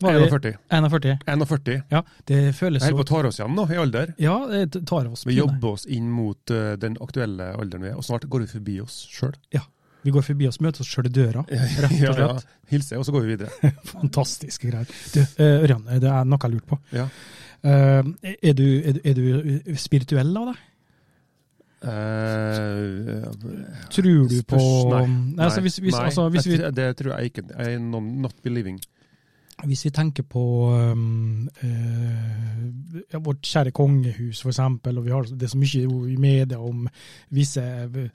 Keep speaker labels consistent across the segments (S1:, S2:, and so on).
S1: var vi
S2: 41.
S1: 41.
S2: 41.
S1: Ja, det føles
S2: Jeg holder
S1: så
S2: på å ta oss igjen nå, i alder.
S1: Ja, det tar oss på,
S2: Vi
S1: nei.
S2: jobber oss inn mot eh, den aktuelle alderen vi er, og snart går vi forbi oss sjøl.
S1: Ja. Vi går forbi oss, møter oss sjøl i døra, rett og slett.
S2: Hilser, og så går vi videre.
S1: Fantastiske greier. Du, eh, Ørjan, det er noe jeg lurte på.
S2: Ja.
S1: Eh, er, du, er, du- er du spirituell av deg?
S2: Eh,
S1: Tror du på
S2: spørs- nei,
S1: Nei, altså, hvis, hvis,
S2: nei,
S1: altså, hvis, vi,
S2: jeg tr- det tror jeg ikke. I am not believing.
S1: hvis vi tenker på um, eh, ja, vårt kjære kongehus, for eksempel, og vi har det er så mye jo i media om visse eh,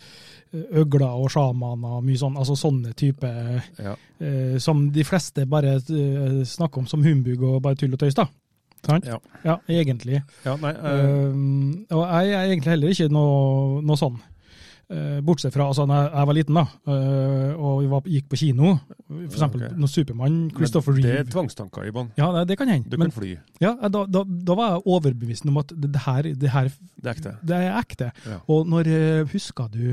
S1: øgler og sjamaner og mye sånn, altså sånne type
S2: Ja.
S1: eh, som de fleste bare eh, snakker om som humbug og bare tull og tøys, da. Sant?
S2: Ja.
S1: Ja, egentlig.
S2: Ja, nei, eh,
S1: Um, og jeg er egentlig heller ikke noe, noe sånn. Eh, Bortsett fra altså, når jeg var liten da, eh, og vi var, gikk på kino, f.eks.
S2: Ja,
S1: Okay.
S2: ok.
S1: når Supermann, Christopher
S2: men Det
S1: Reeve
S2: er tvangstanker i bånn.
S1: ja, det, det kan hende.
S2: Du
S1: Men
S2: kan fly.
S1: ja, da, da, da var jeg overbevist om at det, det, her, det her
S2: Det er ekte.
S1: det er ekte.
S2: Ja.
S1: Og når eh, husker du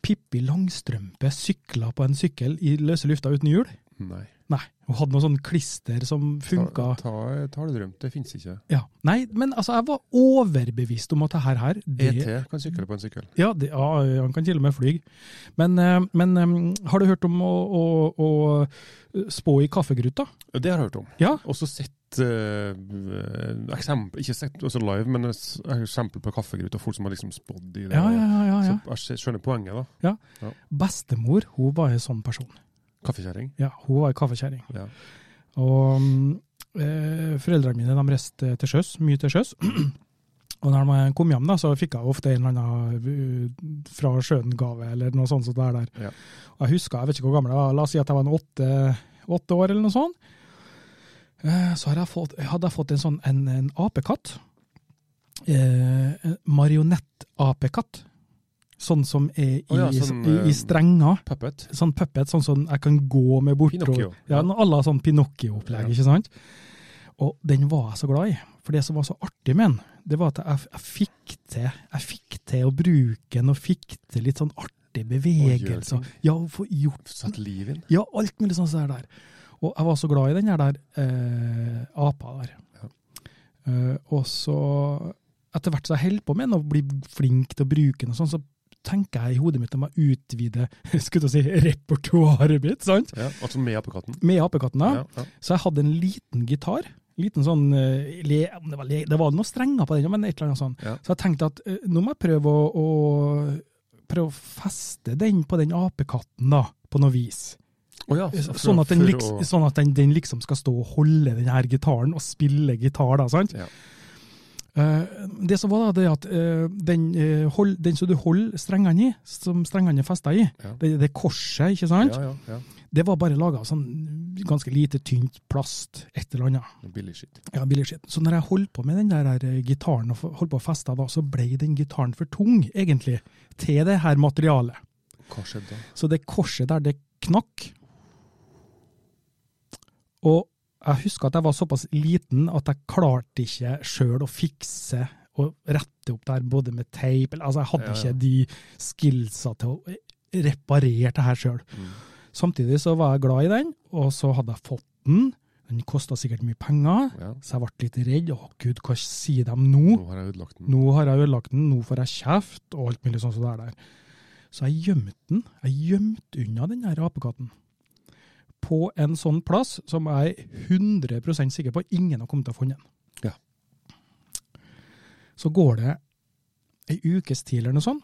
S1: Pippi Langstrømpe sykla på en sykkel i løse lufta uten hjul?
S2: Nei.
S1: Nei. Hun hadde noe sånn klister som funka.
S2: Ta, ta, ta det drømt, det finnes ikke.
S1: Ja. Nei, men altså, jeg var overbevist om at det her, her det,
S2: ET E kan sykle på en sykkel.
S1: Ja, det, ja, han kan til og med fly. Men, eh, men eh, har du hørt om å, å, å spå i kaffegryta?
S2: Det har jeg hørt om.
S1: Ja.
S2: Også sett eh, eksempel, ikke sett også live, men s- eksempel på kaffegrut og folk som har liksom spådd i det.
S1: Ja, ja, ja. ja, ja.
S2: Så jeg skj- skjønner poenget, da.
S1: Bestemor hun var en sånn person.
S2: Kaffekjerring.
S1: Ja, Hun var ei kaffekjerring.
S2: Ja.
S1: Og mm, eh, foreldrene mine de reiste til sjøs, mye til sjøs. Og når de kom hjem, da, så fikk jeg ofte en eller annen eh, fra sjøen-gave eller noe sånt. som det er der.
S2: Ja.
S1: Og jeg husker, jeg vet ikke hvor gammel jeg var, la oss si at jeg var en åtte, åtte år eller noe sånt. Eh, Så hadde jeg fått, hadde jeg fått en sånn en, en apekatt. Eh, en Marionett-apekatt. Sånn som er i,
S2: Å ja, sånn,
S1: i, i
S2: eh,
S1: strenger
S2: Puppet.
S1: sånn puppet, sånn som jeg kan gå med bort.
S2: Pinocchio.
S1: Og, ja, noe à la sånn Pinocchio-opplegg, ikke sant? Og den var jeg så glad i. For det som var så artig med den, det var at jeg, jeg fikk til jeg fikk til å bruke den, og fikk til litt sånn artig bevegelse.
S2: ting.
S1: Ja, og få gjort
S2: Satt liv inn.
S1: Ja, alt mulig sånn som det der. Og jeg var så glad i den her der eh, apa der.
S2: Ja.
S1: Eh, og så, etter hvert som jeg holder på med den og blir flink til å bruke den, og sånn, så tenker jeg i hodet mitt om jeg utvider skulle til å si, repertoaret mitt. sant?
S2: Ja, altså med apekatten.
S1: Med apekatten, da.
S2: Ja, ja.
S1: Så jeg hadde en liten gitar. Liten sånn, eh, le, om det, var le, det var noen strenger på den, men et eller annet sånn.
S2: Ja.
S1: Så jeg tenkte at eh, nå må jeg prøve å, å, prøve å feste den på den apekatten, da, på noe vis.
S2: Å ja, for-
S1: Sånn at, den
S2: for
S1: liksom,
S2: å-
S1: sånn at den, den liksom skal stå og holde den her gitaren og spille gitar, da, sant?
S2: Ja.
S1: Eh, det som var da, det er at eh, den, eh, hold, den som du holder strengene i, som strengene er festa i,
S2: Ja.
S1: det, det korset, ikke sant?
S2: Ja, ja, ja.
S1: Det var bare laga av sånn ganske lite tynt plast, et eller annet.
S2: Billig shit.
S1: Ja, billigskitt. Så når jeg holdt på med den der eh, gitaren, og f- holdt på å feste da, så ble den gitaren for tung, egentlig, til det her materialet.
S2: Hva skjedde da?
S1: Så det korset der, det knakk. Og jeg husker at jeg var såpass liten at jeg klarte ikke sjøl å fikse og rette opp der, både med teip eller- Altså, jeg hadde
S2: Ja, ja.
S1: ikke de skillsa til å reparere det her sjøl.
S2: Mm.
S1: Samtidig så var jeg glad i den, og så hadde jeg fått den. Den kosta sikkert mye penger,
S2: Ja.
S1: så jeg ble litt redd. Å gud, hva sier de nå?
S2: Nå har jeg ødelagt den.
S1: Nå har jeg ødelagt den, nå får jeg kjeft, og alt mulig sånn som det er der. Så jeg gjemte den. Jeg gjemte unna den her apekatten. På en sånn plass som jeg er 100 sikker på ingen har kommet til å ha funnet den.
S2: Ja.
S1: Så går det ei ukes tid eller noe sånt.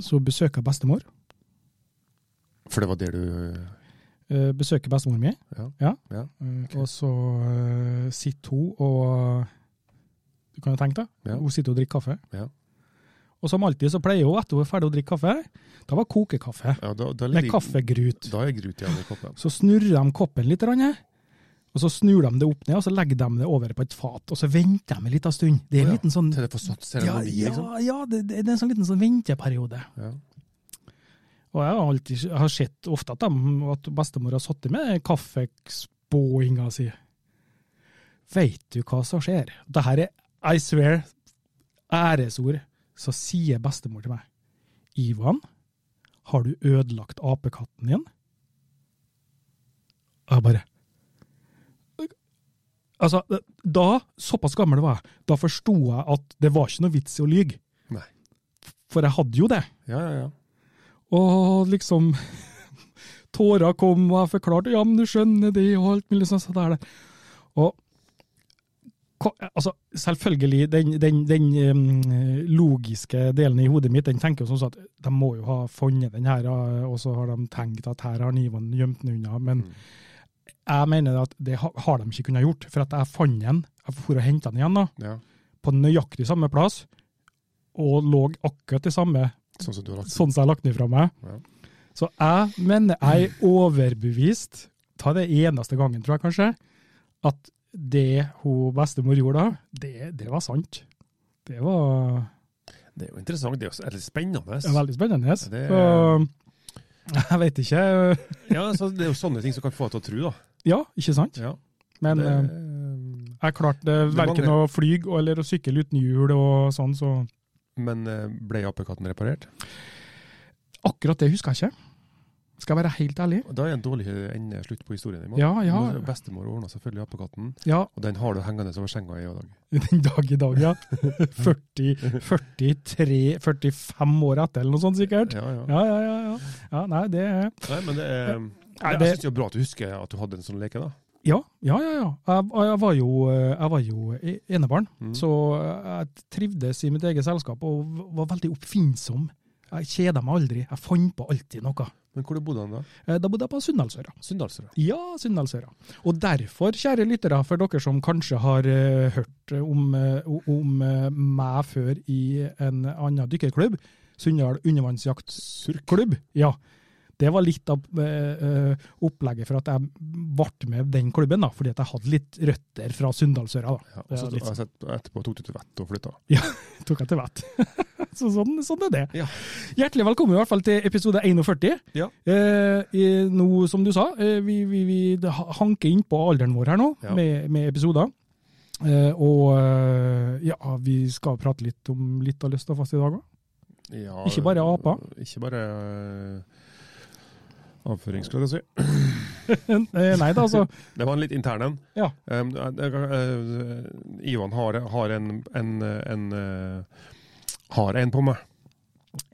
S1: Så besøker jeg bestemor.
S2: For det var det du
S1: Eh, Besøker bestemor mi.
S2: Ja. Ja,
S1: Eh, Og så eh, sitter hun og Du kan jo tenke deg.
S2: Ja.
S1: Hun sitter og drikker kaffe.
S2: Ja.
S1: Og som alltid så pleier hun, etter hun er ferdig å drikke kaffe, da var kokekaffe
S2: ja da, da
S1: med
S2: ligger-
S1: kaffegrut.
S2: Da er grut igjen i koppen.
S1: Så snurrer de koppen litt, grann, Og så snur de det opp ned, og så legger de det over på et fat, og så venter de en liten stund. Det er en
S2: Ja,
S1: liten sånn
S2: Til det får satt
S1: ja,
S2: seremoni,
S1: ja,
S2: liksom.
S1: ja det, det er en sånn liten sånn venteperiode.
S2: Ja.
S1: Og jeg har, alltid, jeg har sett ofte at, de, at bestemor har sittet med kaffespåinga si. Veit du hva som skjer? Dette er, I swear, æresord. Så sier bestemor til meg. Ivan, har du ødelagt apekatten din? Jeg bare Altså, da, såpass gammel var jeg, da forsto jeg at det var ikke noe vits i å lyge.
S2: Nei.
S1: For jeg hadde jo det.
S2: ja, ja, ja.
S1: Og liksom Tårer kom, og jeg forklarte ja, men du skjønner det, og alt mulig sånt. sånt der. Og hva- altså, selvfølgelig, den, den, den em, logiske delen i hodet mitt den tenker jo sånn at de må jo ha funnet den her, og så har de tenkt at her har Ivan gjemt den unna. Men
S2: Mm.
S1: jeg mener at det ha- har de ikke kunnet gjort, for at jeg fant den. Jeg for og henta den igjen da,
S2: ja.
S1: på nøyaktig samme plass, og lå akkurat i samme
S2: Sånn som du har lagt
S1: sånn som jeg har lagt den fra meg.
S2: Ja.
S1: Så jeg mener jeg er overbevist, ta det eneste gangen tror jeg kanskje, at det hun bestemor gjorde da, det, det var sant. Det var
S2: Det er jo interessant. Det er jo s- er litt spennende.
S1: veldig spennende.
S2: Ja, det-
S1: Så, jeg vet ikke.
S2: Ja, så det er jo sånne ting som kan få deg til å tro, da.
S1: Ja, ikke sant?
S2: Ja,
S1: Men
S2: det,
S1: eh, jeg klarte
S2: det
S1: verken å fly eller å sykle uten hjul og sånn, så
S2: men eh, ble apekatten reparert?
S1: akkurat det husker jeg ikke. Skal jeg være helt ærlig?
S2: Og Da er en dårlig eh, ende slutt på historien. Iman.
S1: Ja, ja.
S2: Nå er Bestemor ordna selvfølgelig apekatten,
S1: Ja,
S2: og den har du hengende over senga i dag.
S1: Den dag i dag, ja. 40, 43, 45 år etter, eller noe sånt sikkert.
S2: Ja, ja.
S1: Ja, ja, ja. ja. ja nei, det er
S2: Nei, men det er
S1: Nei,
S2: Jeg
S1: det-
S2: syns det er bra at du husker at du hadde en sånn leke, da.
S1: Ja, ja, ja. ja. Jeg, jeg, var jo, jeg var jo e- enebarn,
S2: Mm.
S1: så eh, jeg trivdes i mitt eget selskap og v- var veldig oppfinnsom. Jeg kjeda meg aldri. Jeg fant på alltid noe.
S2: Men hvor bodde han da?
S1: Eh, Da bodde jeg på Sunndalsøra.
S2: Sunndalsøra.
S1: Ja, Sunndalsøra. Og derfor, kjære lyttere, for dere som kanskje har eh, hørt om, eh, o- om eh, meg før i en annen dykkerklubb, Sunndal undervannsjaktklubb, ja. Det var litt av eh, eh, opplegget for at jeg ble med den klubben, da, fordi at jeg hadde litt røtter fra Sunndalsøra. da,
S2: Ja, og så
S1: Ja, litt
S2: har jeg sett etterpå tok du til vettet og flytta.
S1: tok jeg til vett. Så sånn, sånn er det.
S2: Ja.
S1: Hjertelig velkommen i hvert fall til episode 41.
S2: Ja.
S1: Eh, eh, nå, som du sa, eh, vi, vi, vi det ha- hanker inn på alderen vår her nå,
S2: Ja.
S1: med, med episoder. Eh, og eh, ja, vi skal prate litt om litt av lyst og fast i dag òg.
S2: Ja,
S1: Ikke bare apa.
S2: Ikke bare uh, avføring, skulle jeg si.
S1: eh, nei da, altså.
S2: Det var en litt intern en.
S1: Ja.
S2: Um, jeg- jeg- eh, Ivan har, har en, en, en eh, har en på meg.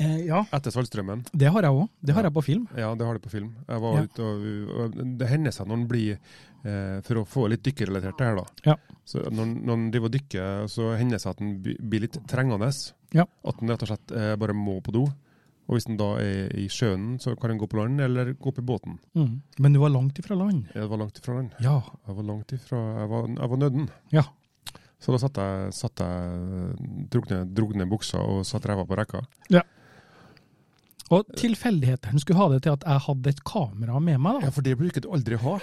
S1: Eh, ja,
S2: Etter Saltstrømmen.
S1: det har jeg òg. Det har
S2: Ja.
S1: jeg på film.
S2: Ja, det har det på film. Jeg var
S1: Ja.
S2: ute og, og Det hender seg når en blir eh, For å få litt dykkerrelatert det her, da.
S1: Ja.
S2: Så når, en- når en driver og dykker, så hender det seg at en bli- blir litt trengende.
S1: Ja.
S2: At en rett og slett eh, bare må på do. Og hvis en da er i sjøen, så kan en gå på land eller gå opp i båten.
S1: Mm. Men du var langt ifra land.
S2: Jeg var langt ifra land.
S1: Ja.
S2: Jeg var langt ifra Jeg var, jeg var nødden.
S1: Ja.
S2: Så da satt jeg, satt jeg drog, ned, drog ned buksa og satt ræva på rekka.
S1: Og tilfeldighetene skulle ha det til at jeg hadde et kamera med meg. da.
S2: Ja, for det bruker du aldri ha.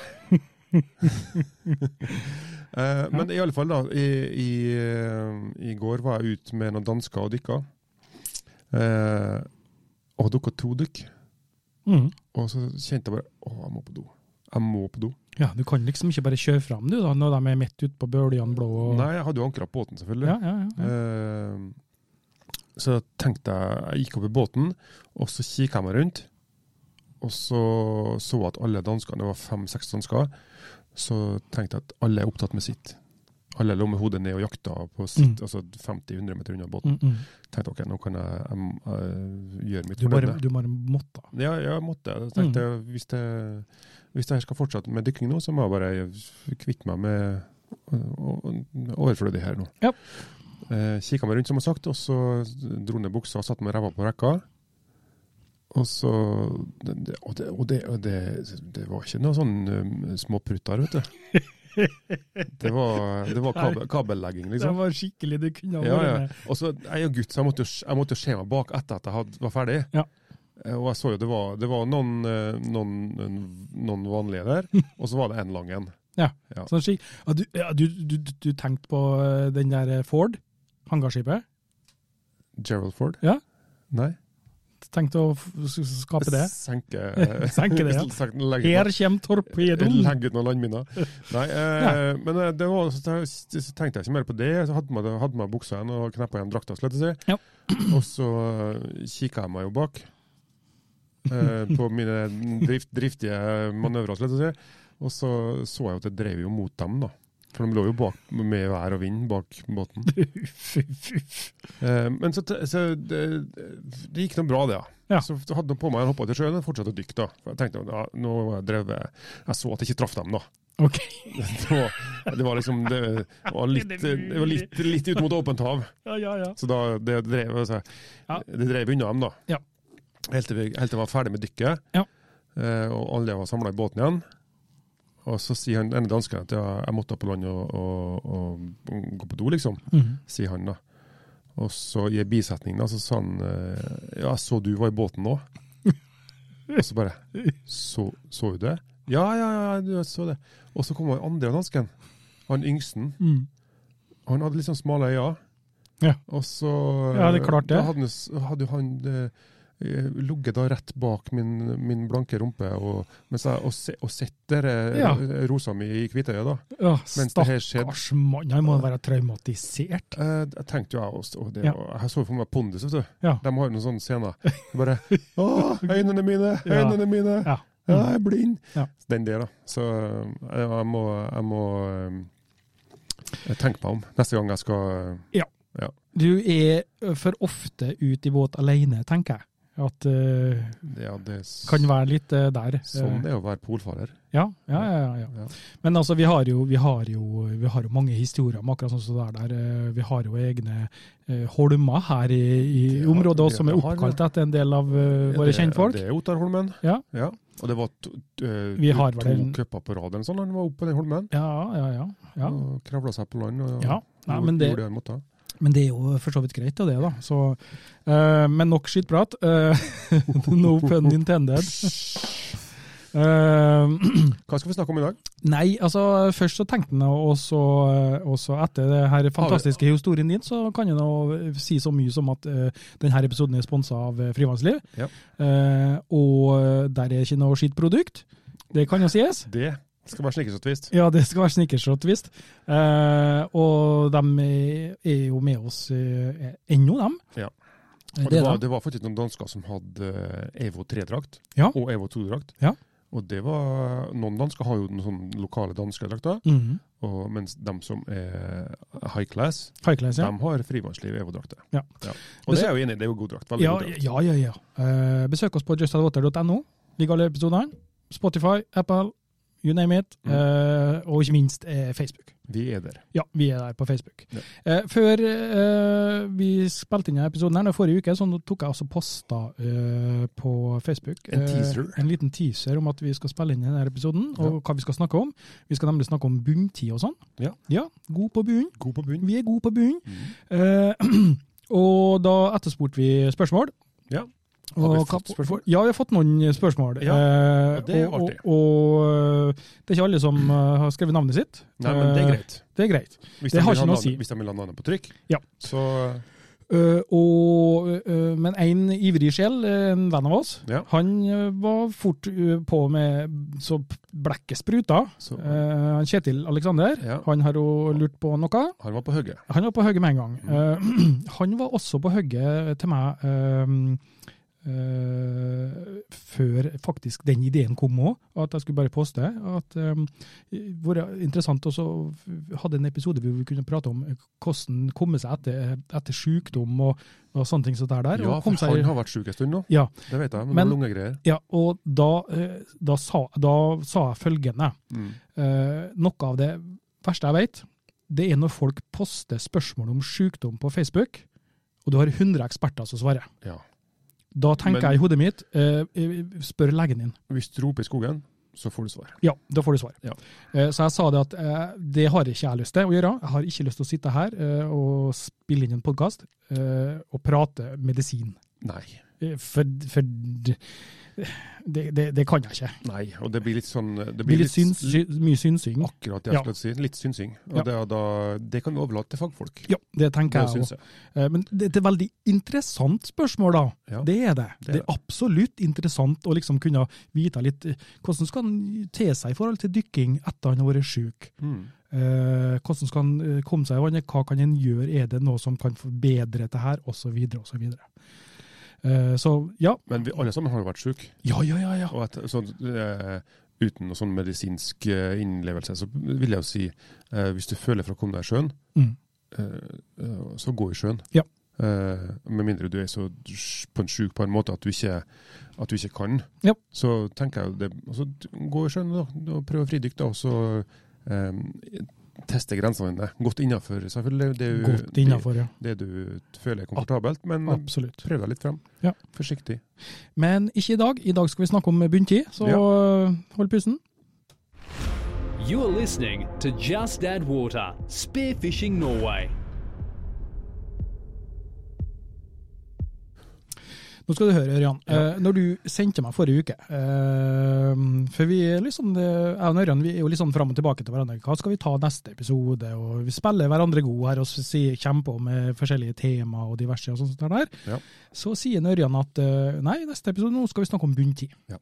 S2: Eh, men i alle fall da, i, i, eh, i går var jeg ute med noen dansker og dykka. Eh, og dukka to dykk.
S1: Mm.
S2: Og så kjente jeg bare å, jeg må på do. Jeg må på do.
S1: Ja, Du kan liksom ikke bare kjøre fram du, da, når de er midt ute på Bøljan blå. Og...
S2: Nei, jeg hadde jo ankra båten, selvfølgelig.
S1: Ja, ja, ja.
S2: Eh, Så tenkte jeg Jeg gikk opp i båten, og så kikket jeg meg rundt. Og så så jeg at alle danskene, det var fem-seks dansker, så tenkte jeg at alle er opptatt med sitt. Alle lå med hodet ned og jakta på sitt, altså 50-100 meter unna båten.
S1: Mm, mm.
S2: tenkte ok, nå kan jeg, jeg, må- jeg gjøre mitt
S1: Du bare,
S2: fornødne.
S1: du bare måtte.
S2: Ja, jeg måtte. Jeg tenkte hvis, det, hvis det her skal fortsette med dykking nå, så må jeg bare kvitte meg med å- å- overflødig her nå.
S1: Ja.
S2: Eh, Kikka meg rundt, som jeg har sagt, og så dro ned buksa og satte meg ræva på rekka. Og så Og det, og det, og det, det var ikke noe sånn um, småprutter, vet du. Det var, det var kabel, kabellegging, liksom.
S1: var skikkelig det kunne
S2: Ja, ja. Og så, jeg er jo gutt, så jeg måtte jo, jeg måtte jo se meg bak etter at jeg hadde, var ferdig.
S1: Ja.
S2: Eh, Og jeg så jo det var, det var noen, eh, noen, noen vanlige der, og så var det en lang en.
S1: Ja.
S2: Ja.
S1: Sånn skik- ja, du, ja, du, du, du- du tenkte på eh, den der Ford, hangarskipet?
S2: Gerald Ford?
S1: Ja.
S2: Nei.
S1: Tenkte å f- s- s- skape det?
S2: Senke
S1: Senke det, ja.
S2: Senke- legge
S1: Her
S2: ut
S1: kommer
S2: noen-
S1: torpedoen!
S2: Legge ut noen landminer. Nei, eh, men eh, det var, så te- så tenkte jeg ikke mer på det. Så hadde man, hadde man buksa igjen og kneppa igjen drakta, skulle jeg til
S1: Ja.
S2: å si. Og så eh, kikka jeg meg jo bak. Eh, på mine drift, driftige manøvrer, skulle jeg til å si. Og så så jeg jo at jeg drev jo mot dem, da. For de lå jo bak med vær og vind bak båten. Eh, Men så, te- så det, det gikk noe bra, det.
S1: Ja.
S2: Ja. Så hadde de på meg en hoppa til sjøen og fortsatte å dykke. da. For Jeg tenkte, ja, nå har jeg drevet, jeg så at jeg ikke traff dem, da.
S1: Ok.
S2: Det var, det var liksom det var litt, det var litt, litt ut mot åpent hav.
S1: Ja, ja, ja.
S2: Så da, det drev altså,
S1: Ja.
S2: det drev unna dem, da.
S1: Ja.
S2: Helt til vi- helt til jeg var ferdig med dykket,
S1: Ja.
S2: eh, og alle var samla i båten igjen. Og så sier han ene dansken at ja, jeg måtte opp på land og, og, og gå på do, liksom
S1: Mhm.
S2: sier han da. Og så i en bisetning da, så sa han eh, Ja, så du var i båten nå? Og så bare Så, så du det? Ja, ja, ja, du så det. Og så kom han andre dansken. Han yngsten.
S1: Mm.
S2: Han hadde litt sånn smale øyne.
S1: Ja.
S2: Og så
S1: Ja, det er klart det.
S2: Da hadde, han s- hadde jo han eh, eh, ligget da rett bak min, min blanke rumpe og, mens jeg, og, se, og sett der eh,
S1: Ja.
S2: rosa mi i hvitøyet, da.
S1: Ja,
S2: Mens det her skjedde.
S1: stakkars mann, han må være traumatisert.
S2: Eh, Jeg tenkte jo jeg også, og det,
S1: Ja.
S2: var- jeg så for meg Pondus, vet du.
S1: Ja.
S2: De har jo noen sånne scener. Jeg Bare Å, øynene mine!
S1: Ja.
S2: Øynene mine!
S1: Ja. Mm.
S2: Ja, jeg er blind!
S1: Ja.
S2: Den der, da. Så eh, jeg må, jeg må eh, tenke meg om neste gang jeg skal eh,
S1: Du er ø, for ofte ute i båt alene, tenker jeg. At eh,
S2: Ja, det er s-
S1: kan være litt eh, der.
S2: Sånn
S1: Eh,
S2: det er å være polfarer.
S1: ja, ja, ja, ja.
S2: Ja.
S1: Men altså, vi har, jo, vi, har jo, vi har jo mange historier om akkurat sånn som det der. der. Eh, Vi har jo egne eh, holmer her i, i
S2: Det har-
S1: området også, som
S2: det
S1: er
S2: har vi.
S1: oppkalt etter en del av eh,
S2: Ja,
S1: våre
S2: det-
S1: kjentfolk.
S2: Det er Ottarholmen.
S1: Ja.
S2: Og det var to, eh,
S1: Vi har vel
S2: to
S1: en-
S2: cuper på rad eller sånn, han var oppe på den holmen.
S1: Ja, ja, ja. ja.
S2: Og kravla seg på land og
S1: ja. Nei,
S2: gjorde,
S1: men det,
S2: gjorde det han måtte.
S1: Men det er jo for så vidt greit, og det, da. Så, eh, men nok skittprat. Uh, no pun intended. Eh,
S2: Hva skal vi snakke om i dag?
S1: nei, altså først så tenkte han, og så, og så etter det her fantastiske historien din, så kan jeg nå si så mye som at eh, denne episoden er sponsa av eh, Frivannsliv.
S2: Ja.
S1: Eh, og der er ikke noe skittprodukt. Det kan jo sies.
S2: Det skal være snikkers og twist.
S1: Ja, det skal være snikerslott, visst. Eh, og de er- er jo med oss eh, ennå, dem.
S2: Ja.
S1: Eh, Det
S2: Og det,
S1: er
S2: var,
S1: dem.
S2: det var faktisk noen dansker som hadde eh, EVO 3-drakt
S1: Ja.
S2: og EVO 2-drakt.
S1: Ja.
S2: Og det var, Noen dansker har jo noen sånne lokale danske drakter,
S1: Mhm.
S2: og- mens de som er high class,
S1: High class, ja.
S2: de har frivannsliv EVO-drakter.
S1: Ja.
S2: Og det er jeg jo enig i, det er jo god drakt. Veldig
S1: Ja,
S2: god drakt.
S1: ja, ja. ja. Eh, besøk oss på justadwater.no. Ligger alle episodene. Spotify, Apple, you name it.
S2: Mm.
S1: Eh, og ikke minst eh, Facebook.
S2: Vi er der.
S1: Ja, vi er der på Facebook.
S2: Ja.
S1: Eh, før eh, vi spilte inn denne episoden her, nå forrige uke, så nå tok jeg også posta eh, på Facebook.
S2: En
S1: eh,
S2: teaser.
S1: en liten teaser om at vi skal spille inn denne episoden, og hva vi skal snakke om. Vi skal nemlig snakke om bunntid og sånn.
S2: Ja.
S1: god på bunnen.
S2: God på bunn.
S1: Vi er gode på bunnen.
S2: Mm.
S1: Eh, og da etterspurte vi spørsmål.
S2: Ja. Har
S1: Og
S2: vi
S1: hva-
S2: fått spørsmål?
S1: Ja, vi har fått noen spørsmål.
S2: Ja,
S1: Eh,
S2: og det er artig.
S1: Og, og, eh, det er ikke alle som eh, har skrevet navnet sitt.
S2: Nei, men det er
S1: Eh,
S2: greit.
S1: Det er greit. det
S2: Hvis de
S1: har
S2: vil
S1: ikke
S2: ha
S1: noe å
S2: navnet-
S1: si.
S2: Hvis de vil ha navnet på trykk,
S1: Ja.
S2: så
S1: Eh, og, eh, men en ivrig sjel, eh, en venn av oss,
S2: Ja.
S1: han eh, var fort eh, på med så blekket spruta.
S2: Så-
S1: Eh, han Kjetil Aleksander,
S2: Ja.
S1: han har jo lurt på noe.
S2: Han var på hugget.
S1: Han var på hugget med en gang.
S2: Mm.
S1: Eh, han var også på hugget til meg eh, eh, før faktisk den ideen kom òg, at jeg skulle bare poste. at eh, det var interessant også å ha en episode hvor vi kunne prate om eh, hvordan komme seg etter, etter sykdom og, og sånne ting. som det er der,
S2: Ja,
S1: og
S2: for
S1: kom seg,
S2: han har vært syk en stund nå.
S1: Ja.
S2: Det vet jeg, men,
S1: Men-
S2: men lungegreier.
S1: ja, og da, eh, da, sa, da sa jeg følgende.
S2: Mm.
S1: Eh, noe av det verste jeg vet, det er når folk poster spørsmål om sykdom på Facebook, og du har 100 eksperter som svarer.
S2: Ja.
S1: Da tenker
S2: Men-
S1: jeg i hodet mitt, eh, eh, spør legen din.
S2: Hvis du roper i skogen, så får du svar.
S1: Ja, da får du svar.
S2: Ja.
S1: Eh, så jeg sa det at eh, det har ikke jeg lyst til å gjøre. Jeg har ikke lyst til å sitte her eh, og spille inn en podkast eh, og prate medisin.
S2: Nei.
S1: Eh, For, for d- det, det, det kan jeg ikke.
S2: Nei. Og det blir litt sånn Det
S1: Det blir litt syns, sy, mye synsing.
S2: Akkurat det jeg
S1: Ja.
S2: skulle si. Litt synsing. Og
S1: Ja.
S2: det, er da, det kan vi overlate til fagfolk.
S1: Ja, det
S2: Det
S1: tenker jeg
S2: syns
S1: òg.
S2: jeg.
S1: Eh, Men det det er et veldig interessant spørsmål, da.
S2: Ja.
S1: Det er det.
S2: er
S1: Det er absolutt interessant å liksom kunne vite litt eh, hvordan skal han te seg i forhold til dykking etter han har vært sjuk.
S2: Mm.
S1: Eh, hvordan skal han eh, komme seg i vannet, hva kan han gjøre, er det noe som kan forbedre dette her, osv. osv. Eh, så ja,
S2: Men vi alle sammen har jo vært syke.
S1: ja, ja, ja. ja.
S2: Og et, sånn, eh, uten noe sånn medisinsk eh, innlevelse, så vil jeg jo si eh, hvis du føler for å komme deg i sjøen,
S1: Mm.
S2: eh, eh, så gå i sjøen.
S1: Ja.
S2: Eh, med mindre du er så sj- på en sjuk på en måte at du ikke, at du ikke kan.
S1: Ja.
S2: Så tenker jeg jo det altså, d- Gå i sjøen da, og prøv fridykt, da, og så eh, teste grensene dine. Godt innafor, selvfølgelig. Det, er jo-
S1: Godt innafor, ja.
S2: Det, det du føler er komfortabelt, men
S1: Absolutt.
S2: prøv deg litt frem.
S1: Ja.
S2: Forsiktig.
S1: Men ikke i dag. I dag skal vi snakke om bunntid, så øh, hold pusten.
S3: You're listening to Just Add Water Spearfishing Norway.
S1: Nå skal du høre, Ørjan. Eh, når du sendte meg forrige uke eh, For vi er liksom, det- jeg og Ørjan vi er jo litt sånn fram og tilbake til hverandre. Hva skal vi ta neste episode? Og vi spiller hverandre gode her og sier, kjemper om eh, forskjellige tema og diverse. og sånt der.
S2: Ja.
S1: Så sier Ørjan at eh, nei, neste episode nå skal vi snakke om bunntid.
S2: Ja.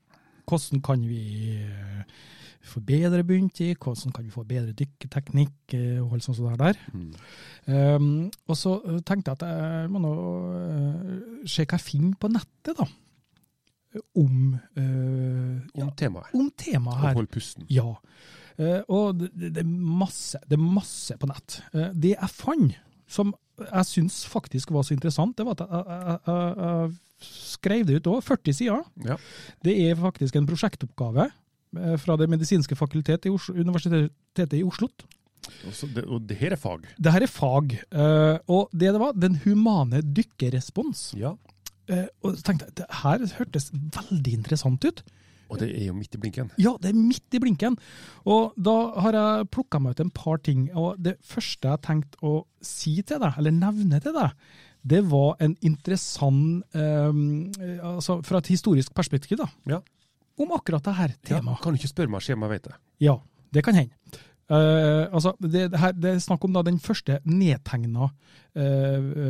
S1: Hvordan kan vi eh, forbedre bunntid? Hvordan kan vi få bedre dykketeknikk? eh, og alt sånt som det der.
S2: Mm.
S1: Um, og så uh, tenkte jeg at jeg må nå uh, se hva jeg finner på nettet, da. Eh, Om, uh,
S2: Om temaet.
S1: om temaet
S2: Og
S1: her.
S2: hold pusten.
S1: Ja. Eh, og det, det- det, er masse, det er masse på nett. Eh, det jeg fant, som jeg syns faktisk var så interessant, det var at jeg, jeg, jeg, jeg skrev det ut òg. 40 sider.
S2: Ja.
S1: Det er faktisk en prosjektoppgave eh, fra Det medisinske fakultet i Oslo, Universitetet i Oslo.
S2: Og, så det, og det her er fag.
S1: Det her er fag, eh, og det det var, den humane dykkerespons.
S2: Ja.
S1: Eh, Og så tenkte jeg, det her hørtes veldig interessant ut.
S2: Og det er jo midt i blinken.
S1: Ja, det er midt i blinken. Og da har jeg plukka meg ut en par ting, og det første jeg tenkte å si til deg, eller nevne til deg, det var en interessant eh, altså Fra et historisk perspektiv, da.
S2: Ja.
S1: Om akkurat det her temaet.
S2: Kan du ikke spørre meg skjema, vet jeg.
S1: Ja, det kan hende. Eh, altså, det, det, her, det er snakk om da den første eh, nedtegna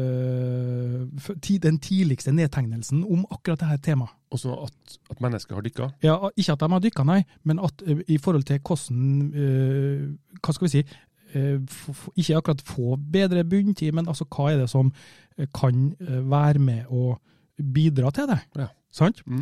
S1: eh, Den tidligste nedtegnelsen om akkurat dette temaet.
S2: Også at, at mennesker har dykka.
S1: Ja, ikke at de har dykka, nei, men at eh, i forhold til hvordan eh, Hva skal vi si eh, f- f- Ikke akkurat få bedre bunntid, men altså hva er det som eh, kan eh, være med å bidra til det?
S2: Ja.
S1: Sant?
S2: Mm.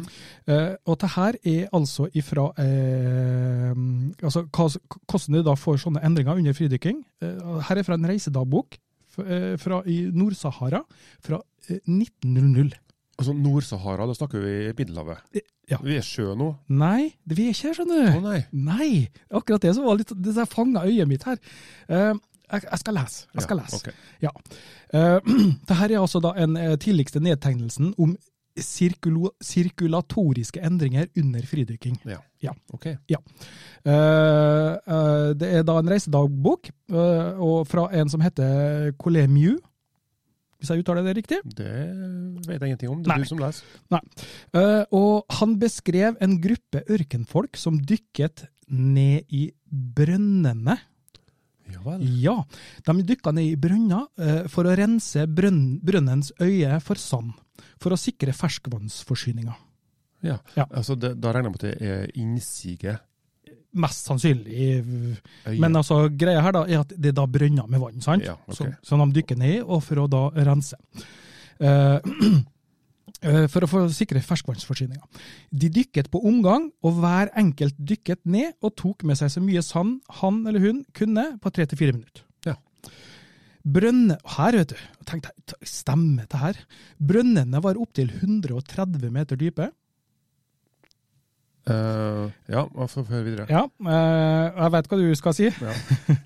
S1: Eh, og det her er altså ifra eh, altså, hva- hvordan du da får sånne endringer under fridykking. Eh, og her er fra en reisedagbok f- eh, fra, i Nord-Sahara fra eh, 1900.
S2: Altså Nord-Sahara, da snakker vi Middelhavet.
S1: Ja.
S2: Vi er sjø nå.
S1: Nei, det vi er ikke her, skjønner
S2: Å
S1: du.
S2: nei.
S1: Nei, akkurat det som var litt Det som fanga øyet mitt her. Eh, jeg, jeg skal lese. Jeg skal
S2: Ja,
S1: lese.
S2: ok.
S1: Ja. Eh, det her er altså da en eh, tidligste nedtegnelsen om sirkulo, sirkulatoriske endringer under fridykking.
S2: Ok.
S1: Eh, eh, det er da en reisedagbok eh, og fra en som heter Colemiu, hvis jeg uttaler det riktig.
S2: Det vet jeg ingenting om. Det
S1: Nei.
S2: er du som leser.
S1: Eh, og han beskrev en gruppe ørkenfolk som dykket ned i brønnene.
S2: Ja vel.
S1: Ja, de dykka ned i brønner eh, for å rense brønn, brønnens øye for sand, for å sikre ferskvannsforsyninga.
S2: Ja.
S1: Ja.
S2: Altså, det, da regner jeg med at det er innsige
S1: Mest sannsynlig.
S2: øye.
S1: Men altså, greia her da er at det er da brønner med vann, sant?
S2: ja, ok.
S1: som, som de dykker ned i, og for å da rense. Eh, eh, for å få sikre ferskvannsforsyninga. De dykket på omgang, og hver enkelt dykket ned og tok med seg så mye sand han eller hun kunne på tre til fire minutter.
S2: Ja.
S1: Brønne, her vet du, jeg tenkte jeg, t- stemmer det her? Brønnene var opptil 130 meter dype.
S2: Eh, ja, man får høre videre.
S1: Ja, eh, jeg vet hva du skal si.
S2: Ja.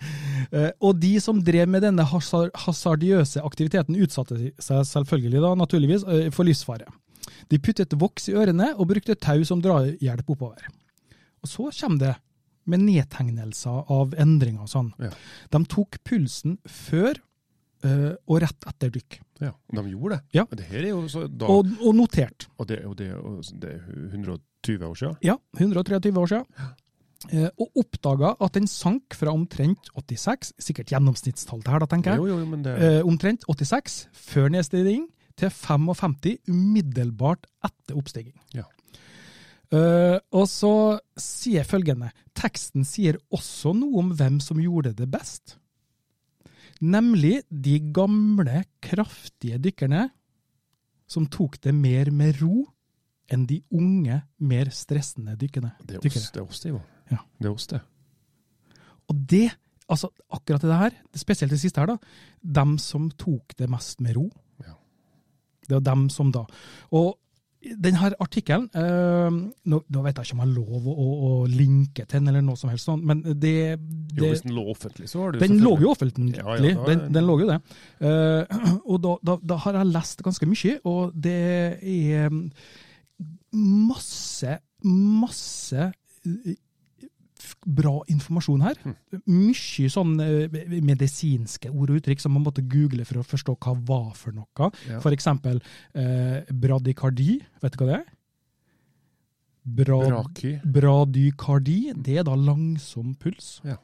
S1: Eh, og de som drev med denne hasar- hasardiøse aktiviteten, utsatte seg selvfølgelig da, naturligvis, eh, for livsfare. De puttet voks i ørene og brukte tau som drahjelp oppover. Og så kommer det med nedtegnelser av endringer og sånn.
S2: Ja.
S1: De tok pulsen før eh, og rett etter dykk.
S2: Ja, og de gjorde det.
S1: Ja.
S2: Og det her er jo så da, og,
S1: Og, og notert.
S2: det, er jo- det, er jo- det er 120 år siden.
S1: Ja, 123 år siden. Eh, og oppdaga at den sank fra omtrent 86, sikkert gjennomsnittstall det her, da, tenker jeg.
S2: Jo, jo, jo, men det
S1: Eh, omtrent 86 før nedstigning til 55 umiddelbart etter oppstigning.
S2: Ja.
S1: Eh, og så sier jeg følgende Teksten sier også noe om hvem som gjorde det best. Nemlig de gamle, kraftige dykkerne som tok det mer med ro enn de unge, mer stressende dykkerne.
S2: det er
S1: dykkere.
S2: oss, det er oss, det, Ivan.
S1: Ja.
S2: Det er oss, det.
S1: Og det, altså akkurat det her, spesielt det siste her, da, dem som tok det mest med ro.
S2: Ja.
S1: Det var dem som da Og denne artikkelen eh, nå, nå vet jeg ikke om jeg har lov å, å, å linke til den, eller noe som helst sånn, men det,
S2: Jo,
S1: det
S2: hvis den lå offentlig, så var det
S1: den lå
S2: selvfølgelig-
S1: jo offentlig,
S2: Ja, ja, da-
S1: den, den lå jo det. Eh, og da, da, da har jeg lest ganske mye, og det er mm, masse, masse eh, f- bra informasjon her.
S2: Hm.
S1: Mye sånn eh, medisinske ord og uttrykk som man måtte google for å forstå hva var for noe.
S2: Ja.
S1: For eksempel eh, bradikardi, vet du hva det er? Brad
S2: Braki.
S1: Bradykardi, det er da langsom puls.
S2: Ja.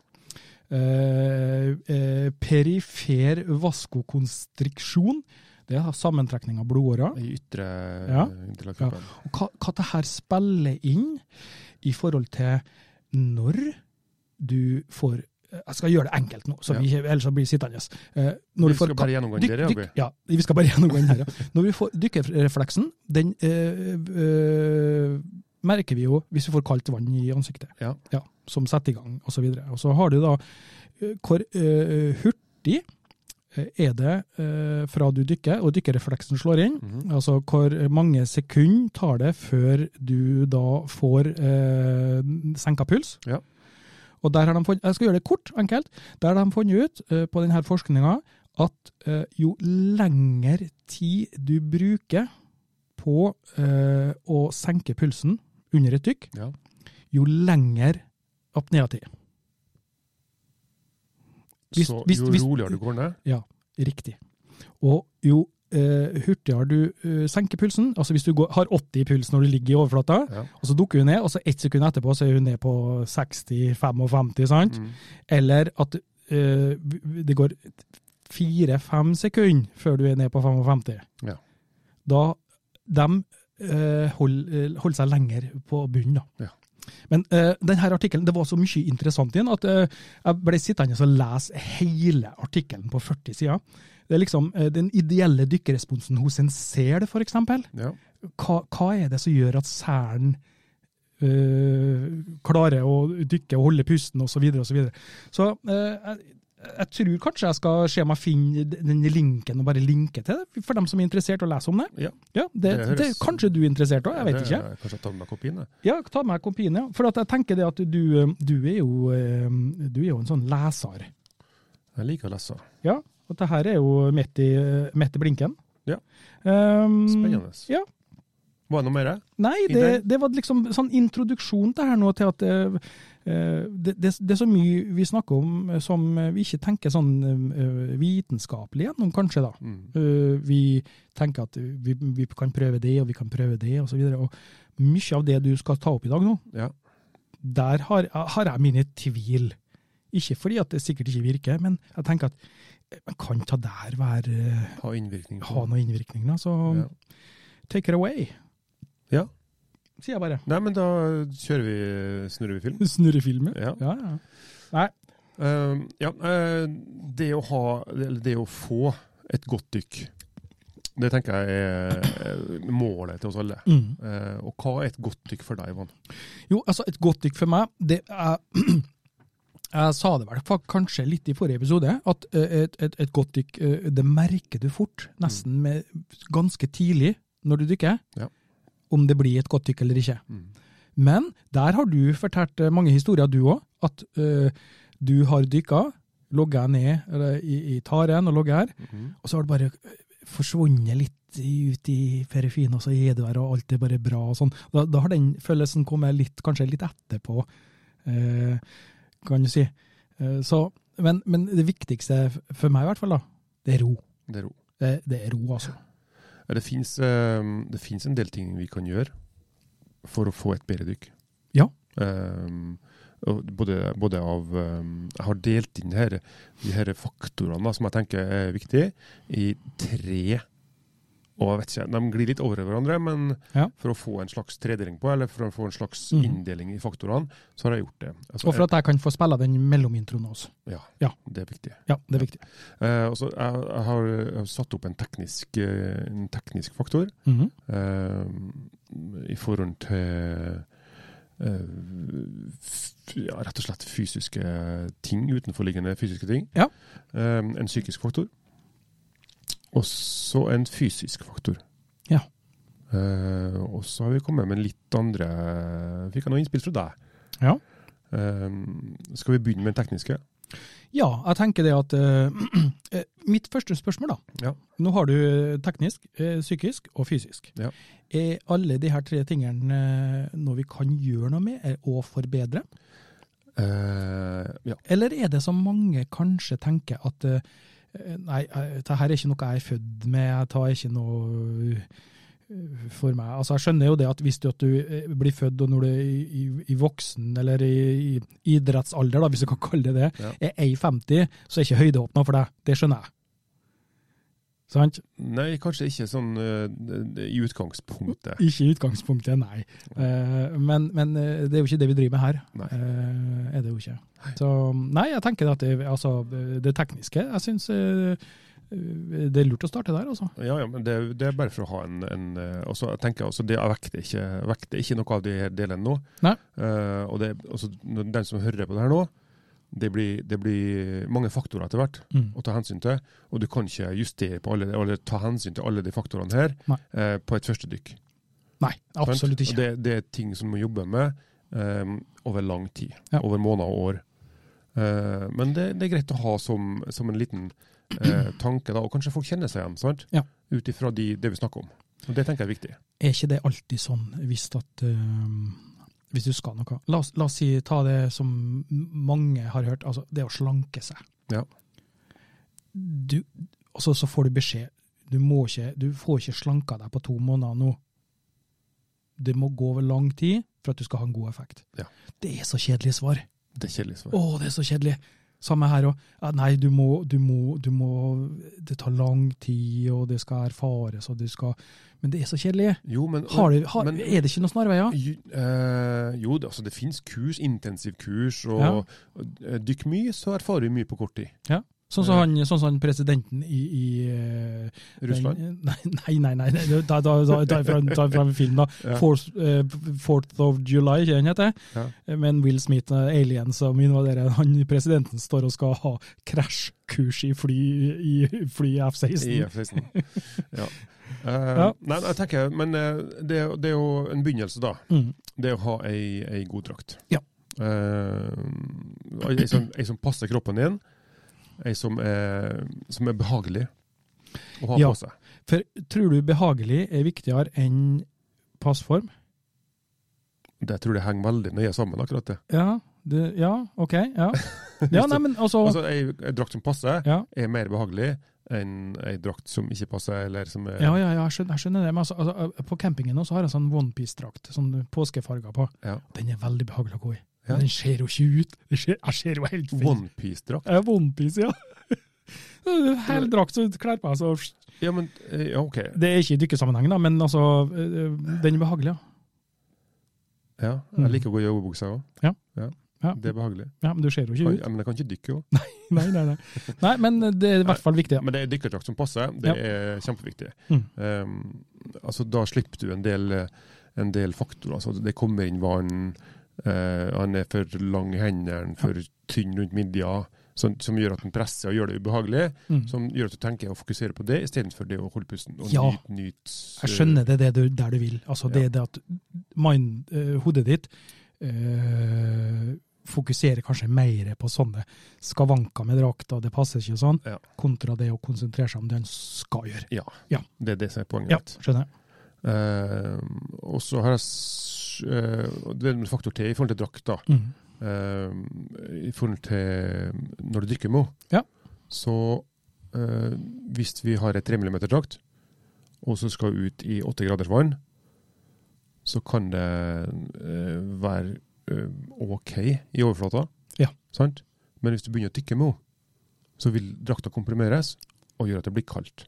S1: Eh, eh, perifer vaskokonstriksjon, det er sammentrekning av blodårer.
S2: I ytre
S1: Ja.
S2: del av kroppen.
S1: Og hva, hva det her spiller inn i forhold til når du får eh, Jeg skal gjøre det enkelt nå, så
S2: Ja.
S1: vi, ellers så blir vi sittende. Eh, når
S2: Vi
S1: du får
S2: skal
S1: ka-
S2: bare gjennomgå
S1: Dykk-
S2: det, Jørgen.
S1: dykk- ja, vi skal bare gjennomgå den her. ja. Når vi får dykkerrefleksen, den eh, eh, merker vi jo hvis vi får kaldt vann i ansiktet.
S2: Ja.
S1: som setter i gang, osv. Og, så videre. og så har du da eh, hvor eh, hurtig eh, er det eh, fra du dykker og dykkerrefleksen slår inn,
S2: Mhm.
S1: altså hvor mange sekunder tar det før du da får eh, senka puls?
S2: Ja.
S1: Og der har de funnet, Jeg skal gjøre det kort, enkelt. Der har de funnet ut eh, på denne forskninga at eh, jo lengre tid du bruker på eh, å senke pulsen under et dykk,
S2: Ja.
S1: jo lengre apneatid. Hvis-
S2: så
S1: hvis-
S2: jo
S1: hvis-
S2: roligere du går ned,
S1: Riktig. Og jo eh, hurtigere du eh, senker pulsen, altså hvis du går, har 80 i puls når du ligger i overflata,
S2: Ja.
S1: og så dukker hun ned, og så ett sekund etterpå så er hun ned på 60-55, sant?
S2: Mm.
S1: Eller at eh, det går fire-fem sekunder før du er ned på 55.
S2: Ja.
S1: Da de eh, holder, holder seg lenger på bunnen, da.
S2: Ja.
S1: Men eh, denne artikkelen, det var så mye interessant i den at eh, jeg ble sittende og lese hele artikkelen på 40 sider. Det er liksom eh, den ideelle dykkeresponsen hos en sel, for eksempel.
S2: ja.
S1: Hva, hva er det som gjør at selen øh, klarer å dykke og holde pusten, osv., osv. Så, videre. så øh, jeg, jeg tror kanskje jeg skal se om jeg finner den linken, og bare linke til det, for dem som er interessert i å lese om det.
S2: Ja.
S1: det,
S2: Det høres-
S1: det, kanskje du er interessert òg, jeg vet
S2: Det-
S1: ikke.
S2: Kanskje jeg tar med meg kopien, jeg.
S1: Ja, ta med kopien, ja. For at jeg tenker det at du, øh, du, er, jo, øh, du er jo en sånn leser.
S2: Jeg liker å lese.
S1: Ja, og det her er jo midt i, øh, midt i blinken.
S2: Ja.
S1: Ehm,
S2: Spennende.
S1: ja.
S2: Var det noe mer?
S1: Nei,
S2: I
S1: det,
S2: den-
S1: det var liksom sånn introduksjon til her nå, til at eh, eh, det, det, det er så mye vi snakker om eh, som eh, vi ikke tenker sånn eh, vitenskapelig gjennom, kanskje, da.
S2: Mm.
S1: Eh, vi tenker at vi, vi kan prøve det, og vi kan prøve det, osv. Og, og mye av det du skal ta opp i dag nå,
S2: Ja.
S1: der har, har jeg mine tvil. Ikke fordi at det sikkert ikke virker, men jeg tenker at eh, men kan ta der være,
S2: Ha innvirkning. på-
S1: ha noen innvirkning, da? Så
S2: Ja.
S1: take it away,
S2: Ja.
S1: sier jeg bare.
S2: Nei, men da kjører vi snurrer vi film.
S1: Snurre filmen.
S2: Ja.
S1: Ja, ja.
S2: Eh, ja eh, det å ha Eller det å få et godt dykk, det tenker jeg er eh, målet til oss alle.
S1: Mm.
S2: Eh, og hva er et godt dykk for deg, Ivan?
S1: Jo, altså, et godt dykk for meg, det er Jeg sa det vel fak- kanskje litt i forrige episode, at eh, et, et, et godt dykk, eh, det merker du fort, nesten med, ganske tidlig når du dykker,
S2: Mm. Ja.
S1: om det blir et godt dykk eller ikke.
S2: Mm.
S1: Men der har du fortalt eh, mange historier, du òg, at eh, du har dykka, logga ned eller, i, i taren og logga her,
S2: Mhm.
S1: og så har det bare eh, forsvunnet litt ut i periferien, og så er du her, og alt er bare bra. og sånn. Da, da har den følelsen kommet litt, kanskje litt etterpå, eh, kan du si. Eh, så, men, men det viktigste f- for meg i hvert fall, da, det er ro.
S2: Det er ro.
S1: Det, det er ro, altså.
S2: Ja, Det fins en del ting vi kan gjøre for å få et bedre dykk.
S1: Ja.
S2: Ehm, og både, både av ehm, Jeg har delt inn her, de her faktorene da, som jeg tenker er viktige, i tre. Og jeg vet ikke, De glir litt over i hverandre, men
S1: Ja.
S2: for å få en slags tredeling på, eller for å få en slags
S1: Mhm.
S2: inndeling i faktorene, så har jeg gjort det. Altså,
S1: Og for at jeg kan få spille den mellom introene også.
S2: ja,
S1: Ja.
S2: Det er viktig.
S1: Ja, det er viktig.
S2: Eh, og så jeg, jeg har eh, satt opp en teknisk, eh, en teknisk faktor
S1: Mhm.
S2: eh, i forhold til eh, f- ja, rett og slett fysiske ting, utenforliggende fysiske ting.
S1: Ja.
S2: Eh, en psykisk faktor. Og så en fysisk faktor.
S1: Ja.
S2: Eh, og så har vi kommet med litt andre Fikk jeg noe innspill fra deg?
S1: Ja.
S2: Eh, skal vi begynne med den tekniske?
S1: Ja, jeg tenker det at eh, eh, Mitt første spørsmål, da.
S2: Ja.
S1: Nå har du teknisk, eh, psykisk og fysisk.
S2: Ja.
S1: Er alle de her tre tingene eh, noe vi kan gjøre noe med eh, og forbedre?
S2: Eh, ja.
S1: Eller er det som mange kanskje tenker at eh, nei, eh, det her er ikke noe jeg er født med, jeg tar ikke noe eh, for meg. Altså, jeg skjønner jo det at hvis du, at du eh, blir født og når du er i, i, i voksen, eller i, i idrettsalder, da, hvis du kan kalle det det,
S2: Ja.
S1: er 1,50, så er ikke høydehopp noe for deg. Det skjønner jeg. Sant?
S2: Nei, kanskje ikke sånn eh, i utgangspunktet.
S1: Ikke i utgangspunktet, nei. Eh, men, men eh, det er jo ikke det vi driver med her.
S2: Nei.
S1: Eh, er det jo ikke. Så nei, jeg tenker at det, altså, det tekniske Jeg syns det er lurt å starte der, altså.
S2: Ja, ja, men det, det er bare for å ha en, en eh, også, Jeg tenker også, det, jeg vekter ikke, vekter ikke noe av de her delene nå.
S1: Nei.
S2: Eh, og det, altså, når den som hører på det her nå, det blir, det blir mange faktorer etter hvert å ta hensyn til. Og du kan ikke justere på alle, eller ta hensyn til alle de faktorene her
S1: Nei.
S2: eh, på et første dykk.
S1: Nei, absolutt
S2: Og
S1: ikke.
S2: Det, det er ting som må jobbe med eh, over lang tid.
S1: Ja.
S2: Over måneder og år. Eh, men det, det er greit å ha som, som en liten eh, tanke, da, og kanskje folk kjenner seg igjen. sant?
S1: Ja.
S2: Ut ifra de, det vi snakker om. Og Det tenker jeg er viktig.
S1: Er ikke det alltid sånn hvis at eh, Hvis du skal noe la oss, la oss si, ta det som mange har hørt, altså det å slanke seg.
S2: Ja.
S1: Du, altså, så får du beskjed du, må ikke, du får ikke slanka deg på to måneder nå. Det må gå over lang tid for at du skal ha en god effekt.
S2: Ja.
S1: Det er så kjedelig svar.
S2: Det er kjedelig svar.
S1: Å, det er så kjedelig. Samme her òg. Nei, du må, du, må, du må Det tar lang tid, og det skal erfares, og du skal Men det er så kjedelig.
S2: Jo, men,
S1: Har du, har,
S2: men-
S1: er det ikke noen snarveier?
S2: jo, eh, jo, det, altså, det finnes kurs, intensivkurs, og,
S1: Ja.
S2: og eh, dykk mye, så erfarer du mye på kort tid.
S1: Sånn som han, sånn som han presidenten i, i eh,
S2: Russland.
S1: den- Nei, nei, nei. nei da, da, da, da, er fra, da er fra en film, da.
S2: Ja.
S1: Fourth, eh, Fourth of July, ikke den heter?
S2: Ja.
S1: Men Will Smith, eh, aliens og invaderer han presidenten, står og skal ha krasjkurs i fly i fly F-16.
S2: I F-16. ja. Eh,
S1: Ja.
S2: Nei, jeg tenker, men eh, det, er- det er jo en begynnelse, da.
S1: Mm.
S2: Det er å ha ei, ei god drakt.
S1: Ja.
S2: Eh, ei, som, ei som passer kroppen din. Ei som er, som er behagelig å ha
S1: Ja.
S2: på seg.
S1: For tror du behagelig er viktigere enn passform?
S2: Det tror jeg henger veldig nøye sammen, akkurat det.
S1: Ja, det, ja ok. Ja, ja nei, men altså,
S2: Altså, ei, ei drakt som passer,
S1: ja,
S2: er mer behagelig enn ei drakt som ikke passer, eller som er
S1: ja, ja, ja jeg, skjønner, jeg skjønner det. Men altså, altså, på campingen nå så har jeg sånn onepiece-drakt, sånn påskefarger på.
S2: Ja.
S1: Den er veldig behagelig å gå i.
S2: Ja.
S1: Men Den ser jo ikke ut. Den ser, jeg ser jo helt feil.
S2: onepiece-drakt.
S1: Eh, Onepiece, ja. Hele drakt som kler på meg, så
S2: Ja, men eh, ja, OK.
S1: Det er ikke i dykkesammenheng, da, men altså, eh, den er behagelig, ja.
S2: Ja,
S1: Mm.
S2: jeg liker å gå i joggebuksa òg.
S1: Ja. Ja.
S2: Det er behagelig.
S1: ja. Men du ser jo
S2: Kan,
S1: ikke ut.
S2: ja, men jeg kan ikke dykke, jo.
S1: Nei, nei, nei. nei, men eh, det er i hvert fall viktig. Ja.
S2: Men det er dykkerdrakt som passer, det
S1: Ja.
S2: er kjempeviktig.
S1: Mm.
S2: Um, altså, da slipper du en del, en del faktorer. Altså, det kommer inn varen, eh, han er for lang i hendene, for tynn rundt midja, som, som gjør at den presser og gjør det ubehagelig.
S1: Mm.
S2: Som gjør at du tenker å fokusere på det, istedenfor det å holde pusten og
S1: Ja.
S2: nyte nyt,
S1: Jeg skjønner det, det du, der du vil. Altså, det
S2: Ja.
S1: er det at mind, eh, hodet ditt eh, fokuserer kanskje mer på sånne skavanker med drakta, det passer ikke og sånn,
S2: Ja.
S1: kontra det å konsentrere seg om det en skal gjøre.
S2: eh, Det er det som er poenget.
S1: Ja,
S2: mitt.
S1: skjønner jeg.
S2: Eh, og så har jeg s- eh, og Det er en faktor til i forhold til drakt, da.
S1: Mm.
S2: eh, i forhold til når du drikker med henne,
S1: Ja.
S2: så eh, hvis vi har et 3 mm-drakt, og så skal ut i 8 graders vann, så kan det eh, være eh, OK i overflata.
S1: Ja.
S2: Sant? Men hvis du begynner å tykke med henne, så vil drakta komprimeres og gjøre at det blir kaldt.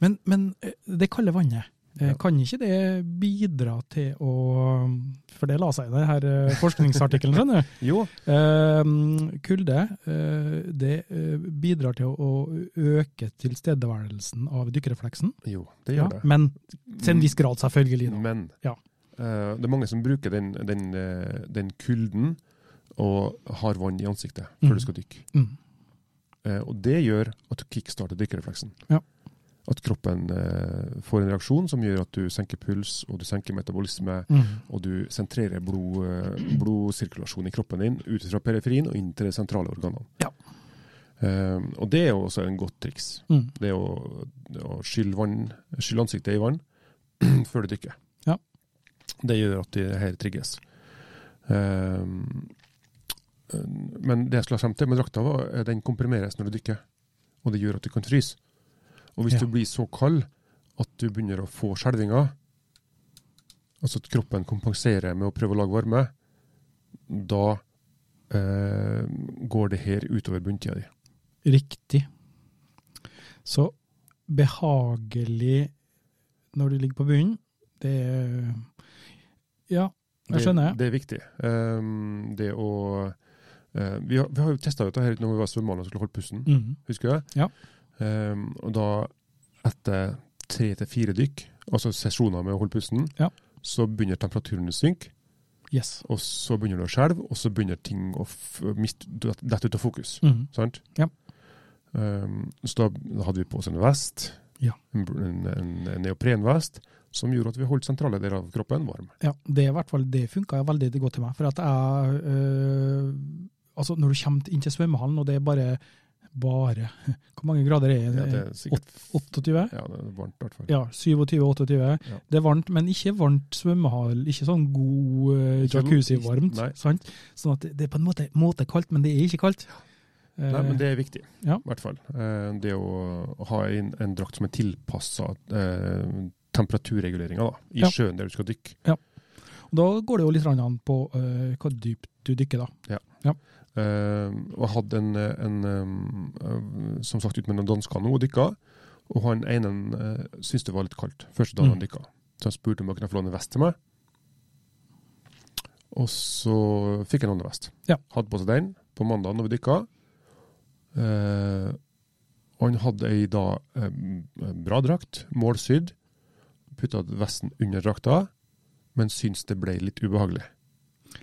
S1: Men, men eh, det kalde vannet, eh,
S2: Ja.
S1: kan ikke det bidra til å For det la seg i den her eh, forskningsartikkelen, skjønner du.
S2: Jo,
S1: Eh, Kulde eh, det eh, bidrar til å, å øke tilstedeværelsen av dykkerefleksen.
S2: jo det
S1: Ja,
S2: gjør det. Mm.
S1: men til en viss grad, selvfølgelig. Da.
S2: Men
S1: Ja.
S2: eh, det er mange som bruker den, den, eh, den kulden og har vann i ansiktet
S1: Mm.
S2: før du skal dykke.
S1: Mm.
S2: Eh, og det gjør at du kickstarter dykkerefleksen.
S1: Ja.
S2: At kroppen eh, får en reaksjon som gjør at du senker puls, og du senker metabolisme,
S1: Mm.
S2: og du sentrerer blod, eh, blodsirkulasjonen i kroppen din ut fra periferien og inn til de sentrale organene.
S1: Ja.
S2: Eh, og det er jo også en godt triks.
S1: Mm.
S2: Det å, det å skylle, vann, skylle ansiktet i vann før du dykker.
S1: Ja.
S2: Det gjør at det her trigges. Ehm, eh, men det jeg skulle ha frem til med drakta, var eh, den komprimeres når du dykker. Og det gjør at du kan fryse. Og hvis
S1: Ja.
S2: du blir så kald at du begynner å få skjelvinger, altså at kroppen kompenserer med å prøve å lage varme, da eh, går det her utover bunntida di.
S1: Riktig. Så behagelig når du ligger på bunnen, det er Ja, jeg
S2: Det-
S1: skjønner.
S2: Det er viktig. Ehm, det å eh, vi, har, vi har jo testa dette her når vi var svømmende og skulle holde pusten,
S1: Mm.
S2: husker du det?
S1: Ja.
S2: Ehm, og da, etter tre til fire dykk, altså sesjoner med å holde pusten,
S1: Ja.
S2: så begynner temperaturen å synke,
S1: Yes.
S2: og så begynner du å skjelve, og så begynner ting å f- miste- dette ut av fokus.
S1: Mm.
S2: Sant?
S1: Ja.
S2: Ehm, så da, da hadde vi på oss en vest,
S1: Ja.
S2: en, br- en, en en neoprenvest, som gjorde at vi holdt sentrale deler av kroppen varm.
S1: Ja, det er i hvert fall det funka veldig godt til meg. For at jeg øh, Altså, når du kommer inn til svømmehallen, og det er bare Bare Hvor mange grader er
S2: Ja,
S1: det?
S2: det er sikkert
S1: 28?
S2: Ja, det er varmt i hvert fall.
S1: Ja, 27-28. Det er varmt, men ikke varmt svømmehall. Ikke sånn god eh,
S2: Ikke- sånn
S1: jacuzzi-varmt.
S2: nei.
S1: Sant? Sånn at det- det er på en måte, måte kaldt, men det er ikke kaldt.
S2: Nei, men
S1: Eh,
S2: det er viktig,
S1: ja.
S2: i hvert fall. Eh, Det å ha en, en drakt som er tilpassa eh, temperaturreguleringa da, i
S1: Ja.
S2: sjøen der du skal dykke.
S1: og da går det jo litt grann an på eh, hvor dypt du dykker, da.
S2: Eh, og jeg hadde en, eh, en eh, eh, som sagt ut med noen dansker nå og dykka, og han ene eh, syntes det var litt kaldt første dagen
S1: Mm.
S2: han dykka. Så han spurte om jeg kunne få låne vest til meg. Og så fikk jeg låne vest.
S1: Ja.
S2: Hadde på seg den på mandag når vi dykka. Eh, og han hadde ei da eh, bra drakt, målsydd. Putta vesten under drakta, men syntes det ble litt ubehagelig.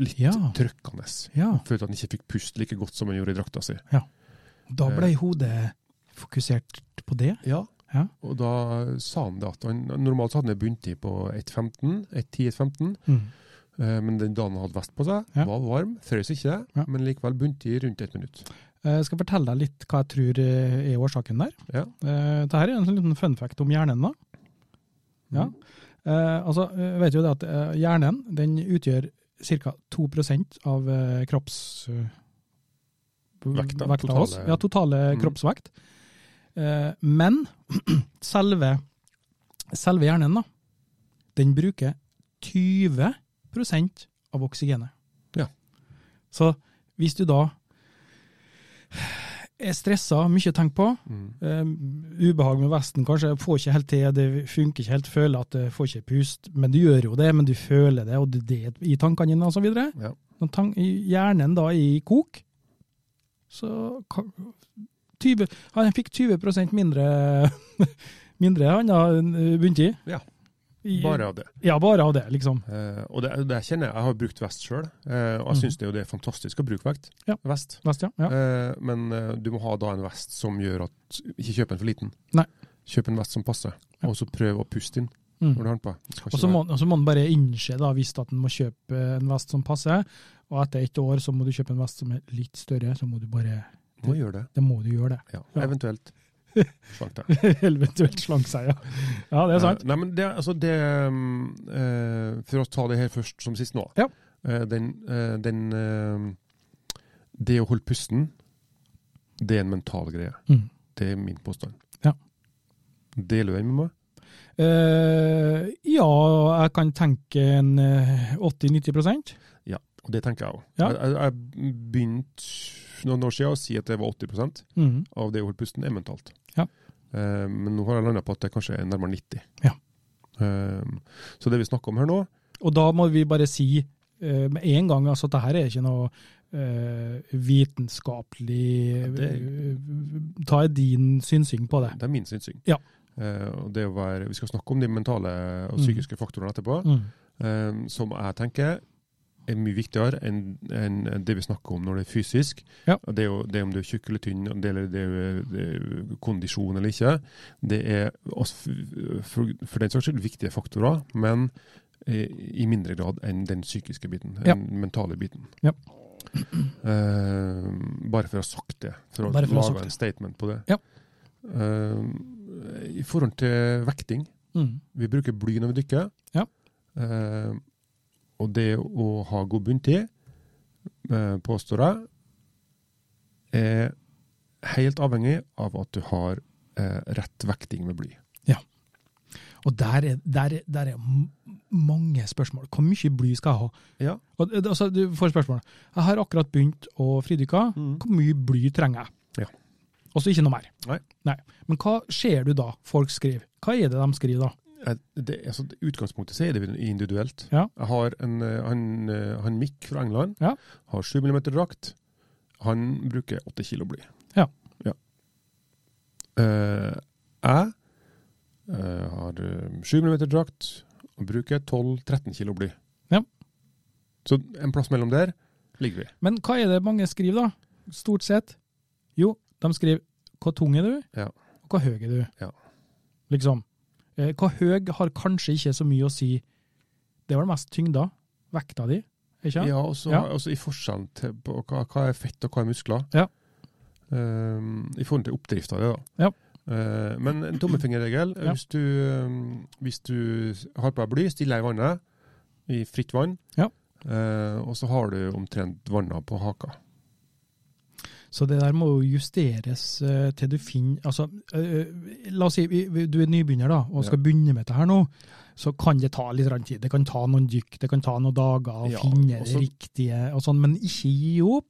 S2: Litt
S1: Ja.
S2: trøkkende.
S1: Ja,
S2: Følte at han ikke fikk puste like godt som han gjorde i drakta si.
S1: Da
S2: Eh.
S1: ble hodet fokusert på det.
S2: Ja.
S1: Ja.
S2: Og da sa han det at han, Normalt så hadde han en bunntid på 1.15, 1.10-1.15,
S1: Mm.
S2: eh, men den dagen han hadde vest på seg,
S1: Ja.
S2: var varm, frøs ikke,
S1: Ja.
S2: men likevel bunntid rundt ett minutt.
S1: Eh, Jeg skal fortelle deg litt hva jeg tror eh, er årsaken der.
S2: Ja.
S1: Eh, Dette er en liten fun fact om hjernen. da. Ja.
S2: Mm.
S1: Eh, altså, eh, vet jo det at eh, hjernen den utgjør ca. 2 av eh, kropps... eh,
S2: Vekta,
S1: vekta av oss.
S2: totale-
S1: Ja, totale
S2: Mm.
S1: kroppsvekt. Eh, men selve, selve hjernen, da, den bruker 20 av oksygenet.
S2: Ja.
S1: Så hvis du da er stressa, mye å tenke på,
S2: Mm.
S1: Eh, ubehag med vesten, kanskje. Jeg Får ikke helt til, det funker ikke helt, føler at jeg får ikke pust. Men du gjør jo det, men du føler det, og det, det er i tankene dine osv.
S2: Ja.
S1: Når tan- hjernen da er i kok, så kan- 20, Han fikk 20 mindre mindre han har begynt i.
S2: Ja.
S1: I-
S2: Bare av det.
S1: Ja, bare av det, liksom.
S2: Eh, og det, det kjenner jeg. Jeg har brukt vest sjøl, eh, og jeg
S1: Mhm.
S2: syns det, er jo- det er fantastisk å bruke vekt.
S1: Ja.
S2: Vest.
S1: Vest, ja. ja.
S2: Eh, men eh, du må ha da en vest som gjør at Ikke kjøp en for liten.
S1: Nei.
S2: Kjøp en vest som passer,
S1: Ja.
S2: og så prøv å puste inn når du
S1: Mm.
S2: har den på. Det skal
S1: Og
S2: ikke
S1: så
S2: være-
S1: må, og så må han bare innse, da, hvis at han må kjøpe en vest som passer, og etter ett år så må du kjøpe en vest som er litt større, så må du bare
S2: må gjøre det.
S1: Da må du gjøre det.
S2: Ja.
S1: Ja.
S2: Eventuelt. Slank deg.
S1: Eventuelt slank seg, ja. Ja, det er sant.
S2: Eh, Nei, men det, altså det um, eh, For å ta det her først som sist nå.
S1: Ja.
S2: Eh, den, eh, den eh, Det å holde pusten, det er en mental greie.
S1: Mm.
S2: Det er min påstand.
S1: Ja.
S2: Deler du den med meg?
S1: Eh, ja, jeg kan tenke en eh, 80-90
S2: Og det tenker jeg òg.
S1: Ja.
S2: Jeg, jeg, jeg begynte noen år siden å si at det var 80
S1: Mhm.
S2: av det å holde pusten er mentalt.
S1: Ja.
S2: Eh, men nå har jeg landa på at det kanskje er nærmere 90.
S1: Ja.
S2: Eh, så det vi snakker om her nå,
S1: Og da må vi bare si eh, med en gang altså, at det her er ikke noe eh, vitenskapelig
S2: Ja, det-
S1: eh, Ta din synsing på det.
S2: det er min synsing.
S1: Ja.
S2: Eh, og det å være, vi skal snakke om de mentale og
S1: Mhm.
S2: psykiske faktorene etterpå,
S1: Mm.
S2: eh, som jeg tenker er mye viktigere enn enn det vi snakker om når det er fysisk.
S1: Ja.
S2: Og Det, er jo, det om du er tjukk eller tynn, og det, eller det, er- det er kondisjon eller ikke, det er også f- for, for den saks skyld viktige faktorer, men eh, i mindre grad enn den psykiske biten,
S1: Ja.
S2: den mentale biten.
S1: Ja.
S2: Eh, bare for å ha sagt det, for å
S1: Bare for å ha sagt
S2: lage
S1: det.
S2: en statement på det.
S1: Ja.
S2: Eh, I forhold til vekting,
S1: Mm.
S2: vi bruker bly når vi dykker.
S1: Ja.
S2: Eh, og det å ha god bunntid, eh, påstår jeg, er helt avhengig av at du har eh, rett vekting med bly.
S1: Og der er, der, er- der er m- mange spørsmål. Hvor mye bly skal jeg ha?
S2: Ja.
S1: Og, eh, altså, du får spørsmålet. Jeg har akkurat begynt å fridykke.
S2: Mm.
S1: Hvor mye bly trenger jeg?
S2: Ja.
S1: Og så ikke noe mer.
S2: Nei.
S1: Men hva ser du da folk skriver? Hva er det de skriver da?
S2: Eh, Det, altså, det- utgangspunktet så er det individuelt.
S1: Ja.
S2: Jeg har en, eh, han, eh, han Mick fra England,
S1: Ja.
S2: har 7 mm drakt. Han bruker 8 kilo bly.
S1: Ja.
S2: Ja. Eh, jeg eh, har eh, 7 mm drakt og bruker 12-13 kilo bly.
S1: Ja.
S2: Så en plass mellom der ligger vi.
S1: Men hva er det mange skriver da? Stort sett? Jo, de skriver hvor tung er du,
S2: Ja.
S1: og hvor høy er du?
S2: Ja.
S1: Liksom. Eh, Hvor høy har kanskje ikke så mye å si. Det var det mest tyngda. Vekta di, ikke sant?
S2: Ja, og så
S1: Ja.
S2: og så i forskjellen til på hva, hva er fett og hva er muskler.
S1: Ja.
S2: Ehm, I forhold til oppdrift av det, da.
S1: Ja.
S2: Eh, men en tommefingerregel.
S1: Ja.
S2: Hvis, du, ehm, hvis du har på deg bly, stiller deg i vannet, i fritt vann,
S1: Ja.
S2: eh, og så har du omtrent vannet på haka.
S1: Så det der må jo justeres eh, til du finner altså, eh, La oss si vi- vi- du er nybegynner da, og skal begynne med det her nå. Så kan det ta litt grann tid. Det kan ta noen dykk, det kan ta noen dager å
S2: Ja,
S1: finne
S2: og
S1: det
S2: så-
S1: riktige, og sånn, men ikke gi opp.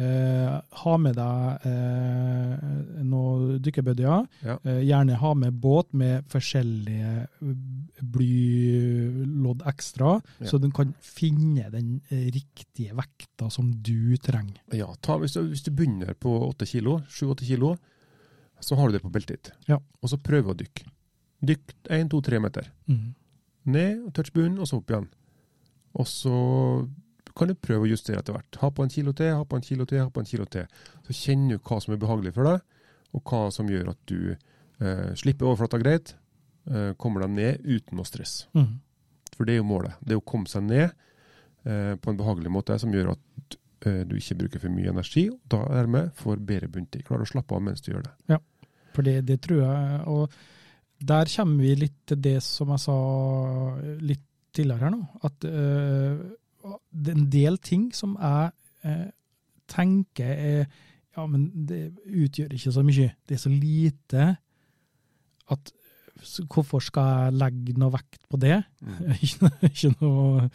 S1: Eh, ha med deg eh, noen dykkerbødder.
S2: Ja.
S1: Eh, gjerne ha med båt med forskjellige eh, blylodd ekstra,
S2: Ja.
S1: så du kan finne den eh, riktige vekta som du trenger.
S2: Ja, ta, hvis, du, hvis du begynner på 8 kilo, 7-8 kilo, så har du det på beltet ditt.
S1: Ja.
S2: Og så prøv å dykke. Dykk 1-2-3 meter.
S1: Mm.
S2: ned, touch bunnen, og så opp igjen. Og så kan du prøve å justere etter hvert. Ha på en kilo til, ha på en kilo til, ha på en kilo til. Så kjenner du hva som er behagelig for deg, og hva som gjør at du eh, slipper overflata greit, eh, kommer deg ned uten å stresse.
S1: Mm.
S2: For det er jo målet. Det er å komme seg ned eh, på en behagelig måte som gjør at eh, du ikke bruker for mye energi, og da dermed får bedre bunntid. Klarer å slappe av mens du gjør det.
S1: For det, det tror jeg Og der kommer vi litt til det som jeg sa litt tidligere her nå. At øh, det er en del ting som jeg eh, tenker er Ja, men det utgjør ikke så mye. Det er så lite at så Hvorfor skal jeg legge noe vekt på det? ikke, noe- ikke noe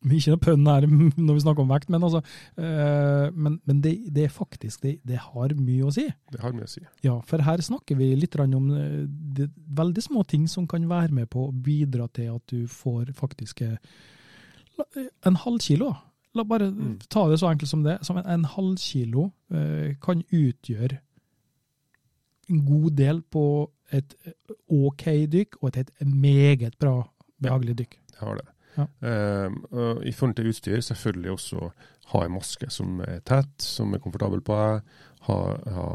S1: ikke noe pønn her når vi snakker om vekt, men, altså, eh, men, men det, det er faktisk det, det har mye å si.
S2: Det har mye å si.
S1: Ja, for her snakker vi litt grann om eh, det, veldig små ting som kan være med på å bidra til at du får faktisk eh, la- eh, en halv kilo. da. La bare
S2: Mm.
S1: ta det så enkelt som det. Som en, en halv kilo eh, kan utgjøre en god del på et eh, OK dykk og et, et meget bra, behagelig dykk.
S2: Jeg har det.
S1: Ja.
S2: Ehm, og I forhold til utstyr, selvfølgelig også ha en maske som er tett, som er komfortabel på deg. Ha, ha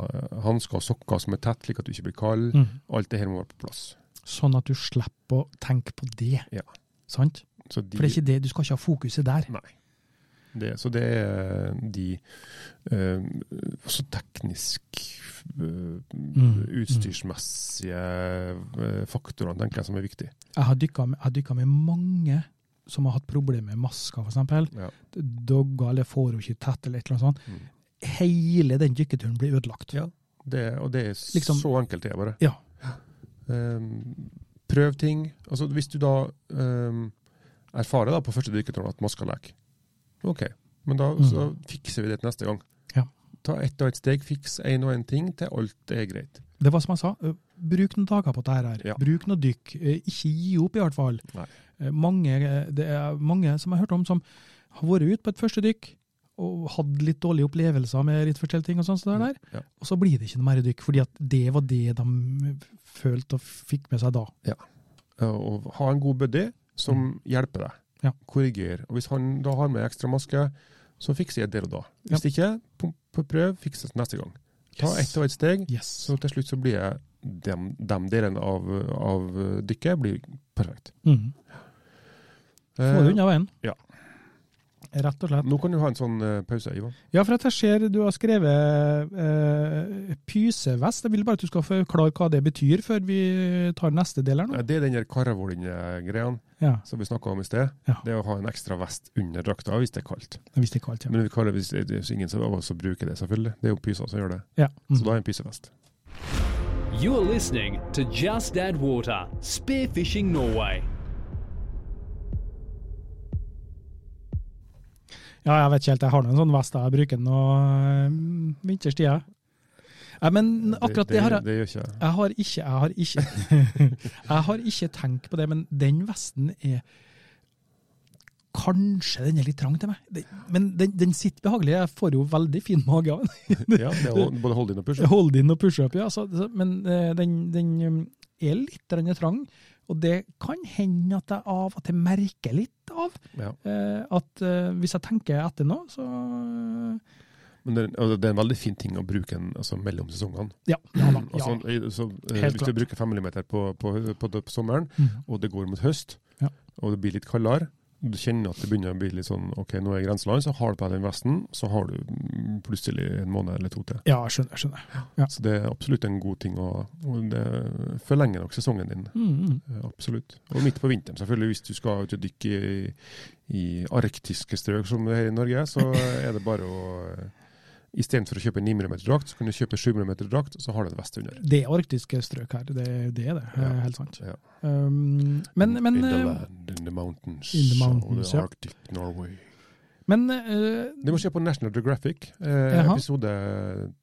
S2: hansker og sokker som er tett, slik at du ikke blir kald. Alt det her må være på plass.
S1: Sånn at du slipper å tenke på det.
S2: Ja.
S1: Sant?
S2: Så de,
S1: For det er ikke det, du skal ikke ha fokuset der.
S2: det, så det er de ehm, også teknisk eh,
S1: Mm.
S2: utstyrsmessige eh, faktorene, tenker jeg, som er viktig.
S1: Jeg har dykka med, jeg har dykket med mange som har hatt problemer med masker, f.eks.
S2: Ja. Mm.
S1: Dogger eller får henne ikke tett, eller et eller annet sånt. Hele den dykketuren blir ødelagt.
S2: Ja. Det, og det er
S1: Liksom-
S2: så enkelt det er bare.
S1: Ja.
S2: Ehm, prøv ting. Altså, hvis du da ehm, erfarer da på første dykketur at maska leker, ok, men da, så da
S1: Mm.
S2: fikser vi det til neste gang.
S1: Ja.
S2: Ta ett og ett steg, fiks én og én ting til alt er greit.
S1: Det var som jeg sa, eh, bruk noen dager på dette her.
S2: Ja.
S1: Bruk noe dykk. Eh, Ikke gi opp, i hvert fall.
S2: Nei.
S1: Eh, Mange, eh, det er mange som jeg har hørt om, som har vært ute på et første dykk og hadde litt dårlige opplevelser med litt forskjellige ting, og sånt, så der, der.
S2: Ja.
S1: og så blir det ikke noe mer dykk, fordi at det var det de følte og fikk med seg da.
S2: Og ha en god buddy som hjelper deg.
S1: Mm. Ja.
S2: Korriger. Og hvis han da har med ekstra maske, så fikser jeg det og da. Hvis ikke, pump på prøv, fikses neste gang. Ta
S1: Yes.
S2: ett og ett steg,
S1: Yes.
S2: så til slutt så blir jeg dem, dem delen av, av dykket blir perfekt.
S1: Mm. Få det unna veien.
S2: ja.
S1: Rett og slett.
S2: Nå kan du ha en sånn eh, pause, Ivan.
S1: Ja, for at jeg ser du har skrevet eh, pysevest. Jeg vil bare at du skal forklare hva det betyr før vi tar neste del her nå.
S2: Nei, Eh, Det er den der karavolinje-greia
S1: Ja,
S2: som vi snakka om i sted.
S1: Ja.
S2: Det er å ha en ekstra vest under drakta hvis det er kaldt.
S1: jeg visste ikke alt, ja.
S2: Men vi kaller det, det er jo ingen som av oss som bruker det, selvfølgelig. Det er jo pyser som gjør det.
S1: ja.
S2: Så
S1: Mm.
S2: da er det en pysevest.
S3: You're listening to Just Add Water Spearfishing Norway.
S1: ja, jeg vet ikke helt. Jeg har nå en sånn vest jeg bruker nå um, vinterstid. jeg. Nei, men akkurat det, har jeg.
S2: Det gjør ikke jeg.
S1: Jeg har ikke, jeg har ikke, jeg har ikke tenkt på det, men den vesten er Kanskje den er litt trang til meg, Det- men den, den sitter behagelig. Jeg får jo veldig fin mage av den.
S2: Ja, det er å både hold inn og push.
S1: Hold inn og pushup, ja. Så, så, men eh, den, den um, er litt grann trang. Og det kan hende at jeg av og til merker litt av
S2: Ja.
S1: eh, at eh, hvis jeg tenker etter nå, så eh,
S2: Men det, er- altså, det er en veldig fin ting å bruke en, altså, mellom sesongene.
S1: Ja. ja, da, ja.
S2: Altså, i- så, eh,
S1: Helt
S2: hvis du bruker 5 mm på, på, på, på sommeren,
S1: Mhm.
S2: og det går mot høst,
S1: Ja.
S2: og det blir litt kaldere, og du kjenner at det begynner å bli litt sånn OK, nå er jeg i grenseland, så har du på deg den vesten, så har du mm, plutselig en måned eller to til.
S1: ja, jeg skjønner. jeg skjønner. Ja.
S2: Så det er absolutt en god ting å og det forlenger nok sesongen din.
S1: Mm, mm.
S2: Eh, Absolutt. Og midt på vinteren, selvfølgelig. Hvis du skal ut og dykke i, i arktiske strøk som det er her i Norge, så er det bare å eh, Istedenfor å kjøpe 9 mm-drakt, så kan du kjøpe 7 mm-drakt, så har du en vest under.
S1: Det er arktiske strøk her, det, det er det.
S2: Ja.
S1: eh, Helt sant.
S2: Ja. Mm,
S1: Um, men men,
S2: in the
S1: eh,
S2: land, in the mountains,
S1: in the
S2: of
S1: mountains, ja.
S2: Arctic Norway.
S1: men eh,
S2: Du må se på National Geographic, eh,
S1: Jaha.
S2: episode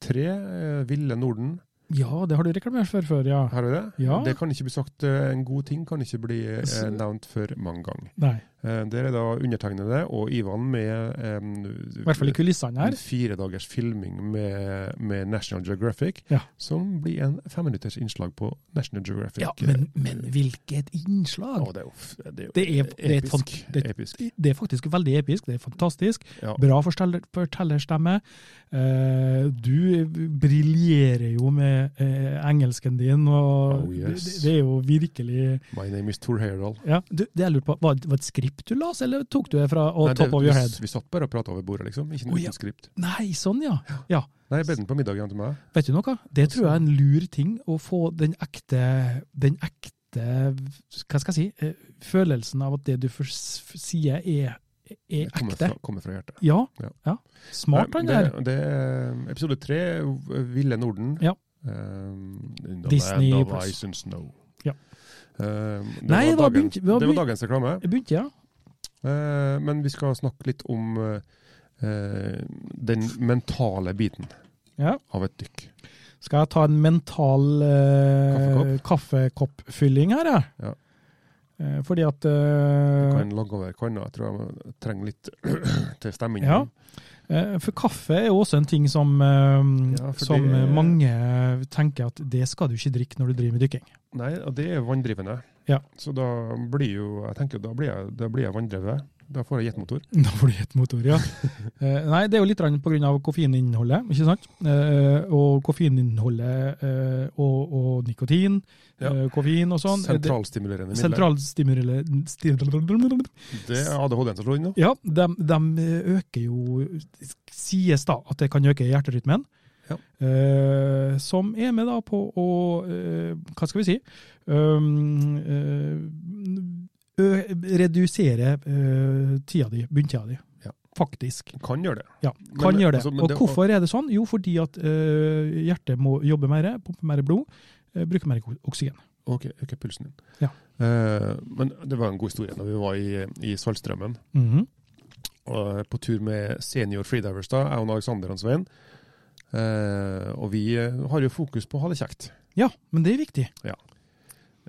S2: tre, eh, Ville Norden.
S1: Ja, det har du reklamert for før, ja.
S2: Her er det.
S1: Ja.
S2: Det kan ikke bli sagt eh, en god ting, kan ikke bli eh,
S1: Så-
S2: nevnt for mange ganger.
S1: Nei,
S2: Eh, der er da undertegnede og Ivan med eh,
S1: i hvert fall i kulissene her.
S2: en fire dagers filming med, med National Geographic,
S1: Ja.
S2: som blir en femminutters innslag på National Geographic. eh.
S1: Ja, men, men hvilket innslag!
S2: Å, det er jo f- det er, jo
S1: Det er- det er et
S2: episk.
S1: fant- det-
S2: episk.
S1: Det er faktisk veldig episk, det er fantastisk.
S2: Ja.
S1: Bra forsteller- fortellerstemme. Eh, du briljerer jo med eh, engelsken din, og
S2: Oh, yes.
S1: det, det er jo virkelig
S2: My name is Tor Heyerdahl.
S1: ja, du, det jeg lurte på, Var det var det et skript du las, eller tok du det fra og
S2: Nei, det-
S1: Top of your
S2: vi-
S1: head?
S2: Vi satt bare og prata over bordet, liksom. Ikke
S1: Å,
S2: noe
S1: ja.
S2: uten skript.
S1: Nei, sånn ja. ja.
S2: Nei, jeg bedde den på middagen til meg.
S1: Vet du noe? Det tror jeg er en lur ting, å få den ekte, den ekte Hva skal jeg si? eh, Følelsen av at det du for- sier, er, er
S2: Det Kommer
S1: ekte.
S2: fra, kommer fra hjertet.
S1: Ja.
S2: Ja.
S1: ja. Smart,
S2: Nei,
S1: han der.
S2: det, det er eh, episode tre, eh, Ville Norden.
S1: Ja.
S2: Um, in the
S1: Disney
S2: land of
S1: Plus.
S2: Ice and Snow.
S1: Ja.
S2: Um, det,
S1: Nei, det var
S2: var dagen,
S1: begynt- det var
S2: det var
S1: begynt-
S2: dagens reklame.
S1: Jeg begynte, ja.
S2: Eh, Men vi skal snakke litt om eh, eh, den mentale biten
S1: Ja.
S2: av et dykk.
S1: Skal jeg ta en mental eh, kaffekoppfylling her, jeg?
S2: Ja.
S1: Eh, fordi at
S2: Du
S1: eh,
S2: kan lage over kanna. Jeg tror jeg trenger litt til stemmen.
S1: Ja. eh, For kaffe er jo også en ting som, eh,
S2: Ja, for
S1: som
S2: det-
S1: mange tenker at det skal du ikke drikke når du driver med dykking.
S2: Nei, og det er vanndrivende.
S1: Ja.
S2: Så da blir jo Jeg tenker da blir jeg, da blir jeg vanndrevet. Da får jeg jetmotor.
S1: Da får du jetmotor, ja. Eh, Nei, det er jo litt grann på grunn av koffeininnholdet, ikke sant? Eh, Og koffeininnholdet eh, og, og nikotin,
S2: Ja.
S1: eh, koffein og sånn. eh, det-
S2: Sentralstimulerende midler.
S1: Sentralstimulerende stil-
S2: Det er ADHD-en som slår inn nå.
S1: Ja, de, de øker jo Sies da at det kan øke hjerterytmen.
S2: Ja.
S1: Eh, som er med da på å eh, Hva skal vi si? Um, eh, ø, redusere eh, tida di, bunntida di.
S2: Ja.
S1: faktisk.
S2: Kan gjøre det.
S1: Ja, kan
S2: Men-
S1: gjøre det.
S2: altså, men
S1: og
S2: det-
S1: hvorfor er det sånn? Jo, fordi at eh, hjertet må jobbe mer, pumpe mer blod, eh, bruke mer ok- oksygen.
S2: Ok, øke pulsen din.
S1: Ja.
S2: Eh, men det var en god historie da vi var i, i Saltstraumen.
S1: Mhm.
S2: og på tur med senior freedivers, da, jeg og Alexander og Svein. Eh, og vi eh, har jo fokus på å ha det kjekt.
S1: Ja, men det er viktig.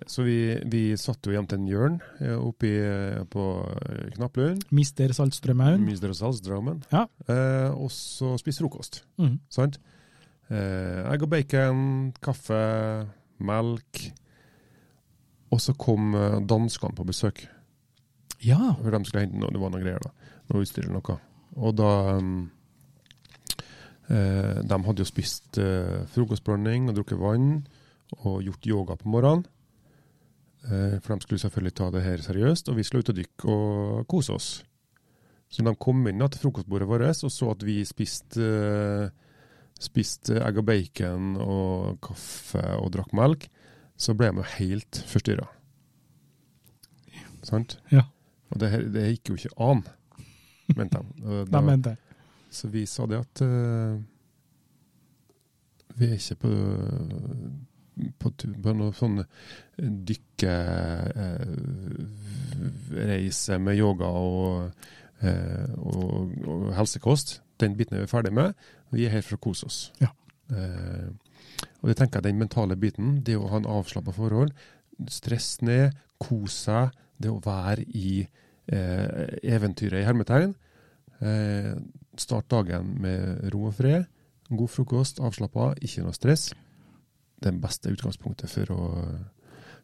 S2: Så vi, vi satt jo hjem til en Jørn eh, oppe i, eh, på eh, Knapplund.
S1: Mister Saltstrømhaugen.
S2: Myster og Salsdraumen.
S1: Ja.
S2: Eh, og så spise frokost.
S1: Mhm.
S2: Sant? Eh, egg og bacon, kaffe, melk. Og så kom eh, danskene på besøk.
S1: Ja.
S2: For de skulle hente noe, det var noe greier da. Noe utstyr eller noe. Og da um, eh, De hadde jo spist eh, frokostblanding og drukket vann og gjort yoga på morgenen. Eh, for de skulle selvfølgelig ta det her seriøst, og vi skulle ut og dykke og kose oss. Så de kom inn da til frokostbordet vårt og så at vi spiste eh, spiste egg og bacon og kaffe og drakk melk, så ble de jo helt forstyrra. Sant?
S1: Ja.
S2: Og det, her, det gikk jo ikke an, mente de. Og
S1: De
S2: da-
S1: mente jeg.
S2: så vi sa det at eh, vi er ikke på, på, tu- på noe sånn eh, dykkereise med yoga og, eh, og, og helsekost. Den biten er vi ferdig med. Vi er her for å kose oss.
S1: Ja.
S2: Eh, og det tenker jeg den mentale biten, det å ha en avslappa forhold, stress ned, kose seg, det å være i eh, eventyret i hermetegn. Eh, Start dagen med ro og fred. God frokost, avslappa, ikke noe stress. Det er det beste utgangspunktet for å,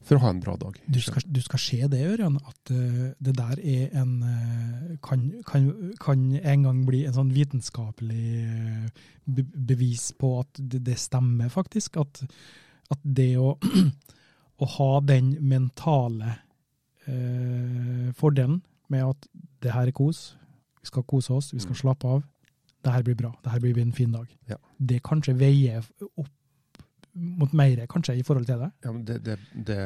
S2: for å ha en bra dag.
S1: Du skal, du skal se det, Ørjan, at eh, det der er en eh, kan, kan, kan en gang bli en sånn vitenskapelig eh, be bevis på at det, det stemmer, faktisk. At, at det å, å ha den mentale eh, fordelen med at det her er kos, vi skal kose oss, vi skal
S2: Mm.
S1: slappe av, det her blir bra, det her blir en fin dag.
S2: Ja.
S1: Det kanskje veier opp mot mer, kanskje, i forhold til det.
S2: Ja, men det, det, det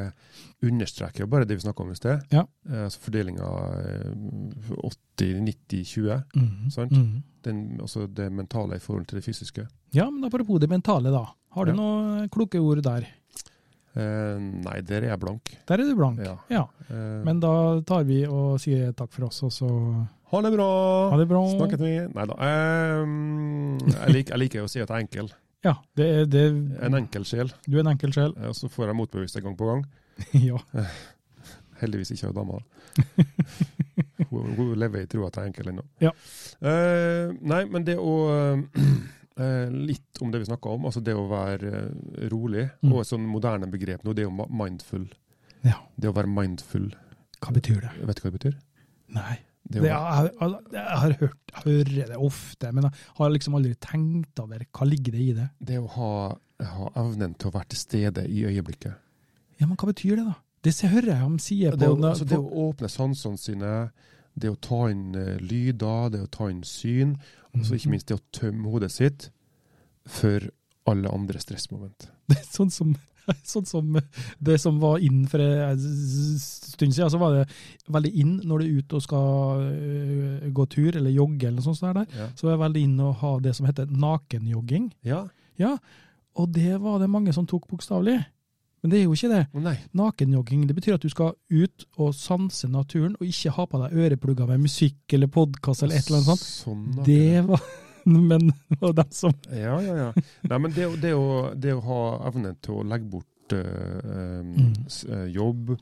S2: understreker jo bare det vi snakka om i sted.
S1: Ja.
S2: Eh, altså eh, Fordelinga 80-90-20. Sant.
S1: Mhm.
S2: Den- Altså det mentale i forhold til det fysiske.
S1: Ja, men apropos det mentale, da. Har du
S2: Ja.
S1: noen kloke ord der?
S2: Eh, nei, der er jeg blank.
S1: Der er du blank.
S2: Ja.
S1: Ja,
S2: Eh,
S1: Men da tar vi og sier takk for oss, og så
S2: ha det bra!
S1: ha det bra.
S2: Snakkes vi? Nei da. Eh, jeg, lik, jeg liker å si at jeg er enkel.
S1: Ja, det, er- det,
S2: En enkel sjel.
S1: du er en enkel sjel.
S2: Eh, Og så får jeg motbevist det gang på gang.
S1: ja.
S2: Heldigvis ikke av dama. hun, hun lever i troa at jeg er enkel ennå.
S1: Ja.
S2: Eh, nei, men det å eh, Litt om det vi snakka om, altså det å være eh, rolig.
S1: Mm.
S2: Og et sånn moderne begrep nå, det er jo ma- mindful.
S1: Ja.
S2: Det å være mindful,
S1: Hva betyr det?
S2: vet du hva det betyr?
S1: Nei.
S2: Det
S1: Det,
S2: å,
S1: jeg, jeg, jeg, har hørt, jeg hører det ofte, men jeg har liksom aldri tenkt over hva ligger det i det.
S2: det å ha, ha evnen til å være til stede i øyeblikket.
S1: Ja, men hva betyr det, da? Det ser- hører jeg ham sier på,
S2: Det å,
S1: na-
S2: altså det
S1: på
S2: å åpne sansene sine, det å ta inn eh, lyder, det å ta inn syn, og
S1: Mhm.
S2: så ikke minst det å tømme hodet sitt for alle andre stressmoment.
S1: Det er sånn som, sånn som det som var inn for en stund siden, så var det veldig inn når du er ute og skal øh, gå tur eller jogge eller noe sånt der, der.
S2: Ja.
S1: så er det veldig inn å ha det som heter nakenjogging.
S2: Ja,
S1: Ja, og det var det mange som tok bokstavelig. Men det er jo ikke det.
S2: men nei.
S1: Nakenjogging det betyr at du skal ut og sanse naturen, og ikke ha på deg øreplugger med musikk eller podkast eller et eller annet sånt.
S2: Sånn, ok.
S1: Det var Men det var dem som
S2: Ja, ja, ja. Nei, men det, å- det, å, det å ha evne til å legge bort eh, eh,
S1: Mm.
S2: s- eh, jobb,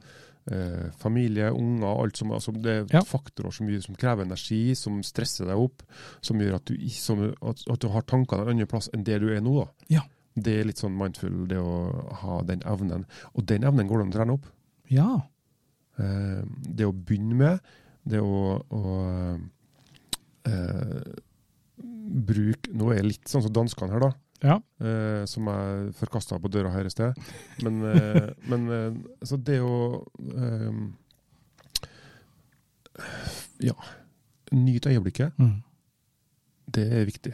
S2: eh, familie, unger, alt som altså Det er
S1: Ja.
S2: faktorer som, gjør- som krever energi, som stresser deg opp, som gjør at du, i- som, at, at du har tankene en annen plass enn det du er nå. da.
S1: Ja.
S2: Det er litt sånn mindful, det å ha den evnen. Og den evnen går det an å trene opp.
S1: Ja.
S2: Eh, det å begynne med, det å, å eh, bruke Nå er jeg litt sånn som danskene her, da.
S1: Ja.
S2: Eh, som jeg forkasta på døra her i sted. Men, eh, men eh, så det å eh, Ja. Nyte øyeblikket,
S1: Mm.
S2: det er viktig.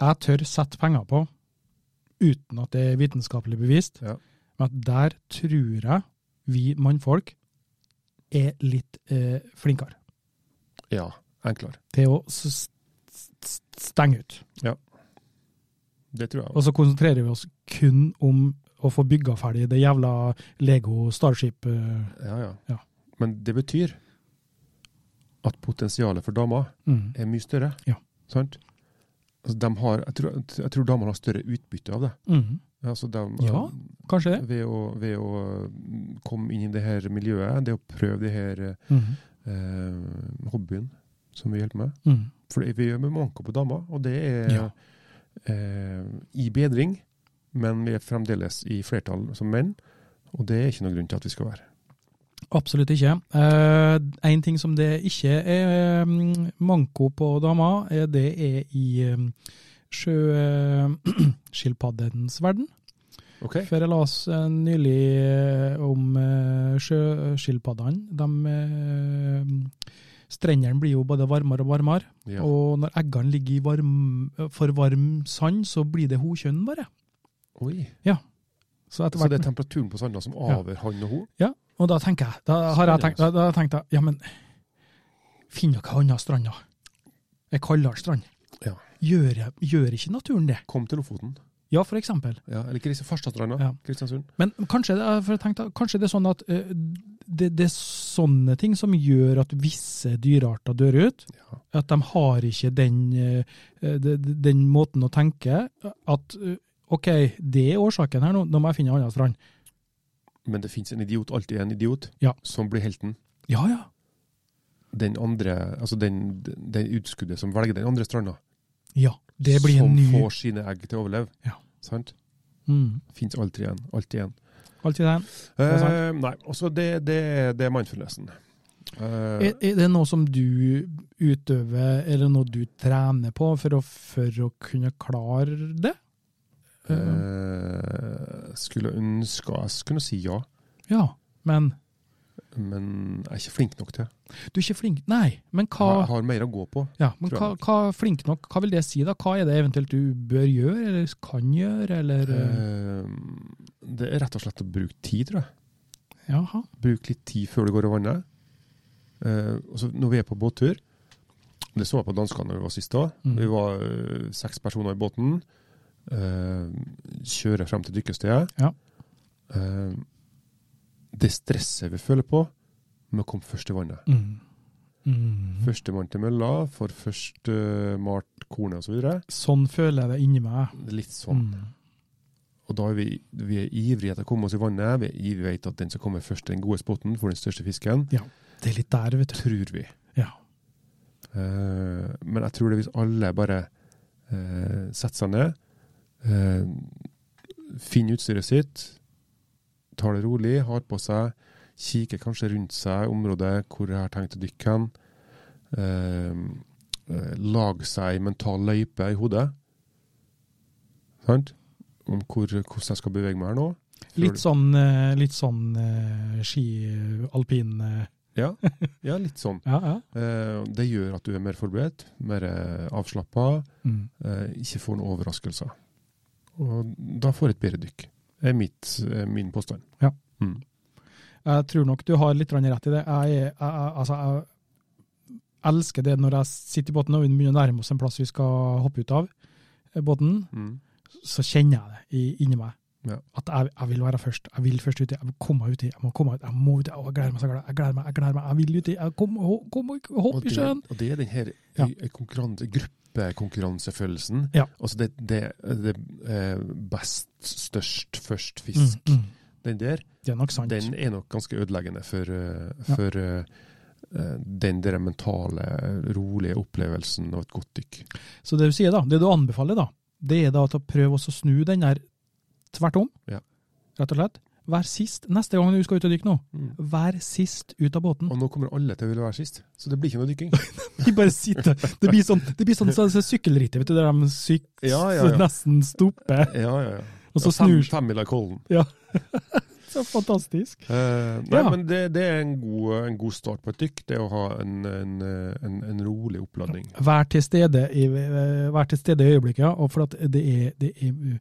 S1: jeg tør sette penger på, uten at det er vitenskapelig bevist,
S2: Ja.
S1: men at der tror jeg vi mannfolk er litt eh, flinkere.
S2: Ja. enklere.
S1: til å s- s- s- stenge ut.
S2: Det tror jeg.
S1: Og så konsentrerer vi oss kun om å få bygga ferdig det jævla Lego Starship eh,
S2: Ja, ja.
S1: Ja.
S2: Men det betyr at potensialet for damer
S1: mm.
S2: er mye større.
S1: Ja.
S2: Sant? Altså, de har, jeg, tror, jeg tror damene har større utbytte av det.
S1: Mm.
S2: Altså, de,
S1: Ja. Kanskje det?
S2: ved, å, ved å mm, komme inn i det her miljøet, det å prøve det her
S1: Mm.
S2: eh, hobbyen som vi hjelper med.
S1: Mm.
S2: For det- vi manker på damer, og det er
S1: Ja.
S2: eh, i bedring. Men vi er fremdeles i flertall som menn, og det er ikke noen grunn til at vi skal være.
S1: Absolutt ikke. Eh, en ting som det ikke er mm, manko på damer, eh, det er i um, sjøskilpaddenes verden.
S2: Ok?
S1: For jeg las eh, nylig eh, om eh, sjøskilpaddene. De eh, strendene blir jo både varmere og varmere,
S2: Ja.
S1: og når eggene ligger i varm, eh, for varm sand, så blir det hokjønn bare.
S2: Oi.
S1: Så etter
S2: Så
S1: hvert
S2: det er temperaturen på sanda som
S1: Ja.
S2: avgjør han og hun?
S1: Og da tenker jeg, da har jeg tenkt, da, da tenkte jeg, ja men, finn dere andre strander. En kaldere strand.
S2: Ja.
S1: Gjør, gjør ikke naturen det?
S2: Kom til Lofoten.
S1: Ja, for eksempel.
S2: Ja, eller Kris- Farstadstranda.
S1: Ja.
S2: Kristiansund.
S1: Men kanskje, det er- for jeg tenkte, kanskje det er sånn at eh, det, det er sånne ting som gjør at visse dyrearter dør ut.
S2: Ja.
S1: At de har ikke den, eh, eh, de- de- den måten å tenke at eh, ok, det er årsaken her nå, nå må jeg finne en annen strand.
S2: Men det fins en idiot, alltid en idiot,
S1: Ja.
S2: som blir helten.
S1: Ja, ja.
S2: Den andre, altså den, den utskuddet som velger den andre stranda,
S1: Ja, det blir
S2: som
S1: en ny.
S2: får sine egg til å overleve.
S1: Ja.
S2: Sant?
S1: Mm.
S2: Fins alltid en. Alltid en.
S1: Alltid den. er sant.
S2: Eh, nei, også det, det, det er mindfulnessen. Eh,
S1: Er, er det noe som du utøver, eller noe du trener på for å, for å kunne klare det?
S2: eh, skulle ønske jeg kunne si ja,
S1: Ja, men
S2: men jeg er ikke flink nok til det.
S1: du er ikke flink Nei, men
S2: Jeg
S1: hva,
S2: har mer å gå på.
S1: ja, men
S2: tror
S1: hva,
S2: jeg
S1: hva flink nok, hva vil det si da? Hva er det eventuelt du bør gjøre, eller kan gjøre, eller eh,
S2: Eh, det er rett og slett å bruke tid, tror jeg.
S1: Jaha.
S2: Bruk litt tid før du går og vanner. Eh, og så når vi er på båttur Det så jeg på danskene når vi var sist da.
S1: Mm.
S2: Vi var eh, seks personer i båten. Uh, kjører frem til dykkestedet.
S1: Ja.
S2: Eh, det stresset vi føler på med å komme først i vannet.
S1: Mm. Mm.
S2: Førstemann til mølla, får først eh, malt kornet osv.
S1: Sånn føler jeg det inni meg.
S2: Litt sånn.
S1: Mm.
S2: Og da er vi, vi er ivrige etter å komme oss i vannet. Vi, er ivrige- vi vet at den som kommer først til den gode spotten, får den største fisken.
S1: Det er litt der, vet du.
S2: Tror vi.
S1: Ja.
S2: Eh, men jeg tror det hvis alle bare eh, setter seg ned, eh, finner utstyret sitt, tar det rolig, har på seg, kikker kanskje rundt seg området hvor jeg har tenkt å dykke hen, eh, eh, lager seg en mental løype i hodet, sant? Om hvor, hvordan jeg skal bevege meg her nå.
S1: Litt sånn, eh, litt sånn eh, ski-alpin eh,
S2: Ja, ja litt sånn.
S1: Ja, ja.
S2: Eh, det gjør at du er mer forberedt, mer eh, avslappa,
S1: Mm.
S2: eh, ikke får noen overraskelser. Og da får et bedre dykk. Det er mitt, eh, min påstand.
S1: Jeg tror nok du har litt grann rett i det. Jeg, er- jeg, jeg, altså, jeg elsker det når jeg sitter i båten og vi begynner å nærme oss en plass vi skal hoppe ut av eh, båten, så kjenner jeg det i- inni meg.
S2: Ja.
S1: At jeg, jeg vil være først. Jeg vil først uti. Jeg vil komme meg uti. Jeg må komme meg ut. Jeg må uti. Å, Jeg gleder meg så glad. Jeg gleder meg. Jeg gleder meg. Jeg vil uti. Jeg kom, ho- kom, og
S2: Og,
S1: hopp i
S2: det,
S1: sjøen.
S2: og det er den her
S1: Ja.
S2: eh, konkurranse, gruppekonkurransefølelsen.
S1: Ja.
S2: Altså det, det, det eh, best, størst, først
S1: Mm,
S2: fisk.
S1: mm.
S2: Den der,
S1: Det er nok sant.
S2: den er nok ganske ødeleggende for, eh,
S1: Ja.
S2: for eh, eh, den der mentale, rolige opplevelsen av et godt dykk.
S1: Så det du sier da, det du anbefaler da, det er da å prøve å snu den der tvert om,
S2: Ja.
S1: rett og slett. Vær sist, neste gang du skal ut og dykke nå,
S2: Mm.
S1: vær sist ut av båten.
S2: Og nå kommer alle til å ville være sist, så det blir ikke noe dykking.
S1: Vi bare sitter, det blir sånn, det blir sånn, så, så sykkelrittet, vet du, der de syk,
S2: Ja, ja, ja.
S1: så nesten stopper,
S2: ja, ja, ja.
S1: og så
S2: Ja, fem-
S1: snur seg.
S2: Femmila i Kollen.
S1: Så fantastisk.
S2: Eh, nei,
S1: Ja.
S2: men det, det er en god, en god start på et dykk. Det å ha en, en, en, en rolig oppladning.
S1: eh, Vær til stede i, vær til stede i øyeblikket, ja, og for at det er, det er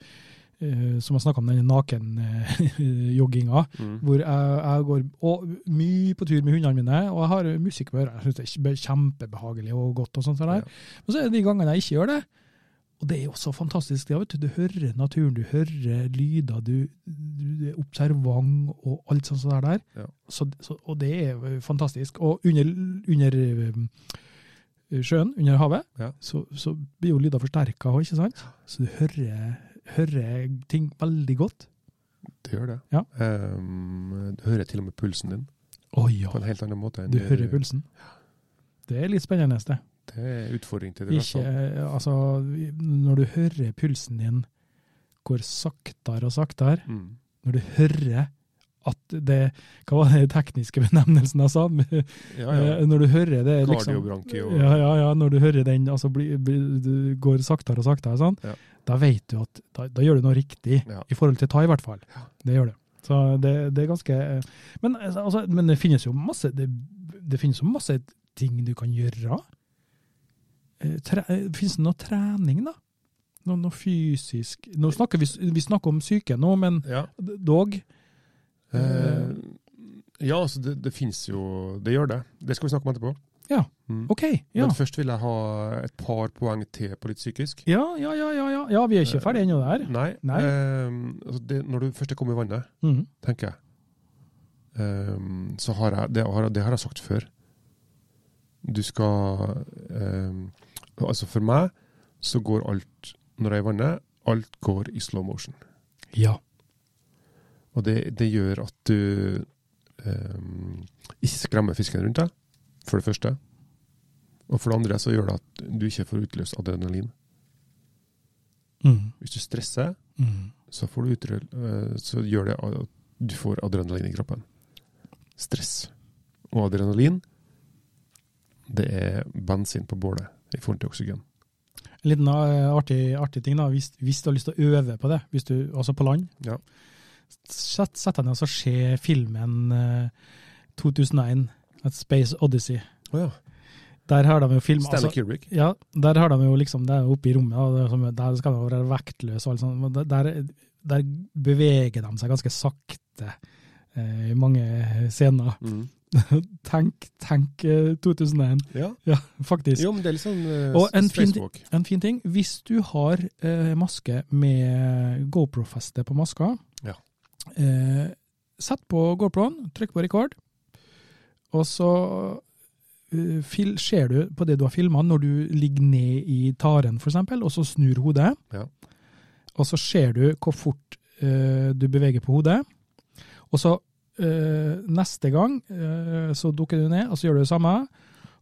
S1: eh, som jeg snakka om, denne nakenjogginga,
S2: Mm.
S1: hvor jeg, jeg går og, mye på tur med hundene mine, og jeg har musikk på øret. Jeg syns det er kjempe- kjempebehagelig og godt. og sånt sånn der. Men så er det de gangene jeg ikke gjør det. Og det er jo så fantastisk. Det, vet du. du hører naturen, du hører lyder, du, du er observant og alt sånt sånt der.
S2: Ja.
S1: Så, så, og det er jo fantastisk. Og under, under um, eh, sjøen, under havet,
S2: Ja.
S1: så, så blir jo lyder forsterka òg, ikke sant? Så du hører, hører ting veldig godt.
S2: Det gjør det.
S1: Ja.
S2: Ehm, du hører til og med pulsen din
S1: Å ja,
S2: på en helt annen måte. enn-
S1: du hører pulsen. Det er litt spennende. det.
S2: Det er utfordring til det.
S1: Ikke, altså, når du hører pulsen din går saktere og saktere,
S2: Mm.
S1: når du hører at det Hva var den tekniske benevnelsen jeg sa? Eh,
S2: Ja, ja.
S1: Når du hører det liksom
S2: Kardiobranki og
S1: ja, ja, ja, når du hører den, altså bli, bli, du går saktere og saktere, sånn,
S2: Ja.
S1: da vet du at da, da gjør du noe riktig,
S2: Ja.
S1: i forhold til ta i hvert fall. Det gjør du. Så det, det er ganske eh, men, altså, men det finnes jo masse det, det finnes jo masse ting du kan gjøre. Eh, Tre, eh, finnes det noe trening, da? Noe, noe fysisk Nå snakker vi, vi snakker om syke nå, men
S2: Ja.
S1: dog
S2: Eh, ja, altså det, det finnes jo Det gjør det. Det skal vi snakke om etterpå.
S1: Ja.
S2: Mm.
S1: OK. Ja.
S2: Men først vil jeg ha et par poeng til på litt psykisk.
S1: Ja, ja, ja, ja, ja. ja vi er
S2: Eh,
S1: ikke ferdig ennå der.
S2: Nei.
S1: Nei.
S2: ehm, altså det, når du først kommer i vannet,
S1: Mm.
S2: tenker jeg, ehm, så har jeg det, har, det har jeg sagt før. Du skal ehm, Altså for meg så går alt, når jeg er i vannet, alt går i slow motion.
S1: Ja.
S2: Og det, det gjør at du ehm, ikke skremmer fisken rundt deg, for det første. Og for det andre så gjør det at du ikke får utløst adrenalin.
S1: Mm.
S2: Hvis du stresser,
S1: Mm.
S2: så, får du utrø- eh, så gjør det at du får adrenalin i kroppen. Stress og adrenalin, det er bensin på bålet i forhold til oksygen.
S1: En liten eh, artig, artig ting, da, hvis, hvis du har lyst til å øve på det, hvis du, altså på land,
S2: Ja.
S1: sett, sett deg ned og så se filmen eh, 2001, et Space Odyssey.
S2: Å ja.
S1: Der har de jo film,
S2: Stanley
S1: altså,
S2: Kubrick.
S1: ja, der har de jo liksom, det er jo oppe i rommet, og det er som, der skal de jo være vektløse og alt sånt, men der, der beveger de seg ganske sakte eh, i mange scener.
S2: Mm.
S1: Tenk, tenk eh, 2001,
S2: Ja.
S1: ja, faktisk.
S2: Jo, men det er litt sånn eh,
S1: Og en fin-
S2: spacewalk.
S1: En fin ting, hvis du har eh, maske med GoPro-feste på maska,
S2: Ja.
S1: eh, sett på GoPro-en, trykk på rekord, og så eh, fil, ser du på det du har filma når du ligger ned i taren f.eks., og så snur hodet,
S2: Ja.
S1: og så ser du hvor fort eh, du beveger på hodet, og så eh, neste gang eh, så dukker du ned, og så gjør du det samme.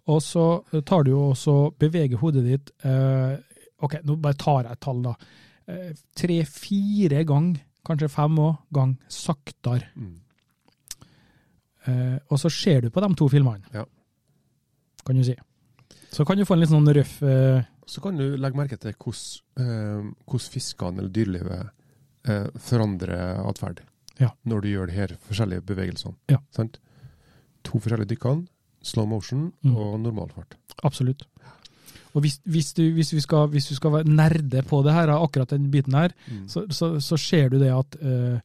S1: Og så eh, tar du jo også beveger hodet ditt eh, Ok, nå bare tar jeg et tall, da. Eh, Tre-fire gang, kanskje fem òg, gang saktere.
S2: Mm.
S1: Eh, og så ser du på de to filmene,
S2: Ja.
S1: kan du si. Så kan du få en litt sånn røff eh,
S2: Så kan du legge merke til hvordan, eh, hvordan fiskene eller dyrelivet eh, forandrer atferd
S1: Ja.
S2: når du gjør de her forskjellige bevegelsene.
S1: Ja.
S2: Sant? To forskjellige dykkene, slow motion
S1: Mm.
S2: og normalfart.
S1: Absolutt. Og hvis, hvis, du, hvis, vi skal, hvis du skal være nerde på det her, akkurat den biten her,
S2: Mm.
S1: så, så, så ser du det at eh,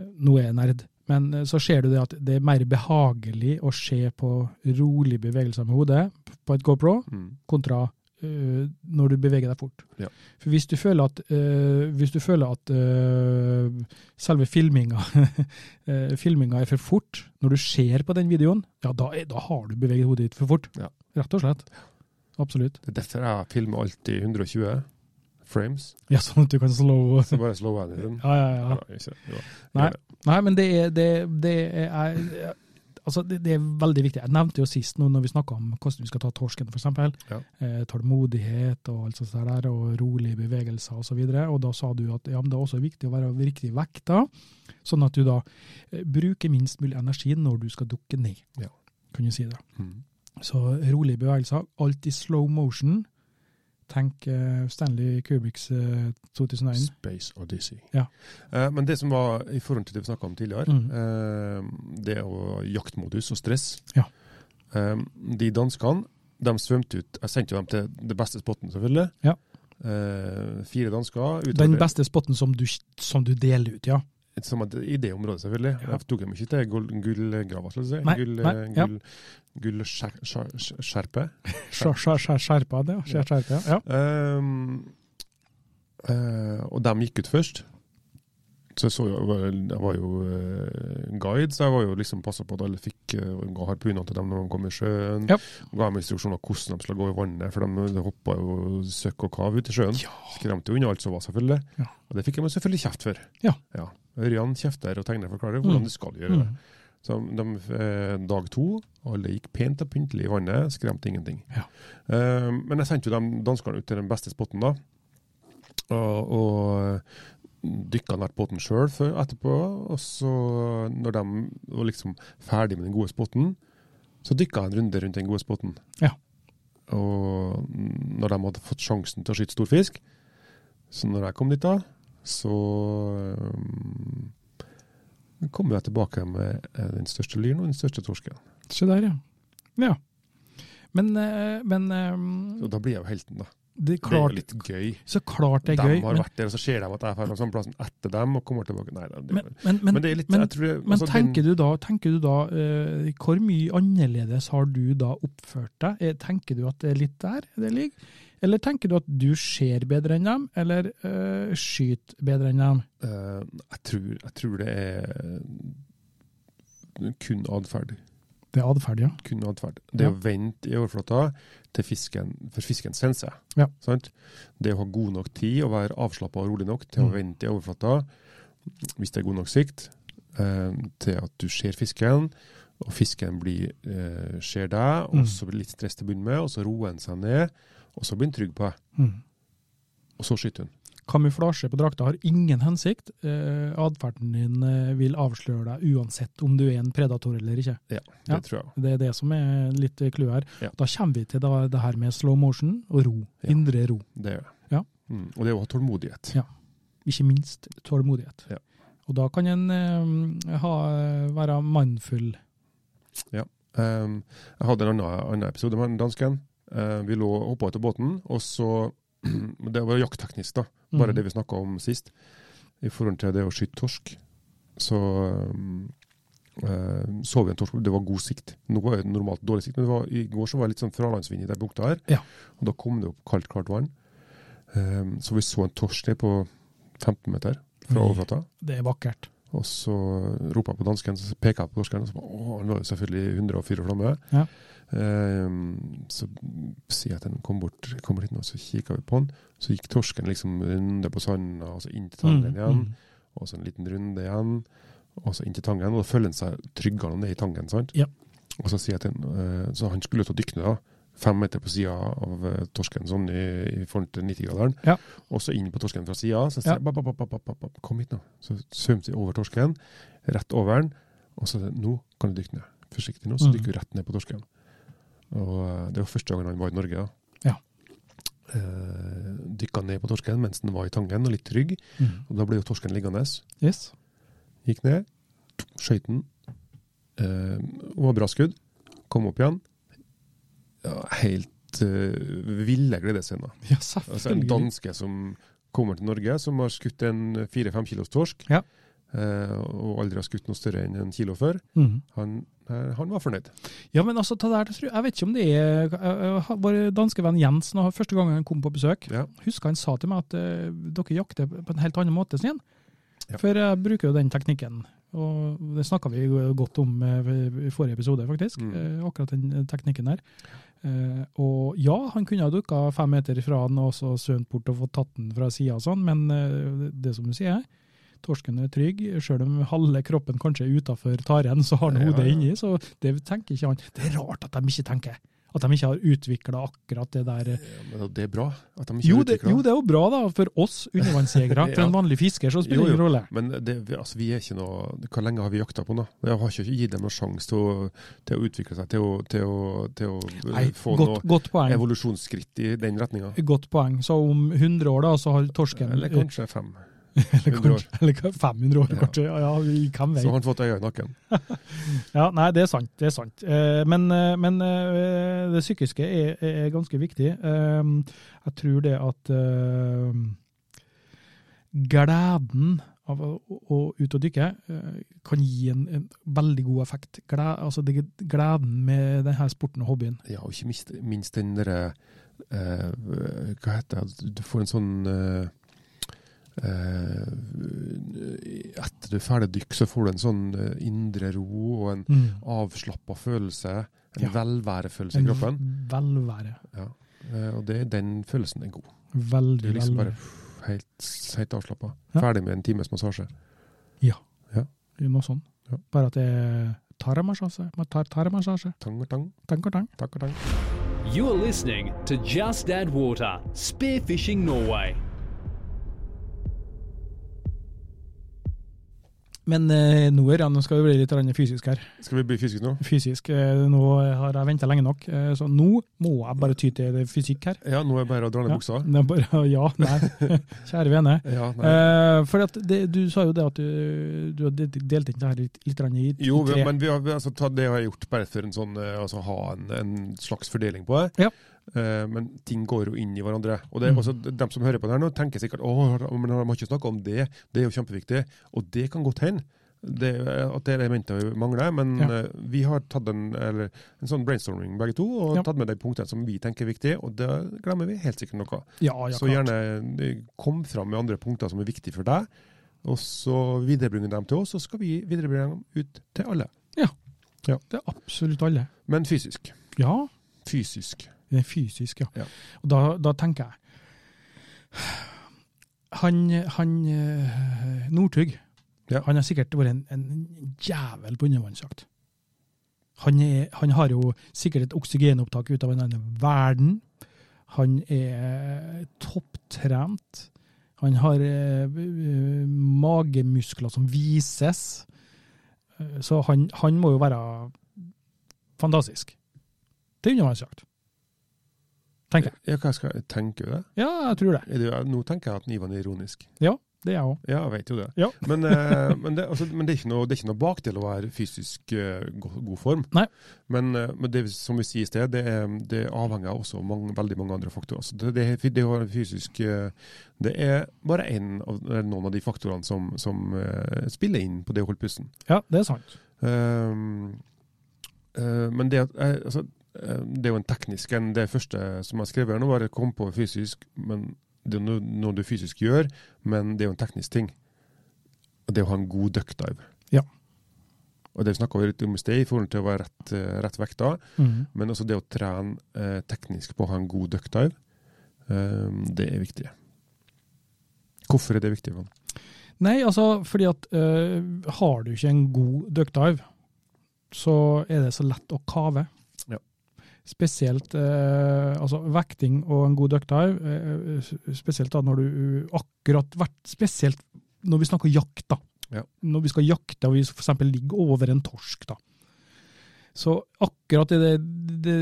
S1: Nå er jeg nerd, men eh, så ser du det at det er mer behagelig å se på rolige bevegelser med hodet på et GoPro,
S2: Mm.
S1: kontra eh, når du beveger deg fort.
S2: Ja.
S1: For hvis du føler at, eh, hvis du føler at eh, selve filminga, eh, filminga er for fort, når du ser på den videoen, ja, da, er, da har du beveget hodet ditt for fort.
S2: Ja.
S1: Rett og slett. Absolutt.
S2: Det er derfor jeg filmer alltid 120 frames.
S1: Ja, sånn at du kan slå
S2: Så bare slow hand i den.
S1: Ja, ja, ja.
S2: Ja, ikke- ja.
S1: Nei.
S2: Gjør det.
S1: Nei, men det er, det, det er Altså, det, det er veldig viktig. Jeg nevnte jo sist, nå når vi snakka om hvordan vi skal ta torsken, f.eks.,
S2: Ja.
S1: eh, tålmodighet og alt sånt der, og rolige bevegelser osv. Og da sa du at ja, men det er også viktig å være riktig vekta, sånn at du da eh, bruker minst mulig energi når du skal dukke ned.
S2: Ja.
S1: Kan du si det.
S2: Mm.
S1: Så rolige bevegelser, alt i slow motion. Tenk eh, Stanley Kubriks eh, 2001.
S2: Mm. Space Odyssey.
S1: Ja.
S2: Eh, men det som var i forhold til det vi snakka om tidligere,
S1: Mm.
S2: eh, det å jaktmodus og stress
S1: Ja.
S2: Eh, De danskene de svømte ut Jeg sendte jo dem til det beste spotten, selvfølgelig.
S1: Ja.
S2: eh, fire dansker.
S1: Den
S2: utover-
S1: beste spotten som du, som du deler ut, ja.
S2: som at- I det området, selvfølgelig.
S1: Ja.
S2: Jeg tok dem ikke til gull- gullgrava, skal vi si.
S1: Nei,
S2: Gull, eh,
S1: nei, ja.
S2: gull, gullskjer- skjer- skjer- skjerpe.
S1: Skjer- skjer- skjer- Skjerpa det, ja. Skjer- skjerpa, ja.
S2: Ehm, eh, og de gikk ut først. Så jeg, så jo, jeg var- jeg var jo eh, guide, så jeg var jo liksom passa på at alle fikk uh, ga harpuner til dem når de kom i sjøen.
S1: Ja.
S2: Ga dem instruksjoner hvordan de skulle gå i vannet, for de, de hoppa jo søkk og kav ut i sjøen.
S1: Ja.
S2: Skremte jo unna alt som var, selvfølgelig.
S1: Ja.
S2: Og det fikk jeg meg selvfølgelig kjeft for.
S1: Ja.
S2: Ørjan kjefter og tegner forklarer hvordan
S1: Mm.
S2: de skal gjøre det.
S1: Mm.
S2: Så de, eh, dag to, alle gikk pent og pyntelig i vannet, skremte ingenting.
S1: Ja.
S2: Eh, men jeg sendte jo de danskene ut til den beste spotten da, og, og dykka nært båten sjøl etterpå. Og så, når de var liksom ferdig med den gode spotten, så dykka jeg en runde rundt den gode spotten.
S1: Ja.
S2: Og når de hadde fått sjansen til å skyte stor fisk, så når jeg kom dit da, så um, kom jeg tilbake med eh, den største lyren og den største torsken.
S1: Se der, ja. ja. Men, eh, men eh,
S2: Og da blir jeg jo helten, da.
S1: det er
S2: Det er jo
S1: klart,
S2: litt gøy.
S1: så klart det
S2: De
S1: er gøy.
S2: har
S1: Men,
S2: vært der, og så ser de at jeg drar samme plassen etter dem og kommer tilbake. Nei, da, det,
S1: men,
S2: men,
S1: men, men,
S2: det er litt
S1: men,
S2: jeg tror det,
S1: men
S2: altså,
S1: tenker
S2: den,
S1: du da, tenker du da eh, hvor mye annerledes har du da oppført deg? Eh, Tenker du at det er litt der det ligger? Eller tenker du at du ser bedre enn dem, eller eh, skyter bedre enn dem?
S2: eh, jeg, tror, jeg tror det er kun atferd.
S1: Det er atferd, ja.
S2: kun atferd. Det
S1: Ja.
S2: å vente i overflata til fisken, for fisken senser.
S1: Ja.
S2: Sant? Det å ha god nok tid og være avslappa og rolig nok til
S1: Mm.
S2: å vente i overflata, hvis det er god nok sikt, eh, til at du ser fisken, og fisken blir, eh, ser deg, og
S1: Mm.
S2: så blir det litt stress til å begynne med, og så roer den seg ned, og så blir den trygg på deg,
S1: Mm.
S2: og så skyter hun.
S1: Kamuflasje på drakta har ingen hensikt. Eh, Atferden din eh, vil avsløre deg uansett om du er en predator eller ikke. Ja.
S2: Det tror jeg.
S1: Det er det som er litt eh, clouet her.
S2: Ja.
S1: Da kommer vi til da, det her med slow motion og ro.
S2: Ja.
S1: Indre ro.
S2: Det gjør jeg.
S1: Ja.
S2: Mm. Og det er å ha tålmodighet.
S1: Ja. Ikke minst tålmodighet.
S2: Ja.
S1: Og da kan en eh, ha, være mannfull.
S2: Um, jeg hadde en annen, annen episode med den dansken. Eh, vi lå og hoppa ut av båten, og så Det var jaktteknisk, da. Bare det vi snakka om sist. I forhold til det å skyte torsk, så um, eh, så vi en torsk. Det var god sikt. Nå var det normalt dårlig sikt, men det var, i går så var det litt sånn fralandsvind i den bukta her.
S1: Ja.
S2: Og da kom det opp kaldt, klart vann. Um, så vi så en torsk ned på 15 meter fra overflata.
S1: Det er vakkert.
S2: Og så ropa jeg på dansken, så peka jeg på norsken, og så ba, Å, han var jo selvfølgelig 104 flammer.
S1: Ja.
S2: Ehm, så sier jeg at han kom bort, kom bort hit nå, så kikka vi på han. Så gikk torsken liksom runde på sanda, og så inn til tangen igjen.
S1: Mm,
S2: Og så en liten runde igjen, og så inn til tangen. Og da føler han seg tryggere ned i tangen. sant?
S1: Ja.
S2: Og så sier jeg til han, eh, så han skulle ut og dykke ned, da. Fem meter på sida av eh, torsken, sånn i, i forhold til 90-graderen.
S1: Ja.
S2: Og så inn på torsken fra sida. Så
S1: Ja.
S2: sier jeg «Bap, bap, bap, bap, bap, bap, kom hit nå. Så svømte jeg over torsken, rett over den. Og så sier jeg, nå kan du dykke ned. Forsiktig nå, så
S1: Mhm.
S2: dykker du rett ned på torsken. Og eh, det var første gangen han var i Norge, da.
S1: Ja.
S2: Eh, dykka ned på torsken mens den var i tangen, og litt trygg.
S1: mm, mm.
S2: Og da ble jo torsken liggende.
S1: Yes.
S2: Gikk ned, skøyt den. Eh, det var bra skudd. Kom opp igjen. Ja, helt eh, ville gledesscener.
S1: Ja,
S2: Altså, en
S1: selvfølgelig.
S2: danske som kommer til Norge, som har skutt en fire-fem kilos torsk,
S1: Ja.
S2: eh, og aldri har skutt noe større enn en kilo før,
S1: Mm.
S2: han, eh, han var fornøyd.
S1: Ja, men altså, det der, det tror jeg jeg vet ikke om det er jeg- jeg- Vår danske venn Jens, nå, første gang han kom på besøk,
S2: Ja.
S1: husker han sa til meg at eh, dere jakter på en helt annen måte, Sten.
S2: Ja.
S1: For jeg bruker jo den teknikken. Og det snakka vi jo godt om eh, i forrige episode, faktisk.
S2: Mm.
S1: eh, Akkurat den teknikken der. Eh, Og ja, han kunne ha dukka fem meter fra den og så svømt bort og fått tatt den fra sida og sånn, men eh, det- det som du sier, torsken er trygg. Sjøl om halve kroppen kanskje er utafor taren, så har han
S2: Ja,
S1: hodet
S2: ja.
S1: inni. Så det tenker ikke han. Det er rart at de ikke tenker. At de ikke har utvikla akkurat det der.
S2: Ja, men det er bra at de Eh, ikke
S1: Jo
S2: har
S1: det,
S2: utviklet
S1: jo, det er jo bra da, for oss undervannsjegere. For en
S2: Ja.
S1: vanlig fisker så spiller
S2: Jo,
S1: det ingen
S2: jo.
S1: rolle.
S2: Men det, vi- altså, vi er ikke noe Hvor lenge har vi jakta på nå? Jeg har ikke gitt dem noen sjanse til, å- til å utvikle seg, til å, til å, til å eh,
S1: Nei,
S2: få
S1: godt, godt
S2: noe
S1: poeng.
S2: evolusjonsskritt i den retninga.
S1: Godt poeng. Så om 100 år da, så har torsken
S2: Eller kanskje fem.
S1: Eller,
S2: 100 år.
S1: kanskje, eller hva, 500 år,
S2: Ja.
S1: kanskje. Ja, ja, vi- hvem
S2: Så har
S1: vet.
S2: han fått ei i nakken.
S1: Ja, nei, det er sant. Det er sant. Eh, Men, eh, men eh, det psykiske er, er er ganske viktig. Eh, Jeg tror det at eh, gleden av å, å ut og dykke eh, kan gi en, en veldig god effekt. Gled, altså det, gleden med denne sporten og hobbyen.
S2: Ja, og ikke minst, minst den derre eh, Hva heter det Du får en sånn eh, eh, Etter du er ferdig dykk, så får du en sånn eh, indre ro og en avslappa følelse. En
S1: Ja.
S2: velværefølelse
S1: En
S2: i kroppen.
S1: velvære.
S2: Eh, og det, den følelsen er god. Du
S1: Veldig
S2: er liksom bare
S1: velvære.
S2: pff, helt, helt avslappa.
S1: Ja.
S2: Ferdig med en times massasje.
S1: Noe sånt.
S2: Ja.
S1: Bare at det er tarmmassasje. Man tar tarmmassasje.
S2: Tang og tang,
S1: Tenk og tenk.
S2: takk og tang.
S3: You're listening to Just Add Water Spearfishing Norway.
S1: Men eh, nå er det- nå skal vi bli litt grann fysisk her.
S2: Skal vi bli fysiske nå?
S1: Fysisk, eh, Nå har jeg venta lenge nok, eh, så nå må jeg bare ty til fysikk her.
S2: Ja, nå er det bare å dra ned
S1: Ja.
S2: buksa.
S1: Det er bare, ja, nei. Kjære vene.
S2: Ja, nei.
S1: Eh, for at det, du sa jo det at du, du har delt delt inn det her litt, litt grann i,
S2: Jo,
S1: i tre.
S2: men vi har, vi- altså, ta- det har jeg gjort bare for en sånn, eh, altså, ha en, en slags fordeling på det.
S1: Ja.
S2: Eh, men ting går jo inn i hverandre. Og det er
S1: Mm.
S2: også, de som hører på det her nå, tenker sikkert at de har ikke snakket om det, det er jo kjempeviktig. Og det kan godt hende det, at det elementet vi mangler, men
S1: Ja.
S2: eh, vi har tatt en, eller, en sånn brainstorming begge to, og
S1: Ja.
S2: tatt med de punktene som vi tenker er viktige, og da glemmer vi helt sikkert noe.
S1: ja, ja,
S2: Så
S1: klart.
S2: gjerne eh, kom fram med andre punkter som er viktige for deg, og så viderebringe dem til oss, og så skal vi viderebringe dem ut til alle.
S1: Det er absolutt alle.
S2: Men fysisk.
S1: Ja,
S2: Fysisk.
S1: det er fysisk, ja.
S2: Ja.
S1: Og da, da tenker jeg Han, han eh, Northug,
S2: Ja.
S1: han har sikkert vært en, en jævel på undervannsjakt. Han, er, han har jo sikkert et oksygenopptak ut av en annen verden. Han er eh, topptrent. Han har eh, eh, magemuskler som vises. Eh, Så han, han må jo være fantastisk til undervannsjakt. Tenker jeg.
S2: Ja, hva skal jeg tenke det?
S1: Ja, jeg tror det.
S2: Er det jo- nå tenker jeg at Ivan er ironisk.
S1: Det er jeg òg.
S2: Ja, jeg vet jo det.
S1: Ja.
S2: Men, eh, men, det, altså, men det, er ikke noe, det er ikke noe bakdel å være fysisk eh, go- god form.
S1: Nei.
S2: Men, eh, men det som vi sier i sted, det, er, det avhenger også av mange, veldig mange andre faktorer. Så det, det, er- det, å være fysisk, eh, det er bare en av, eller noen av de faktorene som, som eh, spiller inn på det å holde pusten.
S1: Ja, det er sant.
S2: Ehm, eh, men det, at- eh, altså, eh, det er jo en teknisk en. Det første som jeg skrev her nå, var å komme på fysisk. Men det er noe, noe du fysisk gjør, men det er jo en teknisk ting. Og det er å ha en god duckdive.
S1: Ja.
S2: Og det snakka vi litt om i sted, i forhold til å være rett, eh, rett vekta. Men også det å trene eh, teknisk på å ha en god duckdive, ehm, det er viktig. Hvorfor er det viktig? Ivan?
S1: Nei, altså, fordi at eh, har du ikke en god duckdive, så er det så lett å kave.
S2: Ja.
S1: Spesielt eh, altså vekting og en god duckdive, eh, s- spesielt da når du eh, akkurat vært Spesielt når vi snakker jakt, da.
S2: Ja.
S1: Når vi skal jakte og vi f.eks. ligger over en torsk, da. Så akkurat i det, det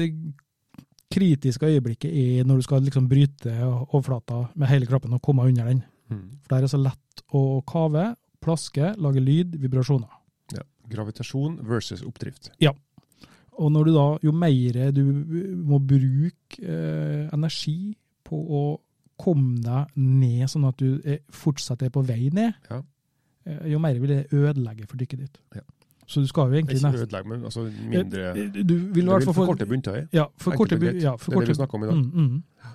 S1: kritiske øyeblikket er når du skal liksom bryte overflata med hele kroppen og komme under den.
S2: Hmm.
S1: For der er det så lett å kave, plaske, lage lyd, vibrasjoner.
S2: Ja. Gravitasjon versus oppdrift.
S1: Og når du da, jo mer du må bruke eh, energi på å komme deg ned, sånn at du er, fortsatt er på vei ned,
S2: Ja.
S1: eh, jo mer vil det ødelegge for dykket ditt.
S2: Ja.
S1: Så du skal jo egentlig
S2: Ikke
S1: nest-
S2: ødelegg, men altså mindre
S1: Du vil i hvert fall få
S2: korte bunntøy.
S1: Ja, for
S2: Enkelt
S1: korte
S2: og
S1: bu-
S2: greit.
S1: ja, for
S2: Det er det vi
S1: korte-
S2: snakker om i dag.
S1: Mm, mm.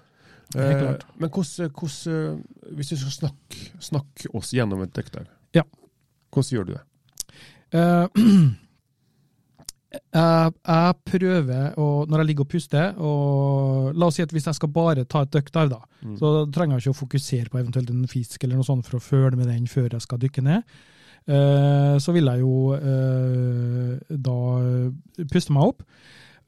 S1: helt
S2: Eh,
S1: klart.
S2: Men hvordan, hvordan, eh, hvis du skal snakke, snakke oss gjennom et døkter,
S1: Ja.
S2: hvordan gjør du det?
S1: Eh, jeg, jeg prøver å, når jeg ligger og puster, og la oss si at hvis jeg skal bare ta et duckdive, da,
S2: Mm.
S1: så trenger jeg ikke å fokusere på eventuelt en fisk eller noe sånt for å føle med den før jeg skal dykke ned. Eh, så vil jeg jo eh, da puste meg opp.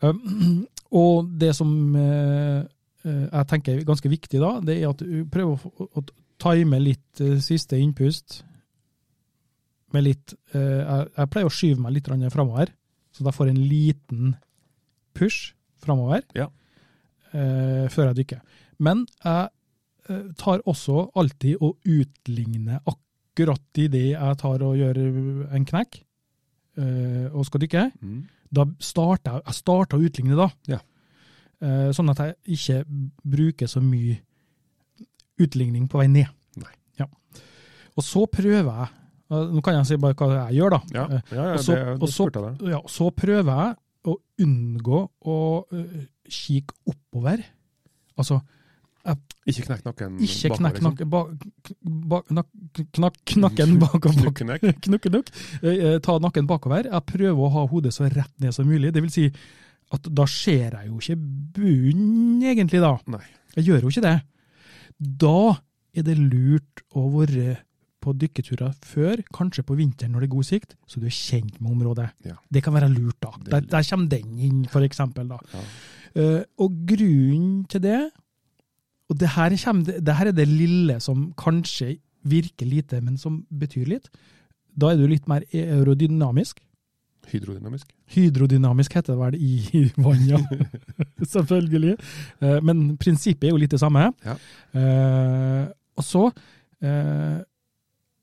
S1: Eh, og det som eh, eh, jeg tenker er ganske viktig da, det er at du prøver å, få- å time litt eh, siste innpust med litt eh, jeg, jeg pleier å skyve meg litt framover, så da får jeg en liten push framover eh,
S2: Ja.
S1: før jeg dykker. Men jeg eh, tar også alltid å utligne akkurat idet jeg tar og gjør en knekk eh, og skal dykke.
S2: Mm.
S1: Da starter jeg, jeg starter å utligne da.
S2: Ja.
S1: Eh, Sånn at jeg ikke bruker så mye utligning på vei ned.
S2: Nei.
S1: Ja. Og så prøver jeg, eh, nå kan jeg si bare hva jeg gjør da.
S2: Ja,
S1: Eh,
S2: ja, ja
S1: og så-
S2: det,
S1: og
S2: det
S1: så-
S2: spurte jeg deg.
S1: ja, så prøver jeg å unngå å øh, kikke oppover. Altså,
S2: Ikke knekk nakken
S1: ikke
S2: bakover,
S1: knekk
S2: liksom.
S1: nakken ba, ba, nak, knak, knakken bakover.
S2: Knukke knekk.
S1: Knukke knukk. Eh, eh, Ta nakken bakover. Jeg prøver å ha hodet så rett ned som mulig. Det vil si at da ser jeg jo ikke bunnen, egentlig, da.
S2: Nei.
S1: Jeg gjør jo ikke det. Da er det lurt å være på dykketurer før, kanskje på vinteren når det er god sikt, så du er kjent med området.
S2: Ja.
S1: Det kan være lurt, da.
S2: Det er
S1: Der,
S2: lurt.
S1: der kommer den inn, for eksempel. Da.
S2: Ja.
S1: Eh, og grunnen til det Og det her, kommer, det- det her er det lille som kanskje virker lite, men som betyr litt. Da er du litt mer e- aerodynamisk.
S2: Hydrodynamisk.
S1: Hydrodynamisk heter det vel i vannet, selvfølgelig. Eh, Men prinsippet er jo litt det samme.
S2: Ja.
S1: Eh, Og så eh,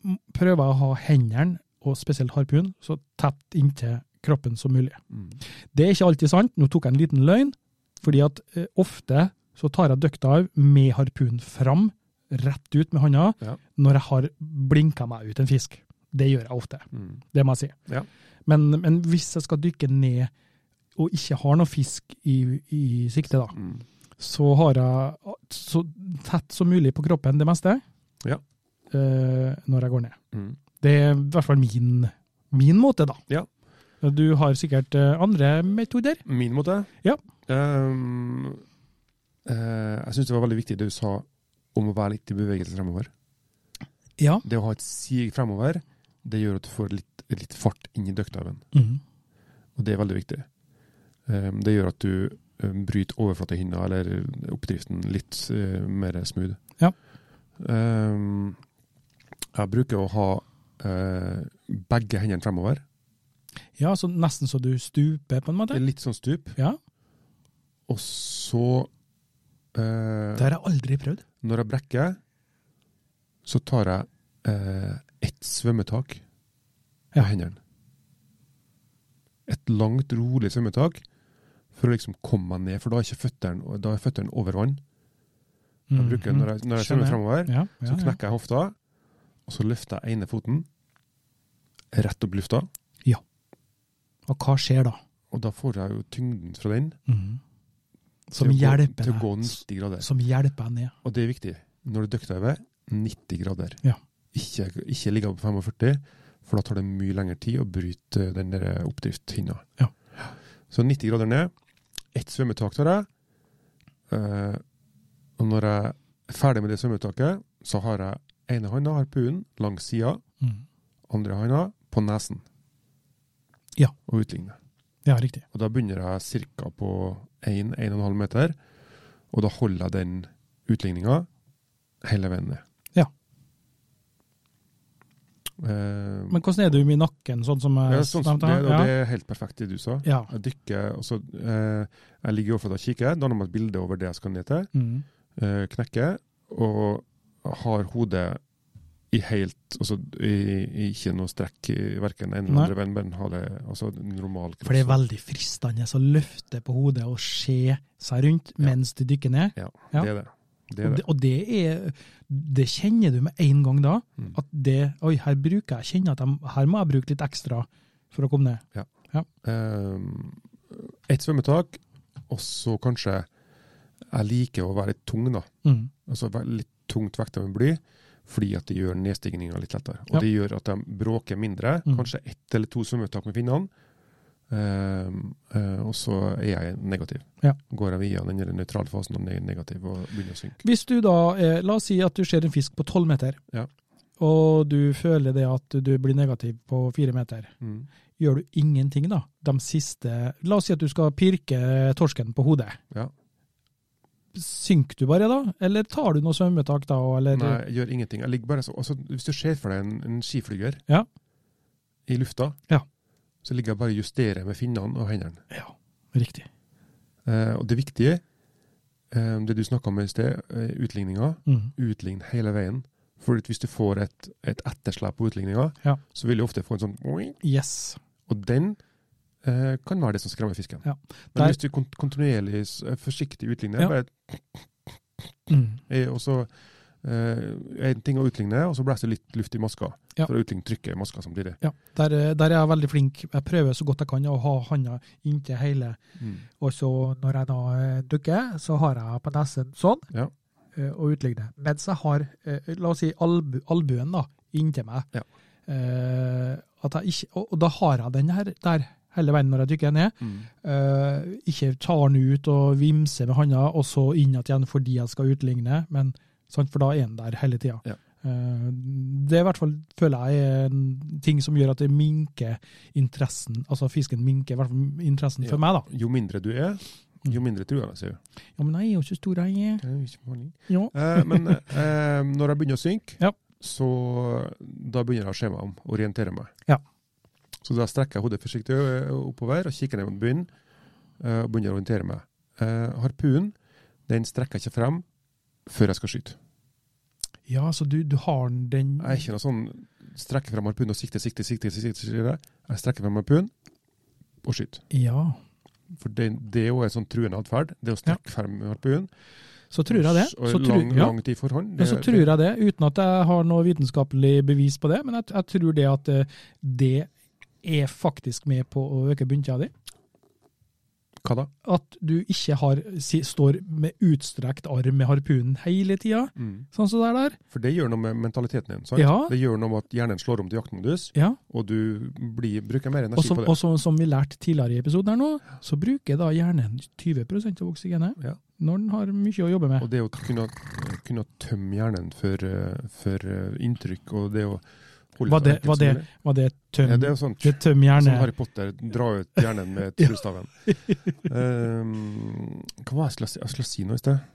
S1: m- prøver jeg å ha hendene, og spesielt harpun, så tett inntil kroppen som mulig.
S2: Mm.
S1: Det er ikke alltid sant. Nå tok jeg en liten løgn, fordi at eh, ofte så tar jeg duckdive med harpunen fram, rett ut med hånda,
S2: Ja.
S1: når jeg har blinka meg ut en fisk. Det gjør jeg ofte,
S2: Mm.
S1: det må jeg si.
S2: Ja.
S1: Men, men hvis jeg skal dykke ned og ikke har noe fisk i, i sikte, da,
S2: Mm.
S1: så har jeg så tett som mulig på kroppen det meste
S2: Ja.
S1: eh, når jeg går ned.
S2: Mm.
S1: Det er i hvert fall min, min måte, da.
S2: Ja.
S1: Du har sikkert eh, andre metoder.
S2: Min måte?
S1: Ja.
S2: Ehm, eh, jeg syns det var veldig viktig det du sa om å være litt i bevegelse fremover.
S1: Ja.
S2: Det å ha et sig fremover, det gjør at du får litt, litt fart inn i duckdiven.
S1: Mhm.
S2: Og det er veldig viktig. Ehm, det gjør at du um, bryter overflatehinna eller oppdriften litt eh, mer smooth.
S1: Ja.
S2: Ehm, jeg bruker å ha eh, begge hendene fremover.
S1: Ja, så nesten så du stuper, på en
S2: Det
S1: måte.
S2: er litt sånn stup.
S1: Ja.
S2: Og så eh,
S1: Det har jeg aldri prøvd.
S2: Når jeg brekker, så tar jeg eh, ett svømmetak
S1: Ja.
S2: med hendene. Et langt, rolig svømmetak for å liksom komme meg ned, for da er ikke føttene da er føttene over vann. Jeg bruker, når jeg, når jeg
S1: Mhm. Skjønner.
S2: svømmer fremover,
S1: Ja, ja,
S2: så knekker jeg hofta, og så løfter jeg ene foten rett opp i lufta,
S1: Ja. Og hva skjer da?
S2: og da får jeg jo tyngden fra den
S1: Mhm. Som,
S2: til, å gå,
S1: hjelper
S2: til å gå
S1: deg,
S2: 90 grader.
S1: som hjelper deg ned.
S2: Og det er viktig. Når du duckdiver, 90 grader.
S1: Ja.
S2: Ikke, ikke ligge på 45, for da tar det mye lengre tid å bryte den der eh, oppdriftshinna.
S1: Ja.
S2: Så 90 grader ned. Ett svømmetak tar jeg. Eh, og når jeg er ferdig med det svømmetaket, så har jeg ene hånda harpunen langs sida,
S1: Mhm.
S2: andre hånda på nesen.
S1: Ja.
S2: Og utligne.
S1: Ja, riktig.
S2: Og da begynner jeg ca. på 1-1,5 meter, og da holder jeg den utligninga hele veien ned.
S1: Ja.
S2: Eh,
S1: Men hvordan er du med nakken, sånn som jeg
S2: ja, sånn, som
S1: nevnte
S2: det,
S1: her?
S2: og det er helt perfekt det du sa.
S1: ja. ja.
S2: Jeg dykker, og så eh, jeg ligger overfor og kikker, danner meg et bilde over det jeg skal ned til,
S1: Mhm.
S2: eh, knekker, og har hodet i helt altså, i, i Ikke noe strekk i verken en eller
S1: Nei.
S2: andre veien, men ha det altså, normal
S1: For det er veldig fristende å løfte på hodet og se seg rundt
S2: Ja.
S1: mens du dykker ned.
S2: Ja,
S1: Ja.
S2: det er det. det,
S1: Og det,
S2: er det.
S1: og det er Det kjenner du med en gang da.
S2: Mm.
S1: At det Oi, her bruker jeg kjenner at jeg, her må jeg bruke litt ekstra for å komme ned.
S2: Um, et svømmetak, og så kanskje Jeg liker å være litt tung, da.
S1: Mhm.
S2: Altså være litt tungt vekta med bly, fordi at det gjør nedstigninga litt lettere. Og
S1: Ja.
S2: det gjør at de bråker mindre.
S1: Mm.
S2: Kanskje ett eller to svømmetak med finnene. Um, eh, og så er jeg negativ.
S1: Ja.
S2: Går jeg via den der nøytrale fasen og er negativ og begynner å synke.
S1: Hvis du da, eh, la oss si at du ser en fisk på 12 meter,
S2: Ja.
S1: og du føler det at du blir negativ på 4 meter,
S2: Mm.
S1: gjør du ingenting da? De siste, la oss si at du skal pirke torsken på hodet.
S2: Ja.
S1: Synker du bare da, eller tar du noe svømmetak da? Eller,
S2: Nei, jeg gjør ingenting. Jeg ligger bare så, altså, hvis du ser for deg en, en skiflyger
S1: Ja.
S2: i lufta,
S1: Ja.
S2: så ligger jeg bare og justerer med finnene og hendene.
S1: Ja, riktig.
S2: Eh, og det viktige eh, det du snakka om i sted, eh, utligninga,
S1: Mm.
S2: utligne hele veien. For hvis du får et, et etterslep på utligninga,
S1: Ja.
S2: så vil du ofte få en sånn oing,
S1: Yes.
S2: Og den eh, kan være det som skremmer fisken.
S1: Ja.
S2: Men
S1: Der-
S2: hvis du kont kontinuerlig, s- eh, forsiktig utligner,
S1: Ja.
S2: bare,
S1: Mm.
S2: eh, og så eh, en ting å utligne, og så blåser det litt luft i maska.
S1: Ja.
S2: For å utligne trykket i maska samtidig.
S1: Ja, der, eh, der er jeg veldig flink. Jeg prøver så godt jeg kan å ha handa inntil hele. Og så når jeg da eh, dukker, så har jeg på nesen sånn,
S2: Ja.
S1: eh, og utligner. Mens jeg har, eh, la oss si, albu, albuen da, inntil meg.
S2: Ja.
S1: Eh, at jeg ikke, og, og da har jeg den her der hele veien når jeg dykker ned.
S2: Mm.
S1: Eh, ikke tar den ut og vimser med handa, og så inn igjen fordi jeg skal utligne, men, sant, for da er den der hele tida.
S2: Ja.
S1: Eh, det er i hvert fall, føler jeg, er en ting som gjør at det minker interessen, altså fisken minker i hvert fall interessen
S2: Ja.
S1: for meg, da.
S2: Jo mindre du er, jo
S1: Mm.
S2: mindre truende er du.
S1: Ja, men jeg er jo ikke stor, jeg.
S2: Det er jo ikke farlig.
S1: Ja.
S2: Eh, men eh, når jeg begynner å synke,
S1: Ja.
S2: så da begynner jeg å se meg om, orientere meg.
S1: Ja.
S2: Så da strekker jeg hodet forsiktig ø, oppover og kikker ned mot bunnen eh, og begynner å orientere meg. Eh, harpunen den strekker jeg ikke frem før jeg skal skyte.
S1: ja, så du, du har den
S2: Jeg er ikke noe sånn strekker frem harpunen og sikter, sikter, sikter. sikter, sikter. Jeg strekker frem harpunen og skyter.
S1: Ja,
S2: For det, det er jo en sånn truende atferd, det å strekke frem harpunen.
S1: så tror jeg det.
S2: Og
S1: Så tror,
S2: lang,
S1: ja.
S2: lang tid forhånd.
S1: Men så tror jeg det, uten at jeg har noe vitenskapelig bevis på det, men jeg, jeg tror det at eh, det er faktisk med på å øke bunntida di.
S2: Hva da?
S1: At du ikke har, si, står med utstrekt arm med harpunen hele tida,
S2: Mm.
S1: sånn som det er der.
S2: For det gjør noe med mentaliteten din. sant?
S1: Ja.
S2: Det gjør noe med at hjernen slår om til jaktmodus,
S1: Ja,
S2: og du blir, bruker mer
S1: Og
S2: energi
S1: som,
S2: på det.
S1: og som, som vi lærte tidligere i episoden her nå, så bruker da hjernen 20 av oksygenet
S2: Ja.
S1: når den har mye å jobbe med.
S2: Og det å kunne, kunne tømme hjernen for, eh, for eh, inntrykk, og det å holde
S1: Var det-
S2: enkelt
S1: var
S2: som mulig.
S1: Var det tøm,
S2: Ja, det
S1: det,
S2: er jo sånn
S1: tøm
S2: som
S1: hjerne?
S2: Harry Potter, dra ut hjernen med
S1: Ja.
S2: tryllestaven. um, hva var det jeg skulle si? Jeg skulle si noe i sted?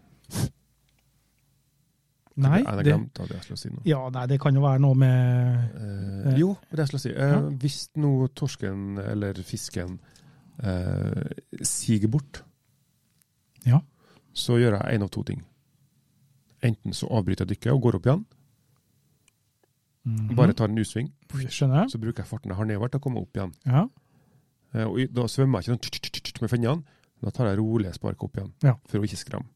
S1: Nei,
S2: jeg
S1: det,
S2: glemte det jeg skulle si nå.
S1: ja, nei, det kan jo være noe med
S2: Eh,
S1: Eh.
S2: jo, det jeg skulle si. Eh,
S1: Ja.
S2: Hvis nå torsken eller fisken eh, siger bort,
S1: Ja.
S2: så gjør jeg én av to ting. Enten så avbryter jeg dykket og går opp igjen,
S1: Mhm.
S2: bare tar en U-sving,
S1: Skjønner jeg.
S2: så bruker jeg farten jeg har nedover til å komme opp igjen.
S1: Ja.
S2: Eh, og i- da svømmer jeg ikke sånn tsk-tsk-tsk med fennene, da tar jeg rolige spark opp igjen,
S1: Ja.
S2: for å ikke skremme.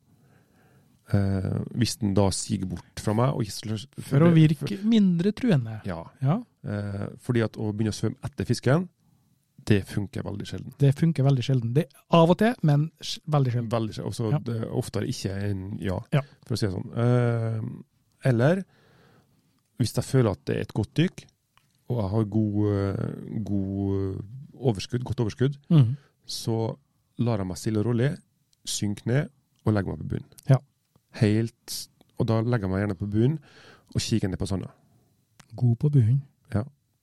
S2: Eh, hvis den da siger bort fra meg og ikke slår-
S1: For å virke mindre truende.
S2: Ja.
S1: Ja,
S2: Eh, fordi at å begynne å svømme etter fisken, det funker veldig sjelden.
S1: det funker veldig sjelden. Det er av og til, men sj- veldig sjelden.
S2: Veldig sjelden. Også
S1: Ja.
S2: det er oftere ikke enn ja,
S1: Ja.
S2: for å si det sånn. Eh, eller hvis jeg føler at det er et godt dykk, og jeg har god, eh, god overskudd, godt overskudd,
S1: Mm.
S2: så lar jeg meg stille og rolig synke ned og legge meg på bunnen.
S1: Ja.
S2: Helt, og da legger jeg meg gjerne på bunnen og kikker ned på sanda.
S1: God på bunnen.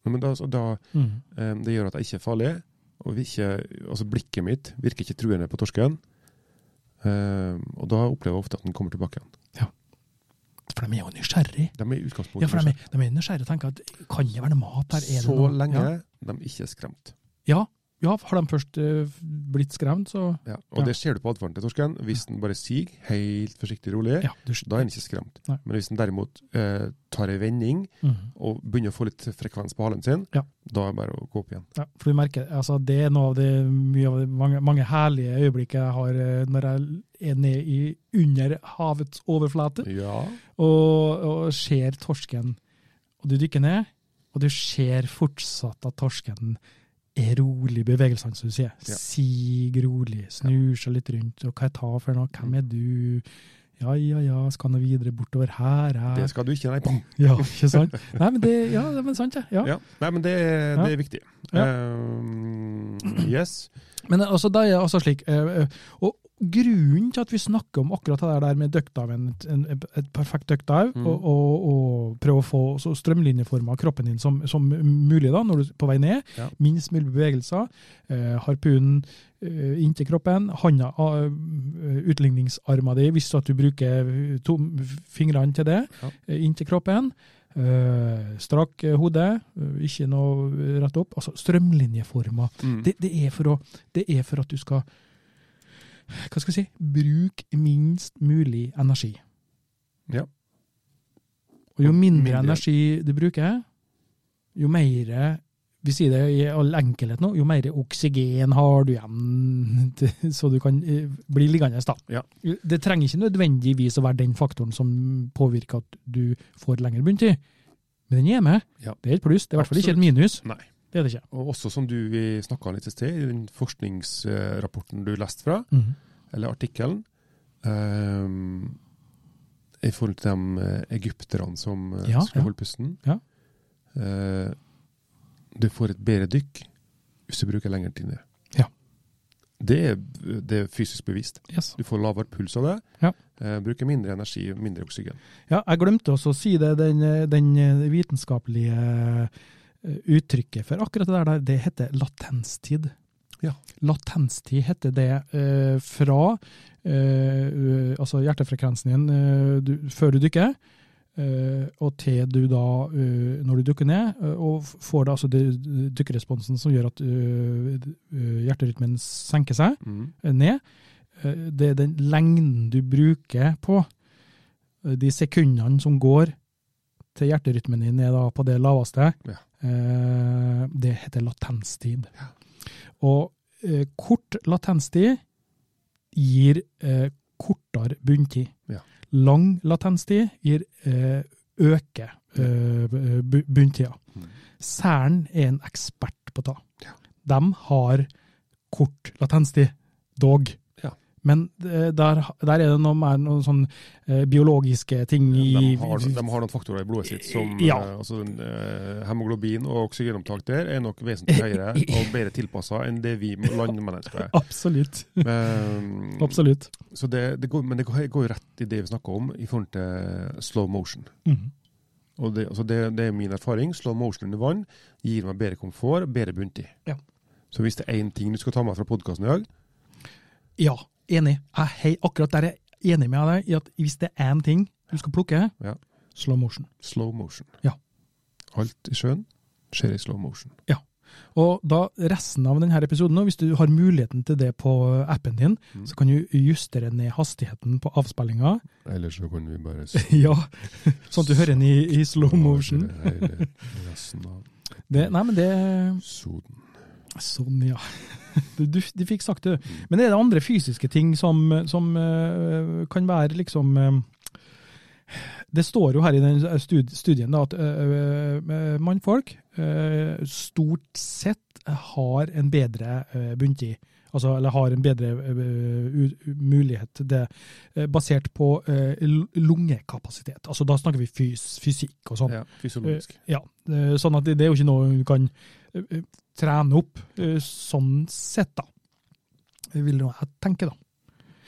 S2: Men da, da,
S1: Mm.
S2: Em, Ehm, Det gjør at jeg ikke er farlig. Og vi ikke, altså blikket mitt virker ikke truende på torsken. Em, og da opplever jeg ofte at den kommer tilbake igjen.
S1: For de er jo nysgjerrige.
S2: De er i utgangspunktet
S1: Ja, for de, er- de er nysgjerrige og tenker at kan det være noe mat her? Er det
S2: så
S1: noe?
S2: lenge
S1: Ja.
S2: de ikke er skremt.
S1: Ja. ja, har de først eh, blitt skremt, så
S2: Ja. Og
S1: Ja.
S2: det ser du på atferden til torsken. Hvis den bare siger helt forsiktig rolig,
S1: ja, du,
S2: da er den ikke skremt.
S1: Nei.
S2: Men hvis den derimot eh, tar en vending
S1: Mhm.
S2: og begynner å få litt frekvens på halen sin,
S1: Ja.
S2: da er det bare å gå opp igjen.
S1: Ja, for du merker, altså Det er noe av det, mye av det mange, mange herlige øyeblikk jeg har eh, når jeg er nede i, under havets overflate
S2: Ja.
S1: og, og ser torsken. Og du dykker ned, og du ser fortsatt at torsken er rolig i bevegelsene, som du sier.
S2: Ja.
S1: Sig rolig, snur seg litt rundt. og Hva jeg tar for noe? Hvem er du? Ja, ja, ja, skal nå videre bortover her, her.
S2: Det skal du ikke, nei. Bang.
S1: Ja, ikke sant? Nei, men det, ja, det er sant, ja. ja.
S2: Ja. Nei, men det, er-
S1: Ja.
S2: det er viktig.
S1: Ja.
S2: Em, yes.
S1: Men altså, da er det altså slik, eh, eh, og grunnen til at vi snakker om akkurat det der med duckdive, en, en, et perfekt duckdive,
S2: Mm.
S1: og, og, og prøve å få så strømlinjeforma kroppen din som, som mulig da, når du er på vei ned,
S2: Ja.
S1: minst mulig bevegelser, eh, harpunen eh, inntil kroppen, handa, uh, utligningsarma di, hvis at du bruker eh, to fingrene til det,
S2: Ja.
S1: eh, inntil kroppen, eh, strakk eh, hodet, eh, ikke noe rett opp, altså strømlinjeforma
S2: Mm.
S1: det, det, er for å, det er for at du skal hva skal jeg si, bruk minst mulig energi.
S2: Ja.
S1: Og jo
S2: Og
S1: mindre
S2: mindre-
S1: energi du bruker, jo mer Vi sier det i all enkelhet nå, jo mer oksygen har du igjen, til- så du kan eh, bli liggende. da.
S2: Ja.
S1: Det trenger ikke nødvendigvis å være den faktoren som påvirker at du får lengre bunntid, men den er med.
S2: Ja.
S1: Det er et pluss. Det er i hvert fall ikke et minus.
S2: Nei.
S1: Det er det ikke.
S2: Og også som du snakka litt i sted, i den forskningsrapporten du leste fra,
S1: Mhm.
S2: eller artikkelen, ehm, i forhold til de eh, egypterne som eh,
S1: Ja,
S2: skulle
S1: ja.
S2: holde pusten
S1: Ja.
S2: Eh, Du får et bedre dykk hvis du bruker lengre tid ned.
S1: Ja.
S2: Det er, det er fysisk bevist.
S1: Yes.
S2: Du får lavere puls av det.
S1: Ja.
S2: eh, bruker mindre energi, mindre oksygen.
S1: Ja, jeg glemte også å si det, den, den vitenskapelige eh, uttrykket for akkurat det der, der, det heter latenstid.
S2: Ja.
S1: Latenstid heter det eh, fra eh, u- altså hjertefrekvensen din eh, du, før du dykker, eh, og til du da, eh, når du dukker ned, eh, og f- får da altså det- dykkeresponsen som gjør at eh, d- eh, hjerterytmen senker seg
S2: Mm.
S1: ned. Eh, Det er den lengden du bruker på eh, de sekundene som går til hjerterytmen din er da på det laveste.
S2: Ja.
S1: Eh, Det heter latenstid. Og eh, kort latenstid gir eh, kortere bunntid.
S2: Ja.
S1: Lang latenstid gir eh, øke eh, bu- bunntida.
S2: Mm.
S1: Cern er en ekspert på det. De har kort latenstid, dog.
S2: Ja.
S1: Men eh, der, der er det noe mer noen sånn eh, biologiske ting i
S2: De har, de har noen faktorer i blodet sitt som
S1: Ja.
S2: eh, altså, eh, Hemoglobin og oksygenopptak der er nok vesentlig høyere og bedre tilpassa enn det vi landmennesker er.
S1: Absolutt.
S2: Men,
S1: Absolutt.
S2: så det, det går, men det går går jo rett i det vi snakker om i forhold til slow motion.
S1: Mhm.
S2: Og det, altså det, det er min erfaring. Slow motion under vann gir meg bedre komfort, bedre bunntid.
S1: Ja.
S2: Så hvis det er én ting du skal ta med fra podkasten i dag
S1: Ja, enig. Jeg, hei, akkurat der er jeg enig med deg i at hvis det er én ting du skal plukke,
S2: Ja.
S1: slow motion.
S2: slow motion.
S1: Ja.
S2: Alt i sjøen skjer i slow motion.
S1: Og da resten av denne episoden, nå, hvis du har muligheten til det på eh, appen din,
S2: Mm.
S1: så kan du justere ned hastigheten på avspillinga.
S2: Ellers så kan vi bare
S1: ja, sånn at du hører den i, i slow motion.
S2: Resten av
S1: Det, nei, men det
S2: soden.
S1: Sånn, ja. Du, du, du fikk sagt det. Men er det andre fysiske ting som, som eh, kan være liksom eh, Det står jo her i den stud- studien da, at eh, eh, mannfolk eh, stort sett har en bedre eh, bunntid. Altså, eller har en bedre eh, u- mulighet til det, eh, basert på eh, l- lungekapasitet. Altså, da snakker vi fys fysikk og sånn.
S2: Ja, fysiologisk.
S1: Ja, eh, sånn at det det er jo ikke noe du kan eh, eh, trene opp eh, sånn sett, da. Det vil nå jeg tenke, da.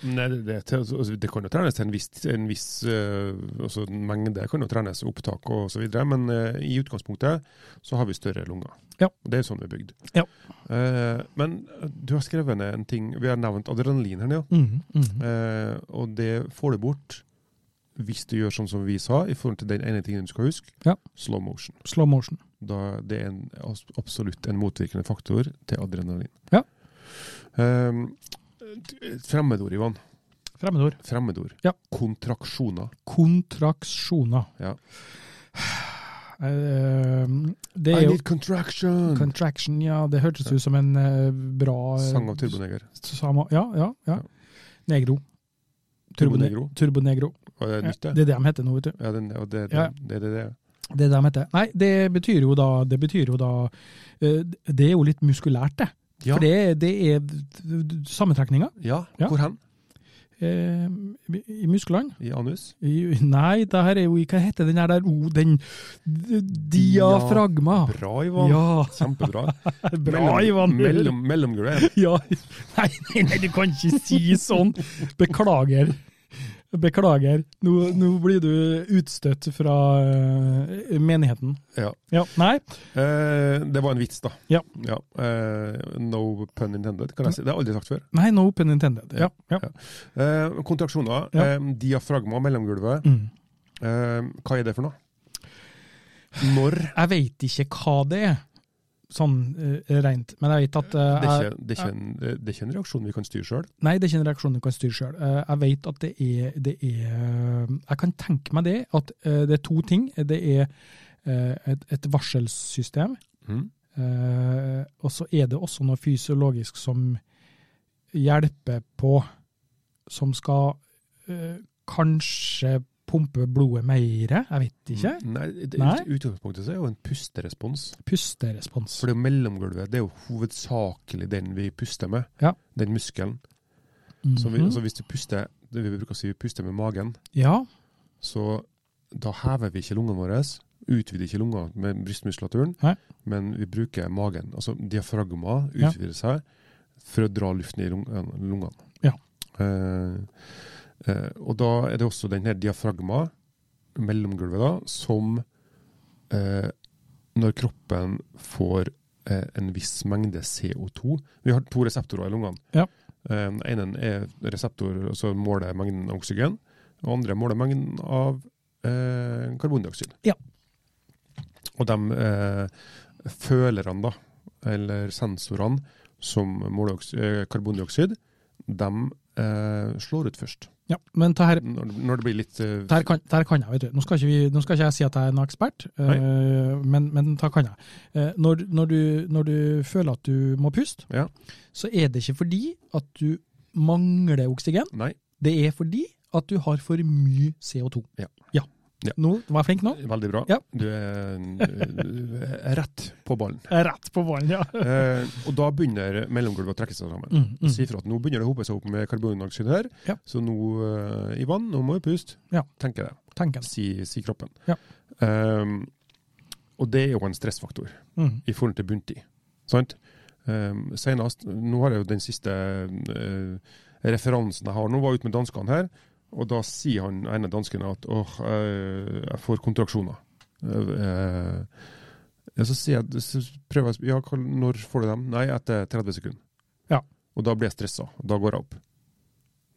S2: Nei, det, det, til- altså, det kan jo trenes til en viss, en viss eh, altså, en mengde, kan jo trenes opptak og så videre, men eh, i utgangspunktet så har vi større lunger.
S1: Ja.
S2: Og Det er sånn vi er bygd.
S1: Ja.
S2: Eh, men du har skrevet ned en ting, vi har nevnt adrenalin her nede, eh, og det får du bort hvis du gjør sånn som vi sa, i forhold til den ene tingen du skal huske,
S1: Ja.
S2: slow motion.
S1: Slow motion.
S2: Da det er en, abs- absolutt en motvirkende faktor til adrenalin.
S1: Ja.
S2: Eh, fremmedord, Ivan.
S1: Fremmedord.
S2: Fremmedord.
S1: Ja.
S2: Kontraksjoner.
S1: Kontraksjoner.
S2: Ja.
S1: Eh, Det
S2: I
S1: er jo
S2: need contraction!
S1: Contraction, ja. Det hørtes ut som en eh, bra eh,
S2: Sang av Turboneger.
S1: sama- Ja, ja. ja.
S2: Ja.
S1: Negro.
S2: Turbonegro.
S1: Turbonegro.
S2: Og det er nytt,
S1: Ja,
S2: det.
S1: det er det de heter nå, vet du.
S2: Ja, den, og det,
S1: Ja.
S2: den, det, det, det.
S1: Det de heter. Nei, det betyr jo da Det betyr jo da eh, Det er jo litt muskulært, det.
S2: Ja.
S1: For det, det er sammentrekninga
S2: ja.
S1: Ja.
S2: Hvor hen?
S1: eh, i musklene.
S2: I anus?
S1: I, nei, det her er jo i- Hva heter den her der oh, Den d- diafragma.
S2: Bra, Ivan.
S1: Ja,
S2: Kjempebra.
S1: bra, Ivan.
S2: Mellom, mellomgulvet.
S1: Ja. Nei, nei, nei, du kan ikke si sånn! Beklager. Beklager. Nå, nå blir du utstøtt fra eh, menigheten.
S2: Ja.
S1: Ja, nei.
S2: Eh, det var en vits, da.
S1: Ja.
S2: Eh, no pun intended, kan jeg si. Det har jeg aldri sagt før.
S1: Nei, no pun intended. Ja. ja.
S2: Eh, kontraksjoner.
S1: Ja.
S2: Eh, diafragma, mellomgulvet.
S1: Mm.
S2: Eh, hva er det for noe? Når
S1: Jeg veit ikke hva det er. sånn eh, rent. Men jeg vet at eh,
S2: Det er
S1: jeg,
S2: ikke, det er ikke, en, det er ikke en reaksjon vi kan styre sjøl.
S1: Nei, det er ikke en reaksjon du kan styre sjøl. Jeg vet at det er, det er eh, Jeg kan tenke meg det, at eh, det er to ting. Det er eh, et, et varselsystem, eh, og så er det også noe fysiologisk som hjelper på, som skal eh, kanskje pumpe blodet mer, jeg vet ikke.
S2: Mm. Nei, det,
S1: Nei.
S2: Utgangspunktet så er jo en pusterespons.
S1: Pusterespons.
S2: For det er jo mellomgulvet. Det er jo hovedsakelig den vi puster med.
S1: Ja.
S2: Den muskelen. Så, vi,
S1: Mhm.
S2: så hvis du puster det vi bruker å si vi puster med magen,
S1: Ja,
S2: så da hever vi ikke lungene våre. Utvider ikke lungene med brystmuskulaturen,
S1: Nei.
S2: men vi bruker magen. Altså diafragma
S1: Ja.
S2: utvider seg for å dra luften i lung- lungene.
S1: Ja.
S2: Eh, eh, og da er det også den her diafragma, mellomgulvet, da, som eh, når kroppen får eh, en viss mengde CO2 Vi har to reseptorer i lungene.
S1: Ja.
S2: Eh, Den ene er reseptor, altså måler mengden av oksygen. Og andre måler mengden av eh, karbondioksid.
S1: Ja.
S2: Og de eh, følerne, da, eller sensorene, som måler oks- eh, karbondioksid, de eh, slår ut først.
S1: ja. Men det her
S2: Når, når det blir litt eh,
S1: Der kan, der kan jeg, vet du. Nå skal ikke, vi, nå skal ikke jeg si at jeg er noen ekspert,
S2: Nei.
S1: eh, men, men da kan jeg. Eh, når, når, du, når du føler at du må puste,
S2: Ja.
S1: så er det ikke fordi at du mangler oksygen,
S2: Nei,
S1: det er fordi at du har for mye CO2.
S2: Ja.
S1: ja.
S2: Ja.
S1: Nå var jeg flink nå.
S2: veldig bra.
S1: Ja.
S2: Du, er, du er rett på ballen.
S1: Jeg er Rett på ballen, ja.
S2: Eh, og da begynner mellomgulvet å trekke seg sammen.
S1: Mm, mm.
S2: Si fra at nå begynner det å hope seg opp med karbondioksid her,
S1: Ja.
S2: så nå, eh, Ivan, nå må vi puste.
S1: Ja.
S2: Tenker jeg,
S1: Tenk en.
S2: sier si kroppen.
S1: Ja.
S2: Ehm, og det er jo en stressfaktor
S1: Mm.
S2: i forhold til bunntid. Sant? Ehm, senest, nå har jeg jo den siste eh, referansen jeg har. Nå var jeg ute med danskene her, og da sier han ene dansken at åh, eh, jeg får kontraksjoner. Eh, eh, ja, så, sier jeg, så prøver jeg å sp- ja, hva- når får du dem? Nei, etter 30 sekunder.
S1: Ja.
S2: Og da blir jeg stressa. Da går jeg opp.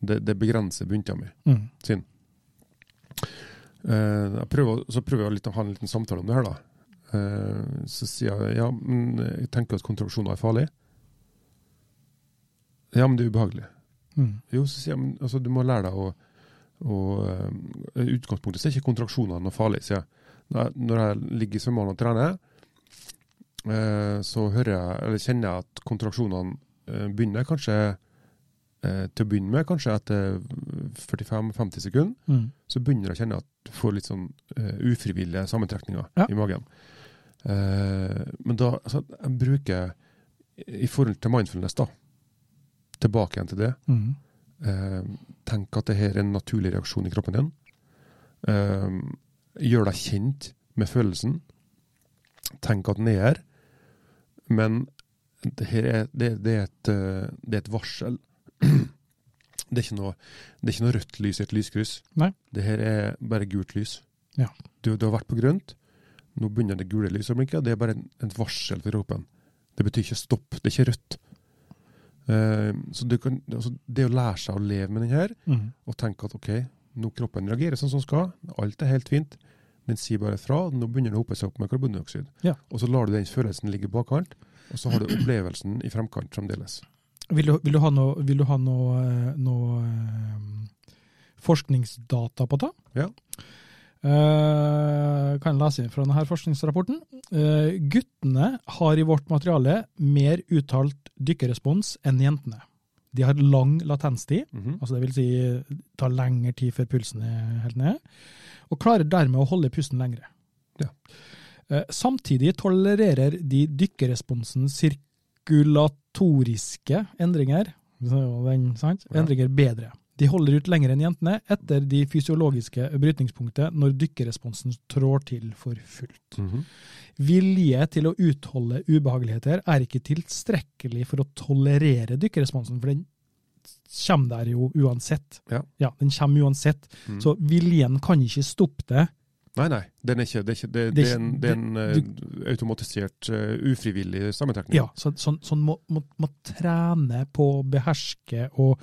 S2: Det, det begrenser bunntida mi.
S1: Mm.
S2: Eh, jeg prøver, så prøver jeg litt å ha en liten samtale om det her, da. Eh, så sier jeg ja, men eh, jeg tenker at kontraksjoner er farlig. Ja, men det er ubehagelig.
S1: Mm.
S2: Jo, så sier jeg, men altså, du må lære deg å, å eh, I utgangspunktet så er ikke kontraksjoner noe farlig, sier jeg. Når jeg, når jeg ligger i svømmehallen og trener, eh, så hører jeg, eller kjenner jeg at kontraksjonene eh, begynner kanskje eh, til å begynne med, kanskje etter 45-50 sekunder
S1: Mm.
S2: så begynner jeg å kjenne at du får litt sånn eh, ufrivillige sammentrekninger
S1: Ja.
S2: i magen. Eh, men da altså, jeg bruker i forhold til mindfulness, da, tilbake igjen til det.
S1: Mm.
S2: Eh, tenk at det her er en naturlig reaksjon i kroppen din. Eh, gjør deg kjent med følelsen. Tenk at den er her. Men det her er, det, det er, et, eh, det er et varsel. Det er, ikke noe, det er ikke noe rødt lys i et lyskryss.
S1: Nei.
S2: Det her er bare gult lys.
S1: Ja.
S2: Du, du har vært på grønt, nå begynner det gule lyset å blinke. Det er bare en- et varsel for kroppen. Det betyr ikke stopp, det er ikke rødt. Eh, så du kan, altså, det å lære seg å leve med den her,
S1: Mm.
S2: og tenke at ok, nå kroppen reagerer sånn som den skal, alt er helt fint, den sier bare fra, nå begynner den å hope seg opp med karbondioksid.
S1: Ja.
S2: Og så lar du den følelsen ligge i bakkant, og så har du opplevelsen i fremkant fremdeles.
S1: Vil du, vil du ha noe, vil du ha noe, eh, noe eh, forskningsdata på det?
S2: Ja.
S1: Eh, kan jeg lese inn fra denne forskningsrapporten. Eh, guttene har i vårt materiale mer uttalt dykkerespons enn jentene. De har lang latenstid,
S2: Mhm.
S1: altså det vil si eh, tar lengre tid før pulsen er helt nede, og klarer dermed å holde pusten lengre.
S2: Ja.
S1: Eh, Samtidig tolererer de dykkeresponsen sirkulatoriske endringer, så er jo den, sant?
S2: Ja.
S1: endringer bedre. De holder ut lenger enn jentene etter de fysiologiske brytningspunktet når dykkeresponsen trår til for fullt.
S2: Mhm.
S1: Vilje til å utholde ubehageligheter er ikke tilstrekkelig for å tolerere dykkeresponsen, for den kommer der jo uansett.
S2: Ja.
S1: den kommer uansett.
S2: Mhm.
S1: Så viljen kan ikke stoppe det.
S2: Nei, nei, den er ikke, det er ikke, det,
S1: Det
S2: det
S1: er
S2: er en,
S1: ikke-
S2: det er en eh, automatisert, eh, ufrivillig sammentrekning.
S1: Ja, så, sånn, sånn må, må, må trene på å beherske og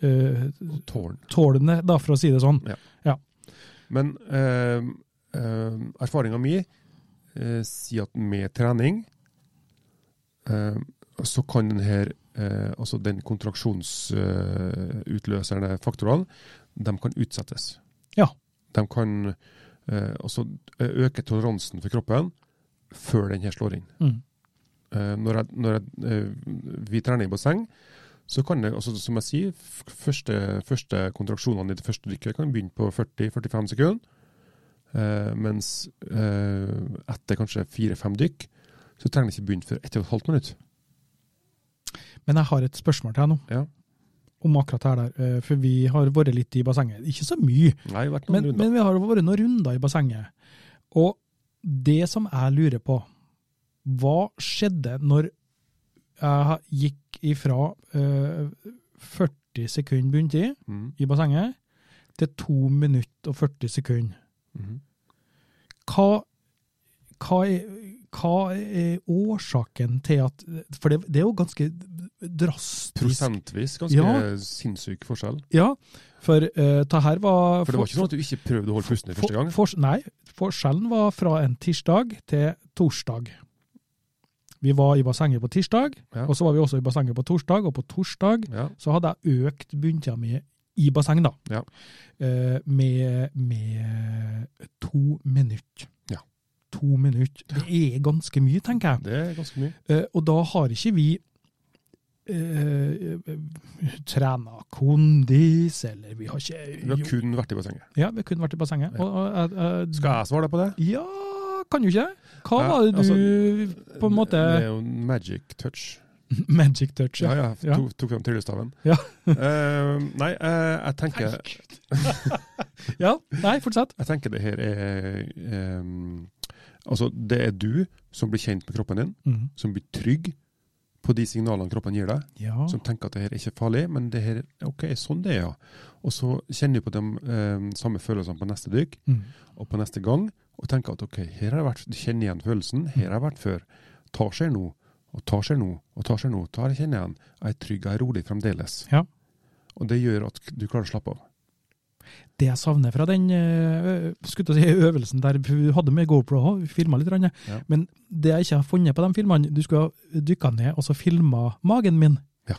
S1: eh,
S2: Tårn.
S1: tåle det, da, for å si det sånn.
S2: Men eh, eh, erfaringa mi eh, sier at med trening Eh, så kan den her, eh, altså den kontraksjonsutløserne faktorene, de kan utsettes.
S1: Ja.
S2: De kan eh, altså øke toleransen for kroppen før den her slår inn.
S1: Mm.
S2: Eh, når jeg, når jeg, eh, vi trener i basseng, så kan det, altså, som jeg sier, f- første, første kontraksjonene i det første dykket kan begynne på 40-45 sekunder. Eh, mens eh, etter kanskje 4-5 dykk, så trenger det ikke begynne før 1,5 minutt.
S1: Men jeg har et spørsmål til deg nå,
S2: Ja.
S1: om akkurat det her der. eh, For vi har vært litt i bassenget. Ikke så mye,
S2: Nei, vært noen
S1: men,
S2: runder.
S1: men vi har vært noen runder i bassenget. Og det som jeg lurer på, hva skjedde når jeg gikk ifra eh, 40 sekunder bunntid
S2: Mm.
S1: i bassenget til 2 minutter og 40 sekunder?
S2: Mhm.
S1: hva, hva, er, hva er årsaken til at For det, det er jo ganske drastisk.
S2: Prosentvis ganske
S1: Ja.
S2: sinnssyk forskjell.
S1: Ja, for eh, det her var
S2: For det var ikke sånn at du ikke prøvde å holde pusten i første gang.
S1: For, nei, forskjellen var fra en tirsdag til torsdag. Vi var i bassenget på tirsdag,
S2: Ja.
S1: og så var vi også i bassenget på torsdag, og på torsdag
S2: Ja.
S1: så hadde jeg økt bunntida mi i basseng, da.
S2: Ja.
S1: Eh, med, med to minutter.
S2: Ja.
S1: To minutter. Det er ganske mye, tenker jeg.
S2: Det er ganske mye.
S1: Eh, og da har ikke vi eh, trena kondis, eller vi har ikke
S2: Vi har kun vært i bassenget.
S1: Ja, vi har kun vært i bassenget.
S2: Ja.
S1: Og, og, eh, eh,
S2: Skal jeg svare deg på det?
S1: Ja, kan jo ikke det? Hva
S2: Ja, altså,
S1: var det du på en måte
S2: Det er jo en magic touch.
S1: Magic touch,
S2: Ja,
S1: ja.
S2: ja.
S1: Ja.
S2: Tok, tok fram tryllestaven.
S1: Ja.
S2: Eh, nei, eh, jeg, tenker,
S1: Ja, nei, fortsett.
S2: jeg tenker det her er eh, Altså, det er du som blir kjent med kroppen din,
S1: Mm.
S2: som blir trygg på de signalene kroppen gir deg.
S1: Ja.
S2: som tenker at det her er ikke farlig, men det her, ok, sånn det er, ja. Og så kjenner du på de eh, samme følelsene på neste dykk
S1: Mm.
S2: og på neste gang, og tenker at ok, her har jeg vært, du kjenner igjen følelsen, her har jeg vært før. Ta skjer nå, og ta skjer nå, og ta skjer nå, ta jeg kjenner igjen. Jeg er trygg, jeg er rolig fremdeles.
S1: Ja.
S2: Og det gjør at du klarer å slappe av.
S1: Det jeg savner fra den eh, skulle til å si, øvelsen der vi hadde med GoPro og filma litt, grann,
S2: Ja.
S1: men det jeg ikke har funnet på de filmene Du skulle ha dykka ned og så filma magen min
S2: Ja.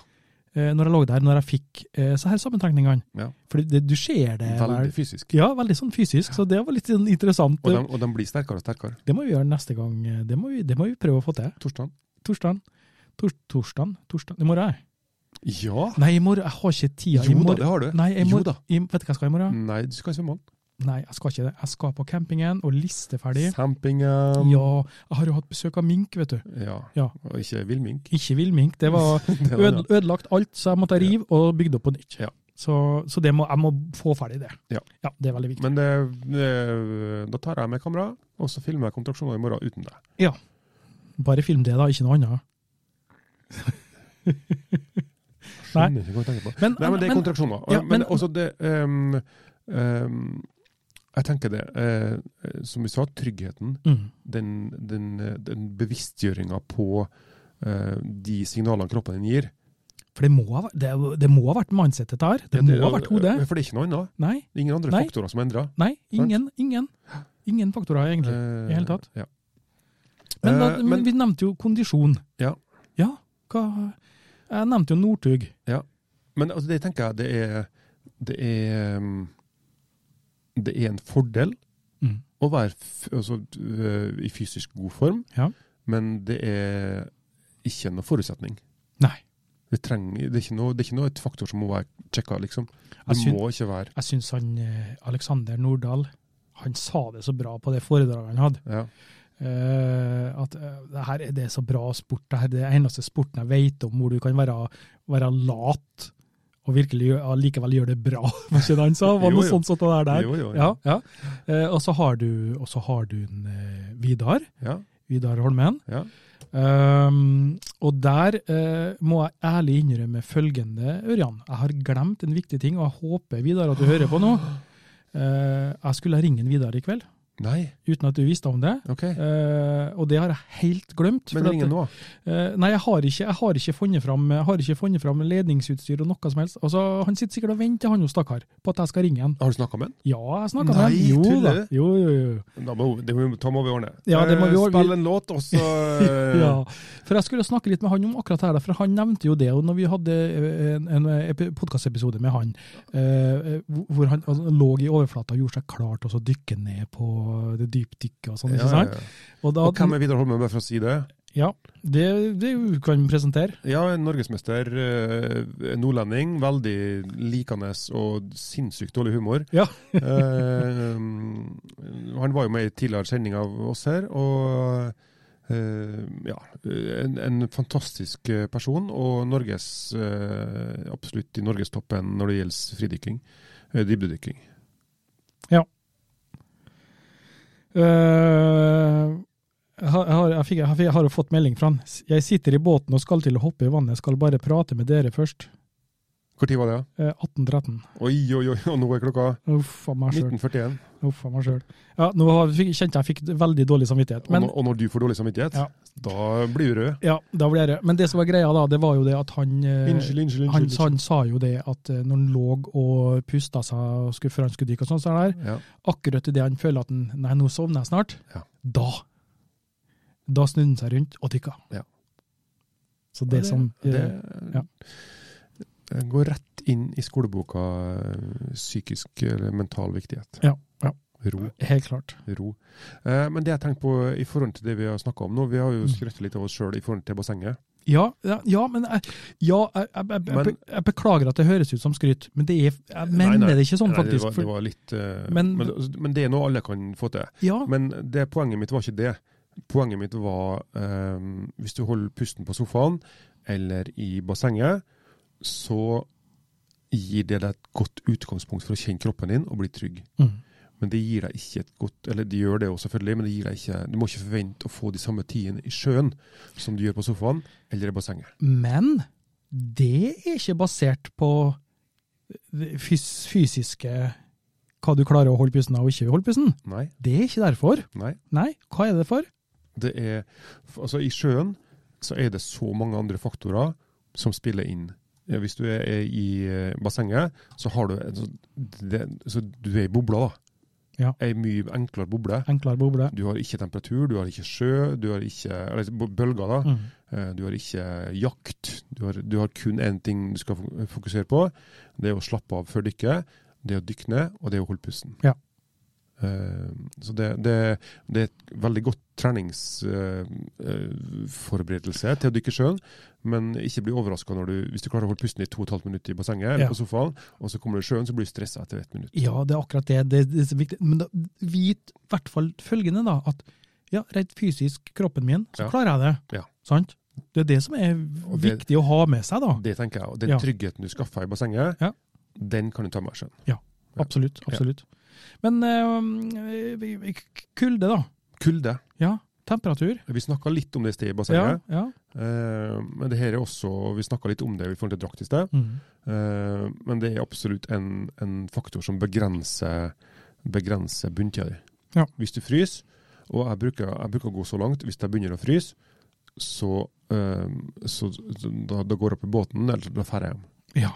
S1: eh, når jeg lå der, når jeg fikk eh, så her sammentrekningene.
S2: Ja.
S1: For det, du ser det
S2: Veldig
S1: vel.
S2: fysisk.
S1: Ja, veldig sånn fysisk, så det var litt sånn interessant.
S2: Og de, og de blir sterkere og sterkere.
S1: Det må vi gjøre neste gang. eh, Det må vi, det må vi prøve å få til.
S2: Torsdagen.
S1: Torsdagen. Tors, torsdagen? Torsdagen? I morgen? er jeg.
S2: Ja!
S1: Nei, i morgen. Jeg har ikke tida. i
S2: Jo da,
S1: morgen.
S2: det har du.
S1: Nei, i
S2: Jo
S1: morgen.
S2: da. Mm.
S1: I, vet du hva jeg skal i morgen?
S2: Nei, du skal ikke svømme.
S1: Nei, jeg skal ikke det. Jeg skal på campingen og liste ferdig.
S2: Sampingen.
S1: Ja, jeg har jo hatt besøk av mink, vet du.
S2: Ja.
S1: Ja.
S2: Og ikke villmink.
S1: Ikke villmink. Det var
S2: Det var
S1: øde,
S2: det.
S1: ødelagt alt, så jeg måtte rive og bygde opp på nytt.
S2: Ja.
S1: Så, så det må, jeg må få ferdig det.
S2: Ja.
S1: Det er veldig viktig.
S2: Men det, det, da tar jeg med kamera, og så filmer jeg kontraksjoner i morgen uten deg.
S1: Bare film det, da, ikke noe annet.
S2: Skjønner ikke hva du tenker på.
S1: Men,
S2: Nei, men det er kontraksjoner.
S1: ja,
S2: men,
S1: men-
S2: også det ehm, ehm, Jeg tenker det, eh, som vi sa, tryggheten.
S1: mm,
S2: Den, den, eh, den bevisstgjøringa på eh, de signalene kroppen din gir.
S1: For det må, ha vært- det, det må ha vært mindsetet der. Det, må ha vært hodet.
S2: For det er ikke noe annet.
S1: Nei.
S2: Det er ingen andre
S1: Nei.
S2: faktorer som er endra.
S1: Nei, ingen. Ingen Ingen faktorer, egentlig. i hele tatt.
S2: Eh, Ja.
S1: Men, da,
S2: Eh,
S1: men, vi nevnte jo kondisjon.
S2: Ja.
S1: Ja, hva Jeg nevnte jo Northug.
S2: Men altså, det tenker jeg det er Det er, um, det er en fordel
S1: Mm.
S2: å være f altså, øh, i fysisk god form,
S1: Ja.
S2: men det er ikke noe forutsetning.
S1: Nei.
S2: Det, trenger, det, er ikke noe, det er ikke noe et faktor som må være sjekka, liksom.
S1: Jeg
S2: Det
S1: syn-
S2: må ikke være
S1: Jeg syns han eh, Alexander Nordahl han sa det så bra på det foredraget han hadde.
S2: ja.
S1: Eh, at eh, det her er det er så bra sport. Det her er det eneste sporten jeg vet om hvor du kan være, være lat og virkelig gjø- allikevel gjøre det bra. Hva ikke det han sa? Var
S2: Jo,
S1: noe
S2: jo.
S1: sånt som det der. der.
S2: Jo, jo,
S1: Ja, ja. Eh, og så har du, og så har du en, eh, Vidar.
S2: ja.
S1: Vidar Holmen.
S2: ja.
S1: Ehm, og der eh, må jeg ærlig innrømme følgende, Ørjan. Jeg har glemt en viktig ting, og jeg håper, Vidar, at du hører på nå. Eh, jeg skulle ringe en Vidar i kveld.
S2: Nei,
S1: uten at du visste om det.
S2: OK.
S1: Eh, og det har jeg helt glemt.
S2: Men
S1: for
S2: ringen
S1: at,
S2: nå?
S1: eh, nei, jeg har, ikke, jeg har ikke funnet fram, jeg har ikke funnet fram ledningsutstyr og noe som helst. Altså, han sitter sikkert og venter, han jo stakkar, på at jeg skal ringe han.
S2: Har du snakka med han?
S1: Ja, jeg snakka med
S2: Nei,
S1: han. Jo da.
S2: tuller du?
S1: Jo, jo, jo.
S2: Da må, det må, da må vi ordne.
S1: Ja, det må vi
S2: Eh,
S1: ordne.
S2: Spill en låt, og så Eh,
S1: Ja, for jeg skulle snakke litt med han om akkurat det her, da, for han nevnte jo det og når vi hadde eh, en, en epi- podkastepisode med han, eh, eh, hvor- hvor han altså, lå i overflata og gjorde seg klar til å så dykke ned på det dypdykket og sånn.
S2: Ja,
S1: ikke
S2: ja,
S1: sant?
S2: ja.
S1: Og da,
S2: Og hvem er Vidar Holmen, bare for å si det?
S1: ja, det, det kan vi presentere.
S2: Ja, en norgesmester, eh, nordlending, veldig likende og sinnssykt dårlig humor.
S1: Ja.
S2: Eh, han var jo med i tidligere sending av oss her, og eh, ja, en, en fantastisk eh, person, og Norges, eh, absolutt i norgestoppen når det gjelder fridykking, eh, dybdedykking.
S1: Eh, jeg, har, jeg, har, jeg, fikk, jeg, har, jeg har jo fått melding fra han. Jeg sitter i båten og skal til å hoppe i vannet, skal bare prate med dere først.
S2: Hvor tid var det?
S1: Eh, 1813.
S2: Oi, oi, oi, og nå er klokka
S1: Uff a meg sjøl.
S2: 1941.
S1: Uff a meg sjøl. Ja, nå har- fikk- kjente jeg fikk veldig dårlig samvittighet.
S2: og,
S1: Men,
S2: når, og når du får dårlig samvittighet,
S1: Ja.
S2: da blir du rød.
S1: ja, da blir det. men det som var greia da, det var jo det at han eh,
S2: Unnskyld, unnskyld,
S1: han,
S2: unnskyld.
S1: han sa jo det at eh, når han lå og pusta seg og skulle, før han skulle dykke, og sånn, så er det der,
S2: Ja.
S1: akkurat idet han føler at han, nei, nå sovner jeg snart,
S2: Ja.
S1: da da snudde han seg rundt og dykka.
S2: Ja.
S1: Så det,
S2: Ja,
S1: som eh,
S2: det,
S1: ja.
S2: det går rett inn i skoleboka eh, psykisk eller mental viktighet.
S1: Ja, ja.
S2: Ro.
S1: Helt klart.
S2: ro. Eh, men det jeg tenker på i forhold til det vi har snakka om nå, vi har jo
S1: Mm.
S2: skrøtt litt av oss sjøl i forhold til bassenget.
S1: Ja, ja, ja men jeg, ja, jeg, jeg, jeg, jeg,
S2: Men-
S1: jeg beklager at det høres ut som skryt, men det er, jeg
S2: Nei,
S1: mener
S2: nei.
S1: det ikke sånn,
S2: Nei,
S1: faktisk.
S2: Det var,
S1: for-
S2: det var litt, eh,
S1: Men-
S2: men, men, det er noe alle kan få til.
S1: ja,
S2: Men det, poenget mitt var ikke det. Poenget mitt var eh, hvis du holder pusten på sofaen eller i bassenget, så gir det deg et godt utgangspunkt for å kjenne kroppen din og bli trygg.
S1: mm.
S2: Men det gir deg ikke et godt Eller de gjør det også selvfølgelig, men det gir deg ikke Du må ikke forvente å få de samme tidene i sjøen som du gjør på sofaen eller i bassenget.
S1: Men det er ikke basert på det fys fysiske Hva du klarer å holde pusten av og ikke holde pusten.
S2: Nei.
S1: Det er ikke derfor.
S2: nei.
S1: Nei, hva er det for?
S2: Det er f- Altså, i sjøen så er det så mange andre faktorer som spiller inn. Ja, Hvis du er er i eh, bassenget, så har du en sånn- det, Så du er i bobla, da.
S1: Ja.
S2: Ei mye enklere boble.
S1: Enklere boble.
S2: Du har ikke temperatur, du har ikke sjø, du har ikke Eller b- bølger, da.
S1: Mm.
S2: Eh, Du har ikke jakt. Du har, du har kun én ting du skal fo- fokusere på. Det er å slappe av før dykket, det er å dykke ned, og det er å holde pusten.
S1: Ja.
S2: Eh, Så det, det, det er et veldig godt treningsforberedelse til å dykke i sjøen, men ikke bli overraska hvis du klarer å holde pusten i to og et halvt minutt i bassenget eller
S1: Ja.
S2: på sofaen, og så kommer du i sjøen, så blir du stressa etter ett minutt.
S1: Ja, det er akkurat det. Det, det er så viktig. Men da, vit i hvert fall følgende, da. At ja, rent fysisk, kroppen min, så
S2: Ja.
S1: klarer jeg det.
S2: Ja.
S1: Sant? Det er det som er
S2: Og det-
S1: viktig å ha med seg, da.
S2: Det tenker jeg. Og den
S1: Ja.
S2: tryggheten du skaffer i bassenget,
S1: Ja.
S2: den kan du ta med deg i sjøen. Ja.
S1: Absolutt. Absolutt. Men eh, vi- vi- kulde, da.
S2: Kulde.
S1: Ja. Temperatur.
S2: Vi snakka litt om det i sted i bassenget.
S1: Ja. ja.
S2: Eh, men det her er også, Vi snakka litt om det i forhold til drakt i sted,
S1: Mm.
S2: eh, men det er absolutt en, en faktor som begrenser, begrenser bunntida di.
S1: Ja.
S2: Hvis du fryser, og jeg bruker, jeg bruker å gå så langt hvis jeg begynner å fryse, så, eh, så, så da, da går jeg opp i båten, eller da drar jeg hjem.
S1: Ja.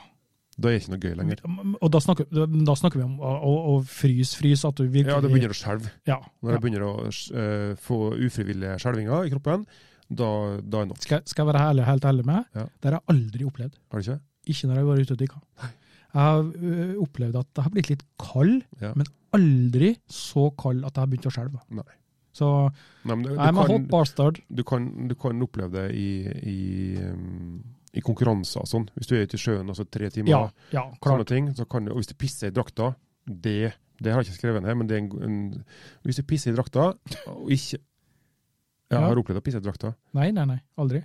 S2: Da er det ikke noe gøy lenger.
S1: Og da snakker, da snakker vi om å, å, å fryse, fryse, at du virkelig
S2: Ja, det begynner å skjelve.
S1: Ja, ja.
S2: Når jeg begynner å eh, få ufrivillige skjelvinger i kroppen, da, da er det nok.
S1: Skal, skal jeg være ærlig, helt ærlig med deg?
S2: Ja.
S1: Det har jeg aldri opplevd.
S2: Har du ikke?
S1: Ikke når jeg har vært ute og dykka. Jeg har øh, opplevd at jeg har blitt litt kald,
S2: Ja.
S1: men aldri så kald at jeg har begynt å skjelve.
S2: Nei.
S1: Så
S2: Nei, men du- du
S1: I'm a
S2: kan-
S1: hot bastard.
S2: du kan, du kan oppleve det i, i, um, i konkurranser og sånn. Hvis du er ute i sjøen altså tre timer,
S1: Ja, ja, klart.
S2: sånne ting, så kan du, og hvis du pisser i drakta det, det har jeg ikke skrevet ned, men det er en, en Hvis du pisser i drakta og ikke Jeg
S1: Ja.
S2: har opplevd å pisse i drakta,
S1: Nei, nei, nei. Aldri.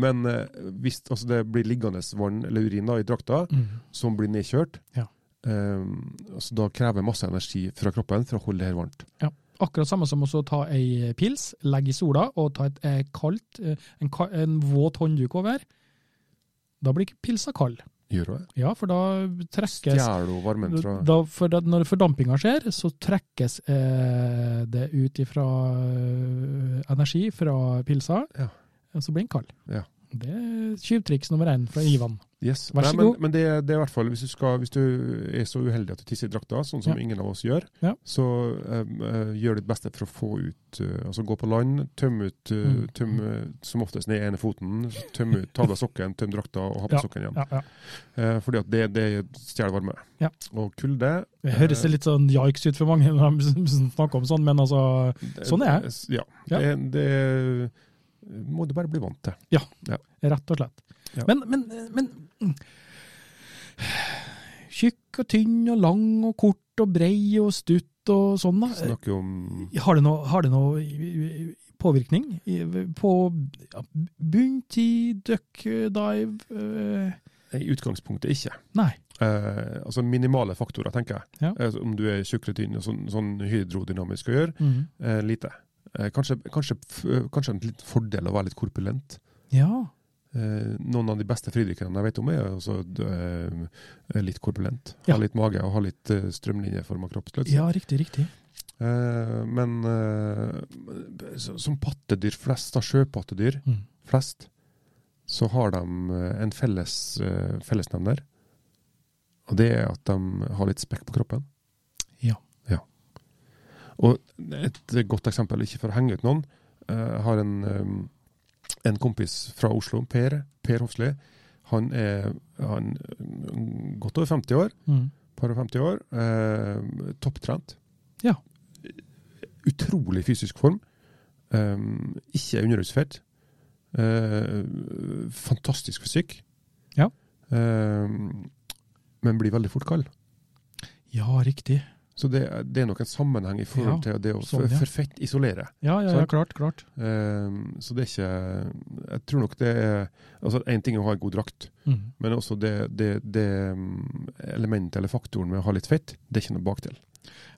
S2: men eh, hvis altså, det blir liggende vann eller urin da, i drakta
S1: Mm.
S2: som blir nedkjørt,
S1: Ja.
S2: um, altså, da krever masse energi fra kroppen for å holde det her varmt.
S1: Akkurat samme som å ta ei pils, legge i sola og ta et eh, kaldt, eh, en, ka- en våt håndduk over. Da blir ikke pilsa kald.
S2: Gjør hun det?
S1: Ja, for da trekkes
S2: Stjeler hun varmen fra
S1: da, for da, Når fordampinga skjer, så trekkes eh, det ut ifra eh, energi fra pilsa,
S2: Ja.
S1: og så blir den kald.
S2: Ja.
S1: Det er tjuvtriks nummer én fra Ivan.
S2: Yes.
S1: Vær så
S2: Nei, men,
S1: god.
S2: men det, det er i hvert fall, hvis du, skal, hvis du er så uheldig at du tisser i drakta, sånn som ingen av oss gjør,
S1: Ja.
S2: så em, eh, gjør ditt beste for å få ut eh, Altså gå på land, tøm ut eh,
S1: Mm.
S2: tøm, eh, som oftest ned ene foten, tøm ut, ta av deg sokken, tøm drakta og ha på
S1: Ja.
S2: sokken igjen.
S1: Ja, ja.
S2: Eh, fordi at det, det stjeler varme.
S1: Ja.
S2: Og kulde
S1: Det høres litt sånn jikes ut for mange når de snakker om sånn, men altså Sånn er
S2: det. Ja.
S1: Ja.
S2: Det, det eh, må du bare bli vant til.
S1: Rett og slett.
S2: Ja.
S1: Men, men, men mm. Tjukk og tynn og lang og kort og brei og stutt og sånn, da.
S2: Snakker om
S1: Har det noe, har det noe i- i- påvirkning i- på ja, bunntid, duck dive eh,
S2: I utgangspunktet ikke.
S1: Nei.
S2: Eh, altså minimale faktorer, tenker jeg.
S1: Ja.
S2: Eh, så om du er tjukk eller tynn, og sånn, sånn hydrodynamisk å gjøre,
S1: Mhm.
S2: eh, lite. Eh, kanskje, kanskje, f- eh, kanskje en litt fordel å være litt korpulent.
S1: Ja.
S2: Eh, noen av de beste fridykkerne jeg vet om, er også eh, litt korpulent.
S1: Ja.
S2: Ha litt mage og ha litt eh, strømlinjeforma kroppsløs.
S1: ja, riktig, riktig.
S2: Eh, men eh, så- som pattedyr flest, da, sjøpattedyr
S1: Mm.
S2: flest, så har de eh, en felles, eh, fellesnevner. Og det er at de har litt spekk på kroppen.
S1: Ja.
S2: Og et godt eksempel, ikke for å henge ut noen, eh, jeg har en, eh, en kompis fra Oslo, Per, per Hofsli. Han er, han er godt over 50 år
S1: Mm.
S2: par og 50 år, eh, topptrent.
S1: Ja.
S2: Utrolig fysisk form. Um, ikke underhudsfett. Eh, fantastisk fysikk.
S1: Ja.
S2: Um, men blir veldig fort kald.
S1: Ja, riktig.
S2: Så det, det er nok en sammenheng i forhold til det å
S1: sånn, ja.
S2: for fett isolere.
S1: Ja, ja, ja
S2: Sant.
S1: klart, klart.
S2: Um, så det er ikke Jeg tror nok det er altså Én ting er å ha en god drakt,
S1: Mm.
S2: men også det, det, det um, elementet eller faktoren med å ha litt fett, det er ikke noe bakdel.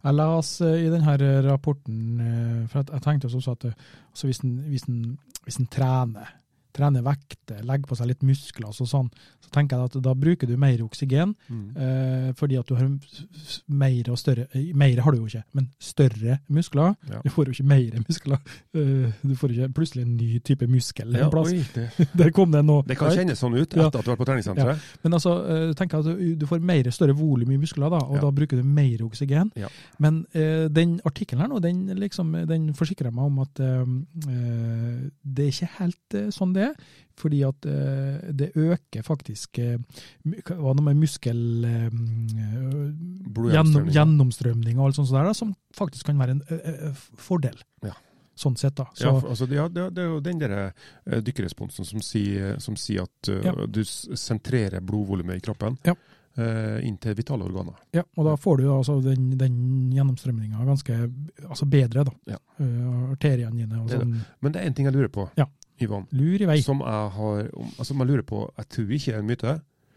S1: Jeg las eh, i denne rapporten eh, for at Jeg tenkte også at eh, altså hvis, en, hvis, en, hvis en trener, trener vekter, legger på seg litt muskler, altså sånn, så tenker jeg at da bruker du mer oksygen. Eh, fordi at du har s- s- mer og større eh, Mer har du jo ikke, men større muskler.
S2: Ja.
S1: Du får jo ikke mer muskler. Eh, du får ikke plutselig en ny type muskel en plass.
S2: oi, det
S1: Der kom det noe.
S2: Det kan kjennes sånn ut etter
S1: Ja.
S2: at du har vært på treningssenteret.
S1: Men altså, eh, tenk at du- du får mer større volum i muskler, da, og
S2: Ja.
S1: da bruker du mer oksygen.
S2: Ja.
S1: Men eh, den artikkelen her nå, den, liksom, den forsikrer meg om at eh, eh, det er ikke helt eh, sånn det er. Fordi at eh, det øker faktisk eh, mu- hva nå med muskel... Eh, gjennom,
S2: Blodgjennomstrømning.
S1: gjennomstrømning og alt sånt der, da, som faktisk kan være en ø, ø, ø, fordel.
S2: Ja.
S1: Sånn sett, da. Så,
S2: Ja, for- altså, ja, det, det er jo den der eh, dykkeresponsen som sier, som sier at eh,
S1: Ja.
S2: du s- sentrerer blodvolumet i kroppen
S1: Ja.
S2: eh, inn til vitale organer.
S1: ja, og da får du da altså den, den gjennomstrømninga ganske altså bedre, da.
S2: Ja.
S1: Eh, arteriene dine og
S2: Det er
S1: sånn.
S2: Men det er én ting jeg lurer på,
S1: Ja.
S2: Ivan.
S1: Lur i vei.
S2: Som jeg har om- Altså, man lurer på Jeg tror ikke det er en myte,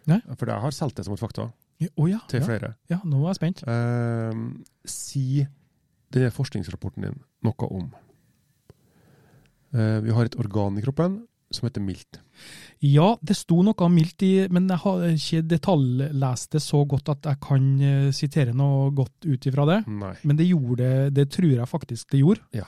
S1: Nei.
S2: for jeg har solgt det som et fakta
S1: Å ja,
S2: til
S1: ja,
S2: flere.
S1: ja, nå er jeg spent.
S2: Eh, si denne forskningsrapporten din noe om Eh, Vi har et organ i kroppen som heter milt.
S1: Ja, det sto noe mildt i, men jeg har ikke detaljlest det så godt at jeg kan eh, sitere noe godt ut ifra det.
S2: Nei.
S1: Men det gjorde det, det tror jeg faktisk det gjorde.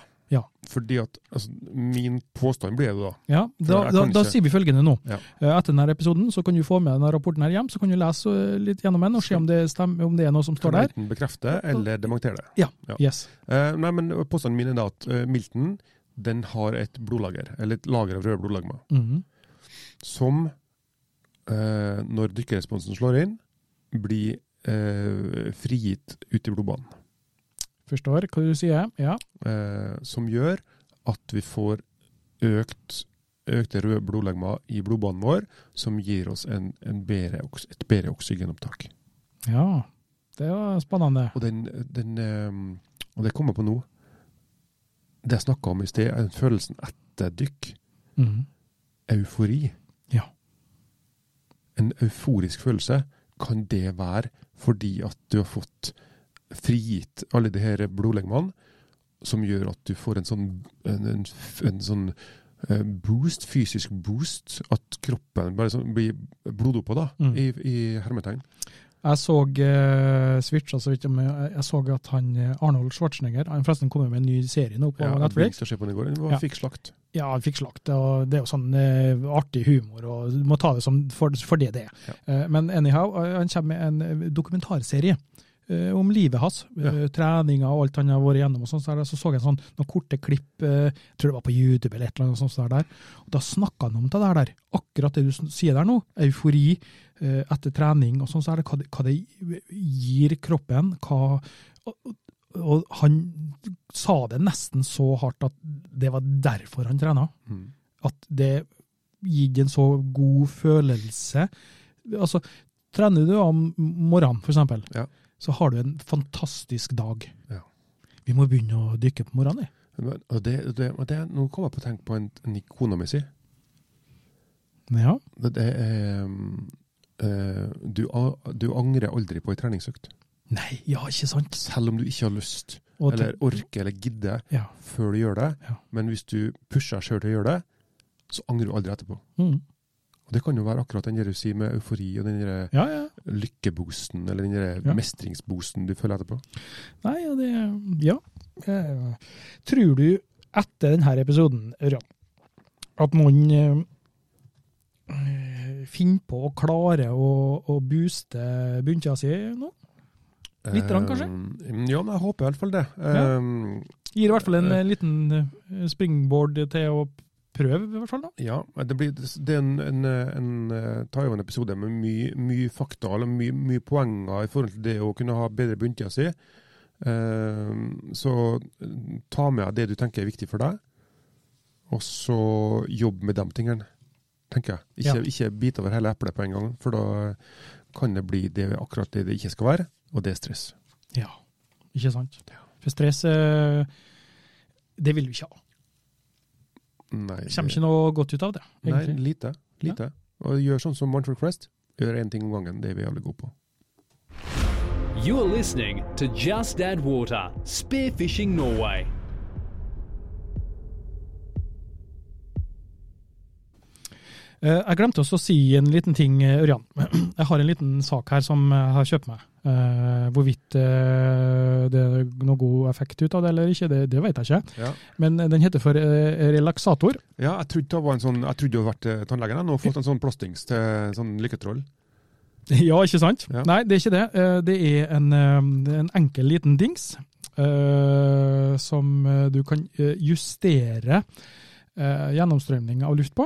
S2: Fordi at altså, Min påstand blir det da.
S1: Ja, da,
S2: jeg
S1: da,
S2: kan
S1: da
S2: ikke-
S1: sier vi følgende nå.
S2: Ja.
S1: Eh, Etter denne episoden så kan du få med denne rapporten her hjem, så kan du lese eh, litt gjennom den og se om det, stemmer, om det er noe som står
S2: Kan jeg
S1: der.
S2: enten bekrefte eller dementere det. Ja.
S1: Yes.
S2: Eh, nei, men Påstanden min er da at eh, milten den har et blodlager, eller et lager av røde blodlegemer,
S1: Mhm.
S2: som eh, når dykkeresponsen slår inn, blir eh, frigitt ut i blodbanen.
S1: Forstår hva du sier. Ja.
S2: Eh, som gjør at vi får økt økte røde blodlegemer i blodbanen vår, som gir oss en, en bedre, oks- et bedre oksygenopptak.
S1: ja. Det var spennende.
S2: Og den, den ehm, Og det kommer jeg på nå. Det jeg snakka om i sted, er den følelsen etter dykk.
S1: Mhm.
S2: Eufori.
S1: Ja.
S2: En euforisk følelse. Kan det være fordi at du har fått frigitt alle de her blodlegemene, som gjør at du får en sånn, en, en, f- en sånn eh, boost, fysisk boost, at kroppen bare sånn blir blodoppa, da,
S1: Mm.
S2: i, i hermetegn.
S1: Jeg så eh, switcha så vidt om jeg, jeg så at han eh, Arnold Schwarzenegger han forresten kommer med en ny serie nå på
S2: Ja, jeg
S1: Netflix.
S2: begynte å se på den i går, den var,
S1: Ja.
S2: fikk slakt.
S1: Ja, han fikk slakt. og Det er jo sånn eh, artig humor, og du må ta det som for, for det det er. Eh, men anyhow, eh, han kommer med en eh, dokumentarserie eh, om livet hans.
S2: Ja.
S1: eh, treninga og alt han har vært igjennom. og sånn, så, der, så så jeg sånn, noen korte klipp, eh, jeg tror det var på YouTube eller et eller annet. sånt så der, der. Og Da snakka han om det der, der. Akkurat det du sn- sier der nå. Eufori eh, etter trening og sånn. så er det hva, det- hva det gir kroppen. hva... og- og- Og han sa det nesten så hardt at det var derfor han trena
S2: Mm.
S1: at det gir en så god følelse. Altså, trener du om morgenen, for eksempel,
S2: Ja.
S1: så har du en fantastisk dag.
S2: Ja.
S1: Vi må begynne å dykke på morgenen, jeg.
S2: Men, og det, det, og det, nå kom jeg på å tenke på en, en ikona mi si.
S1: Ja.
S2: Det, det er um, eh, du, a- du angrer aldri på ei treningsøkt.
S1: Nei, ja, ikke sant?
S2: Selv om du ikke har lyst,
S1: Og
S2: eller
S1: tenk-
S2: orker eller gidder
S1: Ja.
S2: før du gjør det.
S1: Ja.
S2: Men hvis du pusher deg sjøl til å gjøre det, så angrer du aldri etterpå.
S1: Mm.
S2: Og Det kan jo være akkurat den der du sier med eufori og den der
S1: ja, ja.
S2: lykkeboosten eller den der
S1: Ja.
S2: mestringsboosten du føler etterpå.
S1: Nei, ja, det Ja. Eh, Tror du, etter denne episoden, Ørjan, at noen eh, finner på og klarer å, å booste bunta si nå? Litt grann, kanskje?
S2: Eh, Ja, men jeg håper i hvert fall det.
S1: Ja.
S2: Eh,
S1: Gir i hvert fall en eh, liten eh, springboard til å prøve, i hvert fall. da.
S2: Ja, det, blir, det er en, en, en eh, tar jo en episode med mye, mye fakta eller mye, mye poenger i forhold til det å kunne ha bedre bunntida si. Eh, så eh, ta med deg det du tenker er viktig for deg, og så jobb med de tingene, tenker jeg. Ikke, ikke bite over hele eplet på en gang, for da kan det bli det, akkurat det det ikke skal være, og det er stress.
S1: Ja. Ikke sant? For stress, eh, det vil vi ikke ha.
S2: Nei,
S1: Det kommer ikke noe godt ut av det.
S2: nei
S1: egentlig.
S2: lite. lite. Og gjør sånn som Montreal Crest. Gjør én ting om gangen, det er vi jævlig gode på.
S3: You're listening to Just Add Water Spearfishing Norway.
S1: Eh, Jeg glemte også å si en liten ting, eh, Ørjan. Jeg har en liten sak her som jeg har kjøpt meg. Eh, Hvorvidt eh, det er noe god effekt ut av det eller ikke, det, det vet jeg ikke.
S2: Ja.
S1: Men eh, den heter for eh, relaksator.
S2: Ja, jeg trodde det var en sånn, jeg trodde du hadde vært eh, tannlegen. Jeg nå har fått en sånn plastings til sånn lykketroll.
S1: Ja, ikke sant?
S2: Ja.
S1: Nei, det er ikke det. Eh, Det er en, eh, det er en enkel liten dings eh, som eh, du kan eh, justere eh, gjennomstrømning av luft på.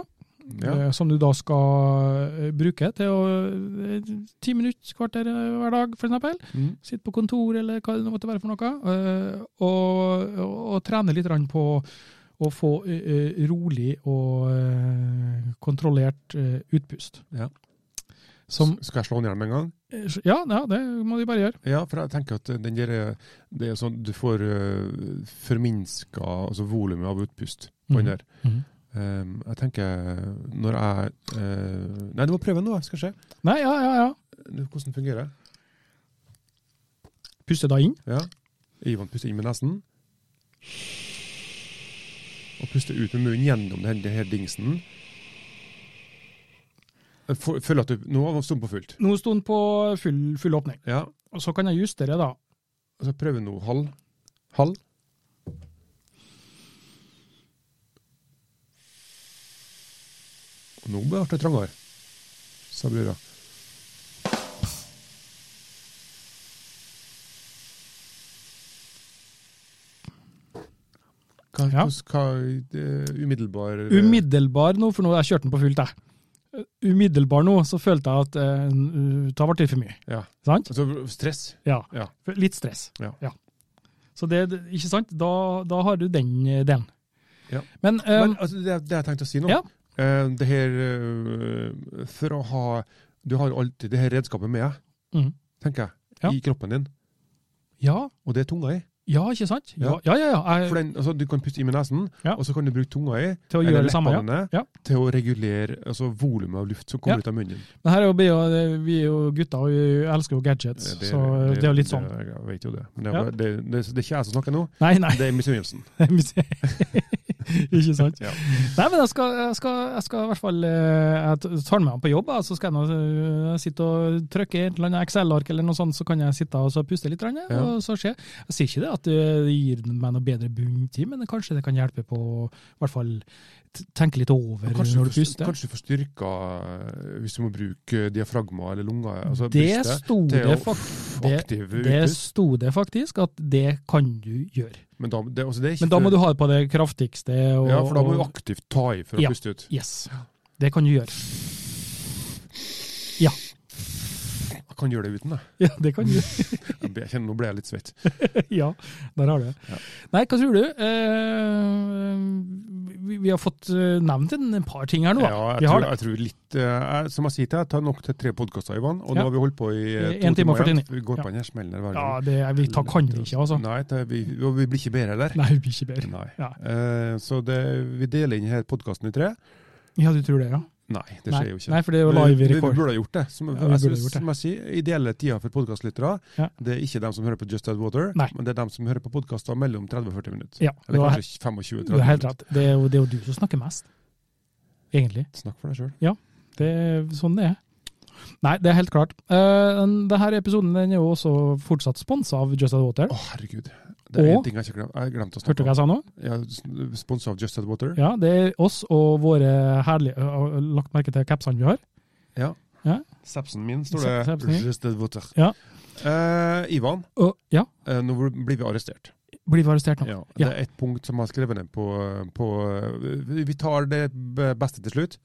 S2: Ja.
S1: eh, Som du da skal eh, bruke til å eh, ti minutter, kvarter eh, hver dag, f.eks.
S2: Mm.
S1: Sitte på kontor eller hva det måtte være for noe. eh, Og, og, og trene litt grann på å få eh, eh, rolig og eh, kontrollert eh, utpust.
S2: Ja.
S1: Som, eh,
S2: S- Skal jeg slå den igjen med en gang?
S1: ja, ja, det må de bare gjøre.
S2: Ja, for jeg tenker at den der, eh, det er sånn, du får uh, forminska altså volumet av utpust på den der. Um, jeg tenker når jeg eh, Nei, du må prøve nå, jeg skal se
S1: Nei, ja, ja, ja.
S2: Du, hvordan fungerer. det?
S1: Puste da inn.
S2: Ja. Ivan puster inn med nesen. Og puster ut med munnen gjennom den den her dingsen. Jeg får- Føler at du Nå har du stumpa fullt.
S1: Nå sto den på full, full åpning.
S2: Ja,
S1: Og så kan jeg justere, da.
S2: Og så prøver vi nå halv. Halv. Og nå ble det trangere, sa brura. Hva,
S1: Ja.
S2: hvordan- hva, det, umiddelbar eh,
S1: Umiddelbar nå, for nå har jeg kjørt den på fullt, jeg. Umiddelbar nå, så følte jeg at eh, det har vært litt for mye.
S2: ja.
S1: Sant?
S2: altså, Stress.
S1: Ja.
S2: Ja.
S1: For Litt stress.
S2: Ja.
S1: Så det, ikke sant? Da, da har du den eh, delen.
S2: Ja.
S1: Men, eh,
S2: Men altså, det, det jeg tenkte å si nå,
S1: Ja.
S2: eh, det her eh, For å ha Du har alltid det her redskapet med deg,
S1: Mhm.
S2: tenker jeg,
S1: Ja.
S2: i kroppen din.
S1: ja,
S2: Og det er tunga i.
S1: ja, ikke sant? Ja,
S2: Ja.
S1: ja, ja. ja.
S2: For
S1: Jeg,
S2: den, altså, du kan puste i med nesen,
S1: Eh, Ja.
S2: og så kan du bruke tunga i
S1: til å
S2: eller
S1: gjøre det samme. Ja.
S2: leppene til å regulere altså, volumet av luft som
S1: Ja.
S2: kommer ut av munnen.
S1: Men her er jo, vi er jo, vi er jo gutter, og vi elsker jo gadgets, så det er jo litt sånn.
S2: det- Jeg vet jo det. Men det, er
S1: Ja.
S2: bare- det, det, det er ikke jeg som snakker nå,
S1: Nei, nei.
S2: det er misunnelsen.
S1: Det er museet. Ikke sant?
S2: Ja.
S1: Nei, men jeg skal, jeg skal, jeg skal i hvert fall eh, Jeg t- tar med han på jobb, jeg, så skal jeg nå eh, sitte og trykke i et eller annet Excel-ark eller noe sånt, så kan jeg sitte og så puste litt. grann,
S2: Ja.
S1: Og så skjer. Jeg sier ikke det at eh, det gir meg noe bedre bunntid, men kanskje det kan hjelpe på å i hvert fall t- tenke litt over
S2: Kanskje
S1: når du
S2: du får-
S1: puster.
S2: kanskje du får styrka eh, hvis du må bruke diafragma eller lunger, altså
S1: det
S2: brystet,
S1: sto det,
S2: til å
S1: fak- det-
S2: aktive
S1: det
S2: utpust.
S1: sto det faktisk, at det kan du gjøre.
S2: Men da, det, altså det er ikke
S1: Men da må du ha det på det kraftigste. Og,
S2: Ja, for da må du
S1: og-
S2: aktivt ta i for å
S1: Ja.
S2: puste ut.
S1: Yes, det kan du gjøre. Ja,
S2: Jeg kan gjøre det uten, jeg.
S1: ja det kan du gjøre.
S2: jeg. ble- jeg kjenner, nå ble jeg litt svett.
S1: ja, der har du det.
S2: Ja.
S1: Nei, hva tror du? Eh, vi, vi har fått eh, nevnt en, en par ting her nå. da.
S2: Ja, jeg,
S1: vi har
S2: tror, jeg tror litt eh, jeg, Som jeg sier til deg, jeg tar nok til tre podkaster, Ivan. Og
S1: Ja.
S2: nå har vi holdt på i eh,
S1: En time og 49.
S2: igjen. Vi går
S1: Ja.
S2: på en her smell der hver
S1: Ja,
S2: gang.
S1: det er, vi tar, kan vi ikke, altså. Nei,
S2: Nei, det, vi, og vi blir ikke bedre der.
S1: vi blir ikke bedre.
S2: Nei.
S1: Ja.
S2: Eh, så det, vi deler inn her podkasten i tre.
S1: Ja, du tror det, ja.
S2: Nei, det
S1: Nei.
S2: skjer jo ikke.
S1: Nei, for det er jo live
S2: Vi-
S1: i
S2: vi, vi
S1: rekord.
S2: burde ha gjort det. Som,
S1: Ja, vi burde
S2: jeg
S1: ha
S2: synes,
S1: gjort det.
S2: som jeg sier, ideelle tida for podkastlyttere,
S1: Ja.
S2: det er ikke dem som hører på Just Add Water,
S1: Nei.
S2: men det er dem som hører på podkaster mellom 30 og 40 minutter.
S1: ja du,
S2: Eller
S1: har,
S2: kanskje 25-30
S1: du har helt
S2: minutter.
S1: rett. Det er, jo, det er jo du som snakker mest, egentlig.
S2: Snakk for deg sjøl.
S1: Det er sånn det er. Nei, det er helt klart. Uh, Denne episoden den er jo også fortsatt sponsa av Just Add Water.
S2: Å, herregud. Det er
S1: Og-
S2: én ting jeg ikke glemte. Jeg glemte å
S1: Hørte du
S2: snakke
S1: hva
S2: om.
S1: jeg sa nå?
S2: Ja, Sponsa av Just Add Water.
S1: Ja, det er oss og våre herlige øh, øh, Lagt merke til capsene vi har.
S2: Sepsen min, står
S1: Sep-
S2: det.
S1: sepsen din.
S2: Just Add Water.
S1: Ja.
S2: Eh, Ivan,
S1: Og ja,
S2: eh, nå blir vi arrestert.
S1: blir vi arrestert nå?
S2: Ja. Det er et punkt som jeg har skrevet ned på, på eh, vi- Vi tar det b- beste til slutt.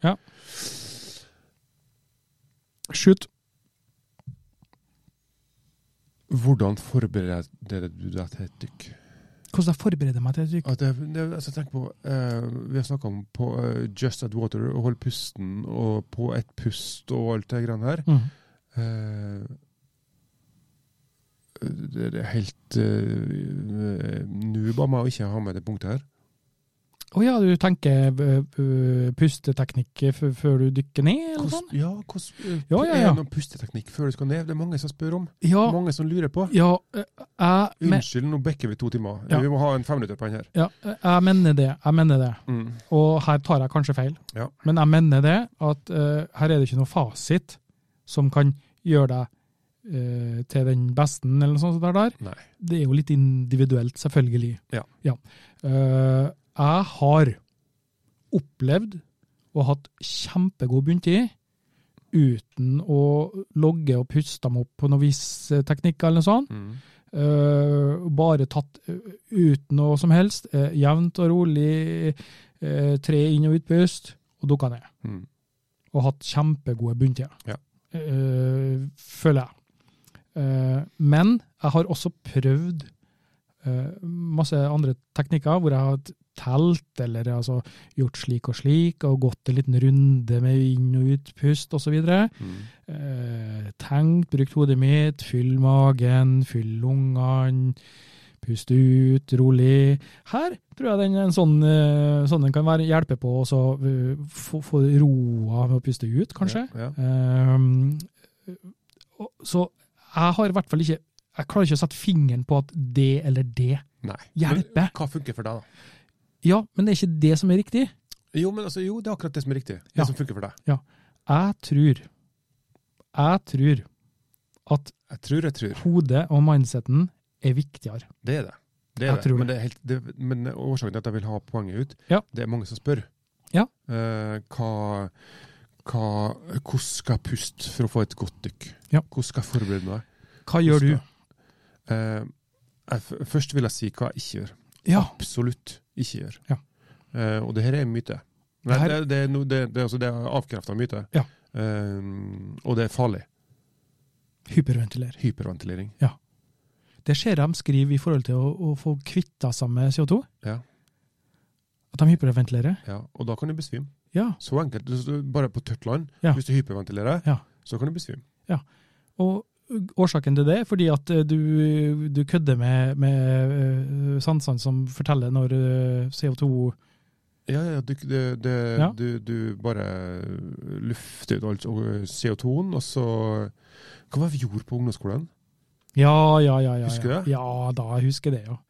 S1: Shoot.
S2: Hvordan forbereder du deg til et dykk?
S1: Hvordan jeg forbereder meg til et dykk?
S2: At det, det, altså, tenk på, eh, vi har snakka om på, eh, Just At Water, å holde pusten og på ett pust og alt det greiene her.
S1: Mm.
S2: Eh, det, det er helt uh, noob av meg å ikke ha med det punktet her.
S1: Å ja, du tenker øh, øh, pusteteknikk f- før du dykker ned, eller
S2: Hvordan-
S1: sånn?
S2: ja, hvordan eh,
S1: Ja, ja,
S2: Er
S1: ja.
S2: det noen pusteteknikk før du skal ned? Det er mange som spør om.
S1: Ja,
S2: Mange som lurer på.
S1: ja øh, jeg, men,
S2: Unnskyld, nå bekker vi to timer.
S1: Ja.
S2: Vi må ha en femminutter på den her. Mm,
S1: ja, øh, jeg mener det. Jeg mener det. Og her tar jeg kanskje feil.
S2: Ja.
S1: Men jeg mener det at øh, her er det ikke noe fasit som kan gjøre deg øh, til den besten, eller noe sånt der. der.
S2: Nei.
S1: det er jo litt individuelt, selvfølgelig.
S2: Ja.
S1: Eh, jeg har opplevd og hatt kjempegod bunntid uten å logge og puste meg opp på noen viss eh, teknikk eller noe sånt.
S2: mm,
S1: Eh, bare tatt eh, uten noe som helst. eh, jevnt og rolig eh, tre inn- og utpust, og dukka ned
S2: Mm.
S1: og hatt kjempegode bunntider.
S2: Ja.
S1: Eh, føler jeg. Eh, men jeg har også prøvd eh, masse andre teknikker hvor jeg har t- telt, eller altså gjort slik og slik, og gått en liten runde med inn- og utpust osv.
S2: Mm.
S1: Eh, tenkt, brukt hodet mitt, fyll magen, fyll lungene, pust ut, rolig. Her tror jeg den er en sånn, eh, sånn den kan være, hjelpe på å så, eh, få, få roa med å puste ut, kanskje.
S2: Ja, ja.
S1: Ehm, og- så jeg har i hvert fall ikke Jeg klarer ikke å sette fingeren på at det eller det
S2: Nei.
S1: hjelper.
S2: Hva funker for deg, da?
S1: Ja, men det er ikke det som er riktig.
S2: Jo, men altså, jo, det er akkurat det som er riktig. Det
S1: Ja.
S2: som funker for deg.
S1: Jeg tror Jeg tror at
S2: Jeg tror jeg tror.
S1: hodet og mindseten er viktigere.
S2: Det er det. Det
S1: Jeg
S2: er det.
S1: tror det.
S2: Men, det er helt, det, men årsaken til at jeg vil ha poenget ut,
S1: Ja.
S2: det er mange som spør.
S1: Ja.
S2: Eh, hva, hva, hvordan skal jeg puste for å få et godt dykk?
S1: Ja.
S2: Hvordan skal jeg forberede meg?
S1: Hva gjør du?
S2: Eh, jeg, f- først vil jeg si hva jeg ikke gjør.
S1: Ja,
S2: Absolutt ikke gjør.
S1: Ja.
S2: Eh, og det her er en myte. Nei,
S1: Det
S2: det,
S1: her-
S2: det, er no, det, det, er altså, det er avkrefta myte.
S1: Ja.
S2: Eh, og det er farlig.
S1: hyperventiler.
S2: Hyperventilering.
S1: Det ser de skriver i forhold til å, å få kvitta seg med CO2.
S2: Ja.
S1: At de hyperventilerer.
S2: Ja, og da kan du besvime.
S1: Ja,
S2: Så enkelt. Du- du- Bare på tørt land.
S1: Ja.
S2: Hvis du hyperventilerer,
S1: Ja.
S2: så kan du besvime.
S1: og årsaken til det er fordi at eh, du, du kødder med, med eh, sansene som forteller når eh, CO2
S2: Ja, ja, du, det, det,
S1: Ja.
S2: Du, du bare lufter ut alt og CO2-en, og så Hva var det vi gjorde på ungdomsskolen?
S1: Ja, ja, ja. ja, ja.
S2: Husker du det?
S1: Ja da, jeg husker det, ja.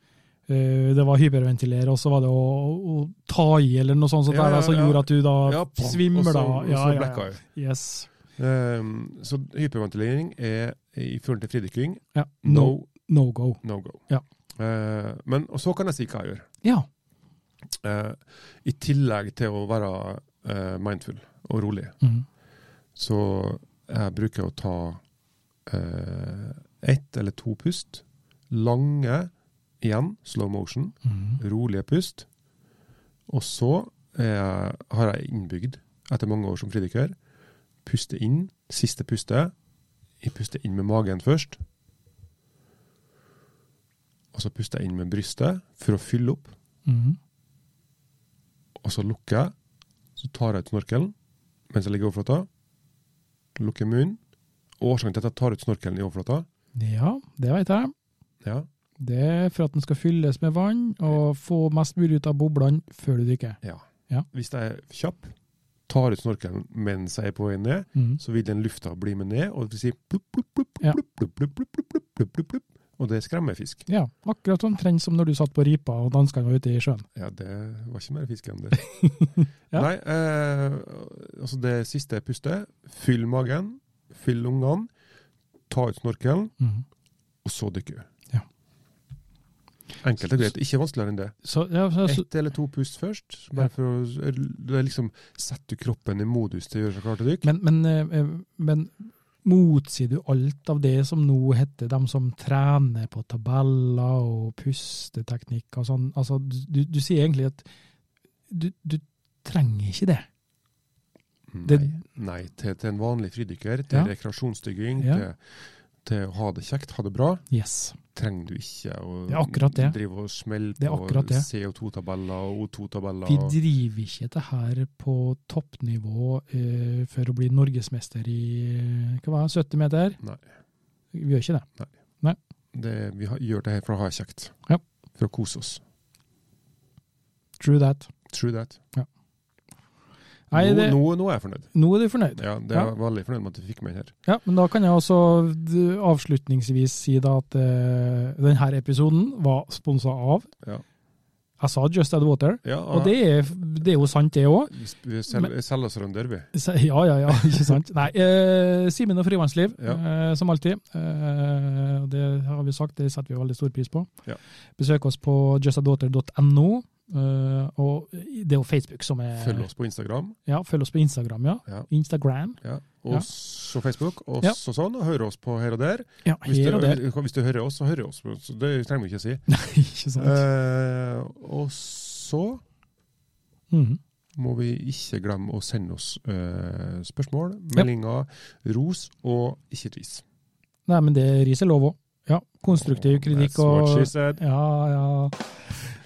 S1: eh, det var hyperventilere, og så var det å, å ta i eller noe sånt, sånt
S2: Ja,
S1: der,
S2: ja,
S1: som
S2: ja.
S1: gjorde at du da
S2: Ja, pang,
S1: svimmer.
S2: og så-
S1: da.
S2: og så
S1: Ja, ja,
S2: blacka
S1: ja. Yes.
S2: Ehm, så hyperventilering er i forhold til fridykking
S1: Ja. No,
S2: no,
S1: no go.
S2: no go.
S1: Ja.
S2: Eh, men og så kan jeg si hva jeg gjør.
S1: Ja.
S2: Eh, I tillegg til å være eh, mindful og rolig,
S1: Mhm.
S2: så jeg bruker å ta eh, ett eller to pust. Lange, igjen, slow motion.
S1: Mhm.
S2: Rolige pust. Og så eh, har jeg innbygd, etter mange år som fridykker, puste inn, siste puste. Jeg puster inn med magen først. Og så puster jeg inn med brystet for å fylle opp.
S1: Mhm.
S2: Og så lukker jeg. Så tar jeg ut snorkelen mens jeg ligger i overflata. Lukker munnen. Årsaken til at jeg tar ut snorkelen i overflata
S1: Ja, det veit jeg.
S2: ja.
S1: Det er for at den skal fylles med vann og få mest mulig ut av boblene før du dykker. Ja.
S2: Hvis jeg er kjapp, tar ut snorkelen mens jeg er på vei ned,
S1: Mhm.
S2: så vil den lufta bli med ned, og det vil si plupp, plupp, plupp,
S1: Ja.
S2: plupp, plupp, plupp, plupp, plupp, plupp, plupp, plupp, plupp. Og det skremmer fisk.
S1: Ja, akkurat omtrent som når du satt på ripa og danskene var ute i sjøen.
S2: Ja, det var ikke mer fisk enn det.
S1: Ja.
S2: Nei, eh, altså det siste pustet, fyll magen, fyll lungene, ta ut snorkelen,
S1: Mhm.
S2: og så dykke.
S1: Ja.
S2: Enkelt og greit. Ikke vanskeligere enn det.
S1: Så, ja, så, så,
S2: Ett eller to pust først. Bare for å det er liksom Setter kroppen i modus til å gjøre seg klar til dykk.
S1: men, men, eh, men motsier du alt av det som nå heter dem som trener på tabeller og pusteteknikk og sånn? Altså, du, du sier egentlig at du, du trenger ikke det.
S2: Nei,
S1: det-
S2: nei til, til en vanlig fridykker, til
S1: Ja.
S2: rekreasjonsdykking,
S1: Ja.
S2: til, til å ha det kjekt, ha det bra,
S1: Yes.
S2: trenger du ikke å
S1: Det er akkurat det.
S2: drive og smelle
S1: Det er
S2: på
S1: akkurat det.
S2: CO2-tabeller og O2-tabeller.
S1: Vi
S2: og-
S1: driver ikke det her på toppnivå eh, for å bli norgesmester i eh, hva var det, 70 meter.
S2: Nei.
S1: Vi gjør ikke det.
S2: det, vi har, gjør det her for å ha det kjekt.
S1: Ja.
S2: For å kose oss.
S1: True that.
S2: True that.
S1: Nei,
S2: nå,
S1: det,
S2: nå, nå er jeg fornøyd.
S1: nå er du fornøyd.
S2: Ja, det
S1: Ja.
S2: er jeg veldig fornøyd med at du fikk meg her.
S1: Ja, men da kan jeg også d- avslutningsvis si da at eh, denne episoden var sponsa av
S2: Ja.
S1: Jeg sa Just Add Water,
S2: Ja,
S1: og det er, det er jo sant, det òg.
S2: vi, vi selger, selger oss rundt der, vi.
S1: Ja, ja, ja, ikke sant. Nei, eh, Simen og frivannsliv,
S2: Ja.
S1: eh, som alltid. Eh, og det har vi sagt, det setter vi veldig stor pris på.
S2: Ja.
S1: Besøk oss på justadaughter.no. Eh, og det er jo Facebook som er
S2: Følg oss på Instagram.
S1: Ja, følg oss på Instagram, ja.
S2: Ja.
S1: Instagram.
S2: Ja.
S1: Ja.
S2: Også Facebook, og
S1: Ja.
S2: så sånn, og hør oss på her og der.
S1: Ja,
S2: Hvis du,
S1: her og der.
S2: hvis du hører oss, så hører oss. Så det trenger vi ikke å si.
S1: ikke sant?
S2: Eh, og så
S1: Mhm.
S2: må vi ikke glemme å sende oss eh, spørsmål, meldinger, ros og ikke ris.
S1: Nei, men det riset lov òg. Ja, konstruktiv kritikk
S2: That's what
S1: og
S2: she said.
S1: Ja, ja.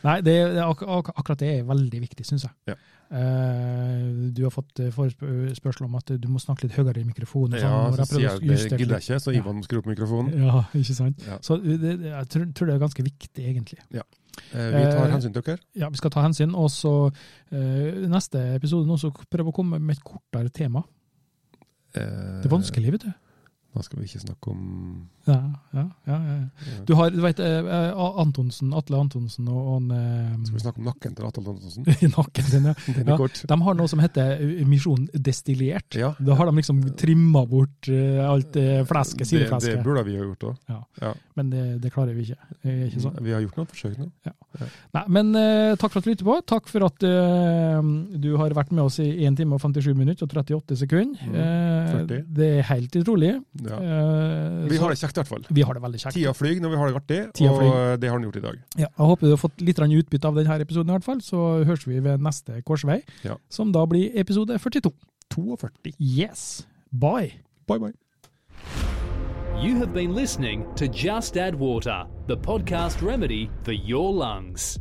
S1: Nei, det, det, ak ak akkurat det er veldig viktig, syns jeg.
S2: Ja.
S1: Eh, du har fått eh, forespørsel om at du må snakke litt høyere i mikrofonen. og
S2: Ja,
S1: sånn, og
S2: så
S1: jeg prøvde
S2: sier
S1: å
S2: jeg det
S1: justere
S2: gidder
S1: litt.
S2: jeg ikke, så Ivan skrur opp mikrofonen.
S1: Ja, ikke sant?
S2: Ja.
S1: Så det, det- jeg tror, tror det er ganske viktig, egentlig.
S2: Eh, vi tar
S1: Eh,
S2: hensyn til dere.
S1: Ja, Vi skal ta hensyn. Og så eh, neste episode nå, så prøv å komme med et kortere tema.
S2: Eh,
S1: Det er vanskelig, vet du.
S2: Da skal vi ikke snakke om
S1: Ja, ja, ja, ja. Du har, du vet, eh, eh, Antonsen, Atle Antonsen og han
S2: Skal vi
S1: eh,
S2: snakke om nakken til Atle Antonsen?
S1: Nakken sin, ja.
S2: Den er
S1: Ja.
S2: kort.
S1: De har noe som heter eh, Misjon destillert.
S2: Ja.
S1: Da har de liksom trimma bort eh, alt det fleske,
S2: Det, det
S1: sidefleske.
S2: burde vi ha gjort òg.
S1: Men det, det klarer vi ikke. Det er ikke sånn.
S2: Vi har gjort noen forsøk nå.
S1: Nei, men eh, takk for at du lytter på. Takk for at eh, du har vært med oss i 1 time og 57 minutter og 38 sekunder. Eh,
S2: 40.
S1: det er helt utrolig.
S2: Mm, Ja.
S1: Eh,
S2: Vi
S1: så-
S2: har det kjekt i hvert fall.
S1: vi har det veldig kjekt.
S2: Tida flyr når vi har det artig,
S1: Tida
S2: og
S1: flyr.
S2: eh, det har den gjort i dag.
S1: Ja, jeg håper du har fått litt grann utbytte av denne episoden, i hvert fall. Så høres vi ved neste korsvei,
S2: Ja.
S1: som da blir episode 42.
S2: 42.
S1: Yes! Bye!
S2: Bye, bye.
S3: You have been listening to Just Add Water, the podcast remedy for your lungs.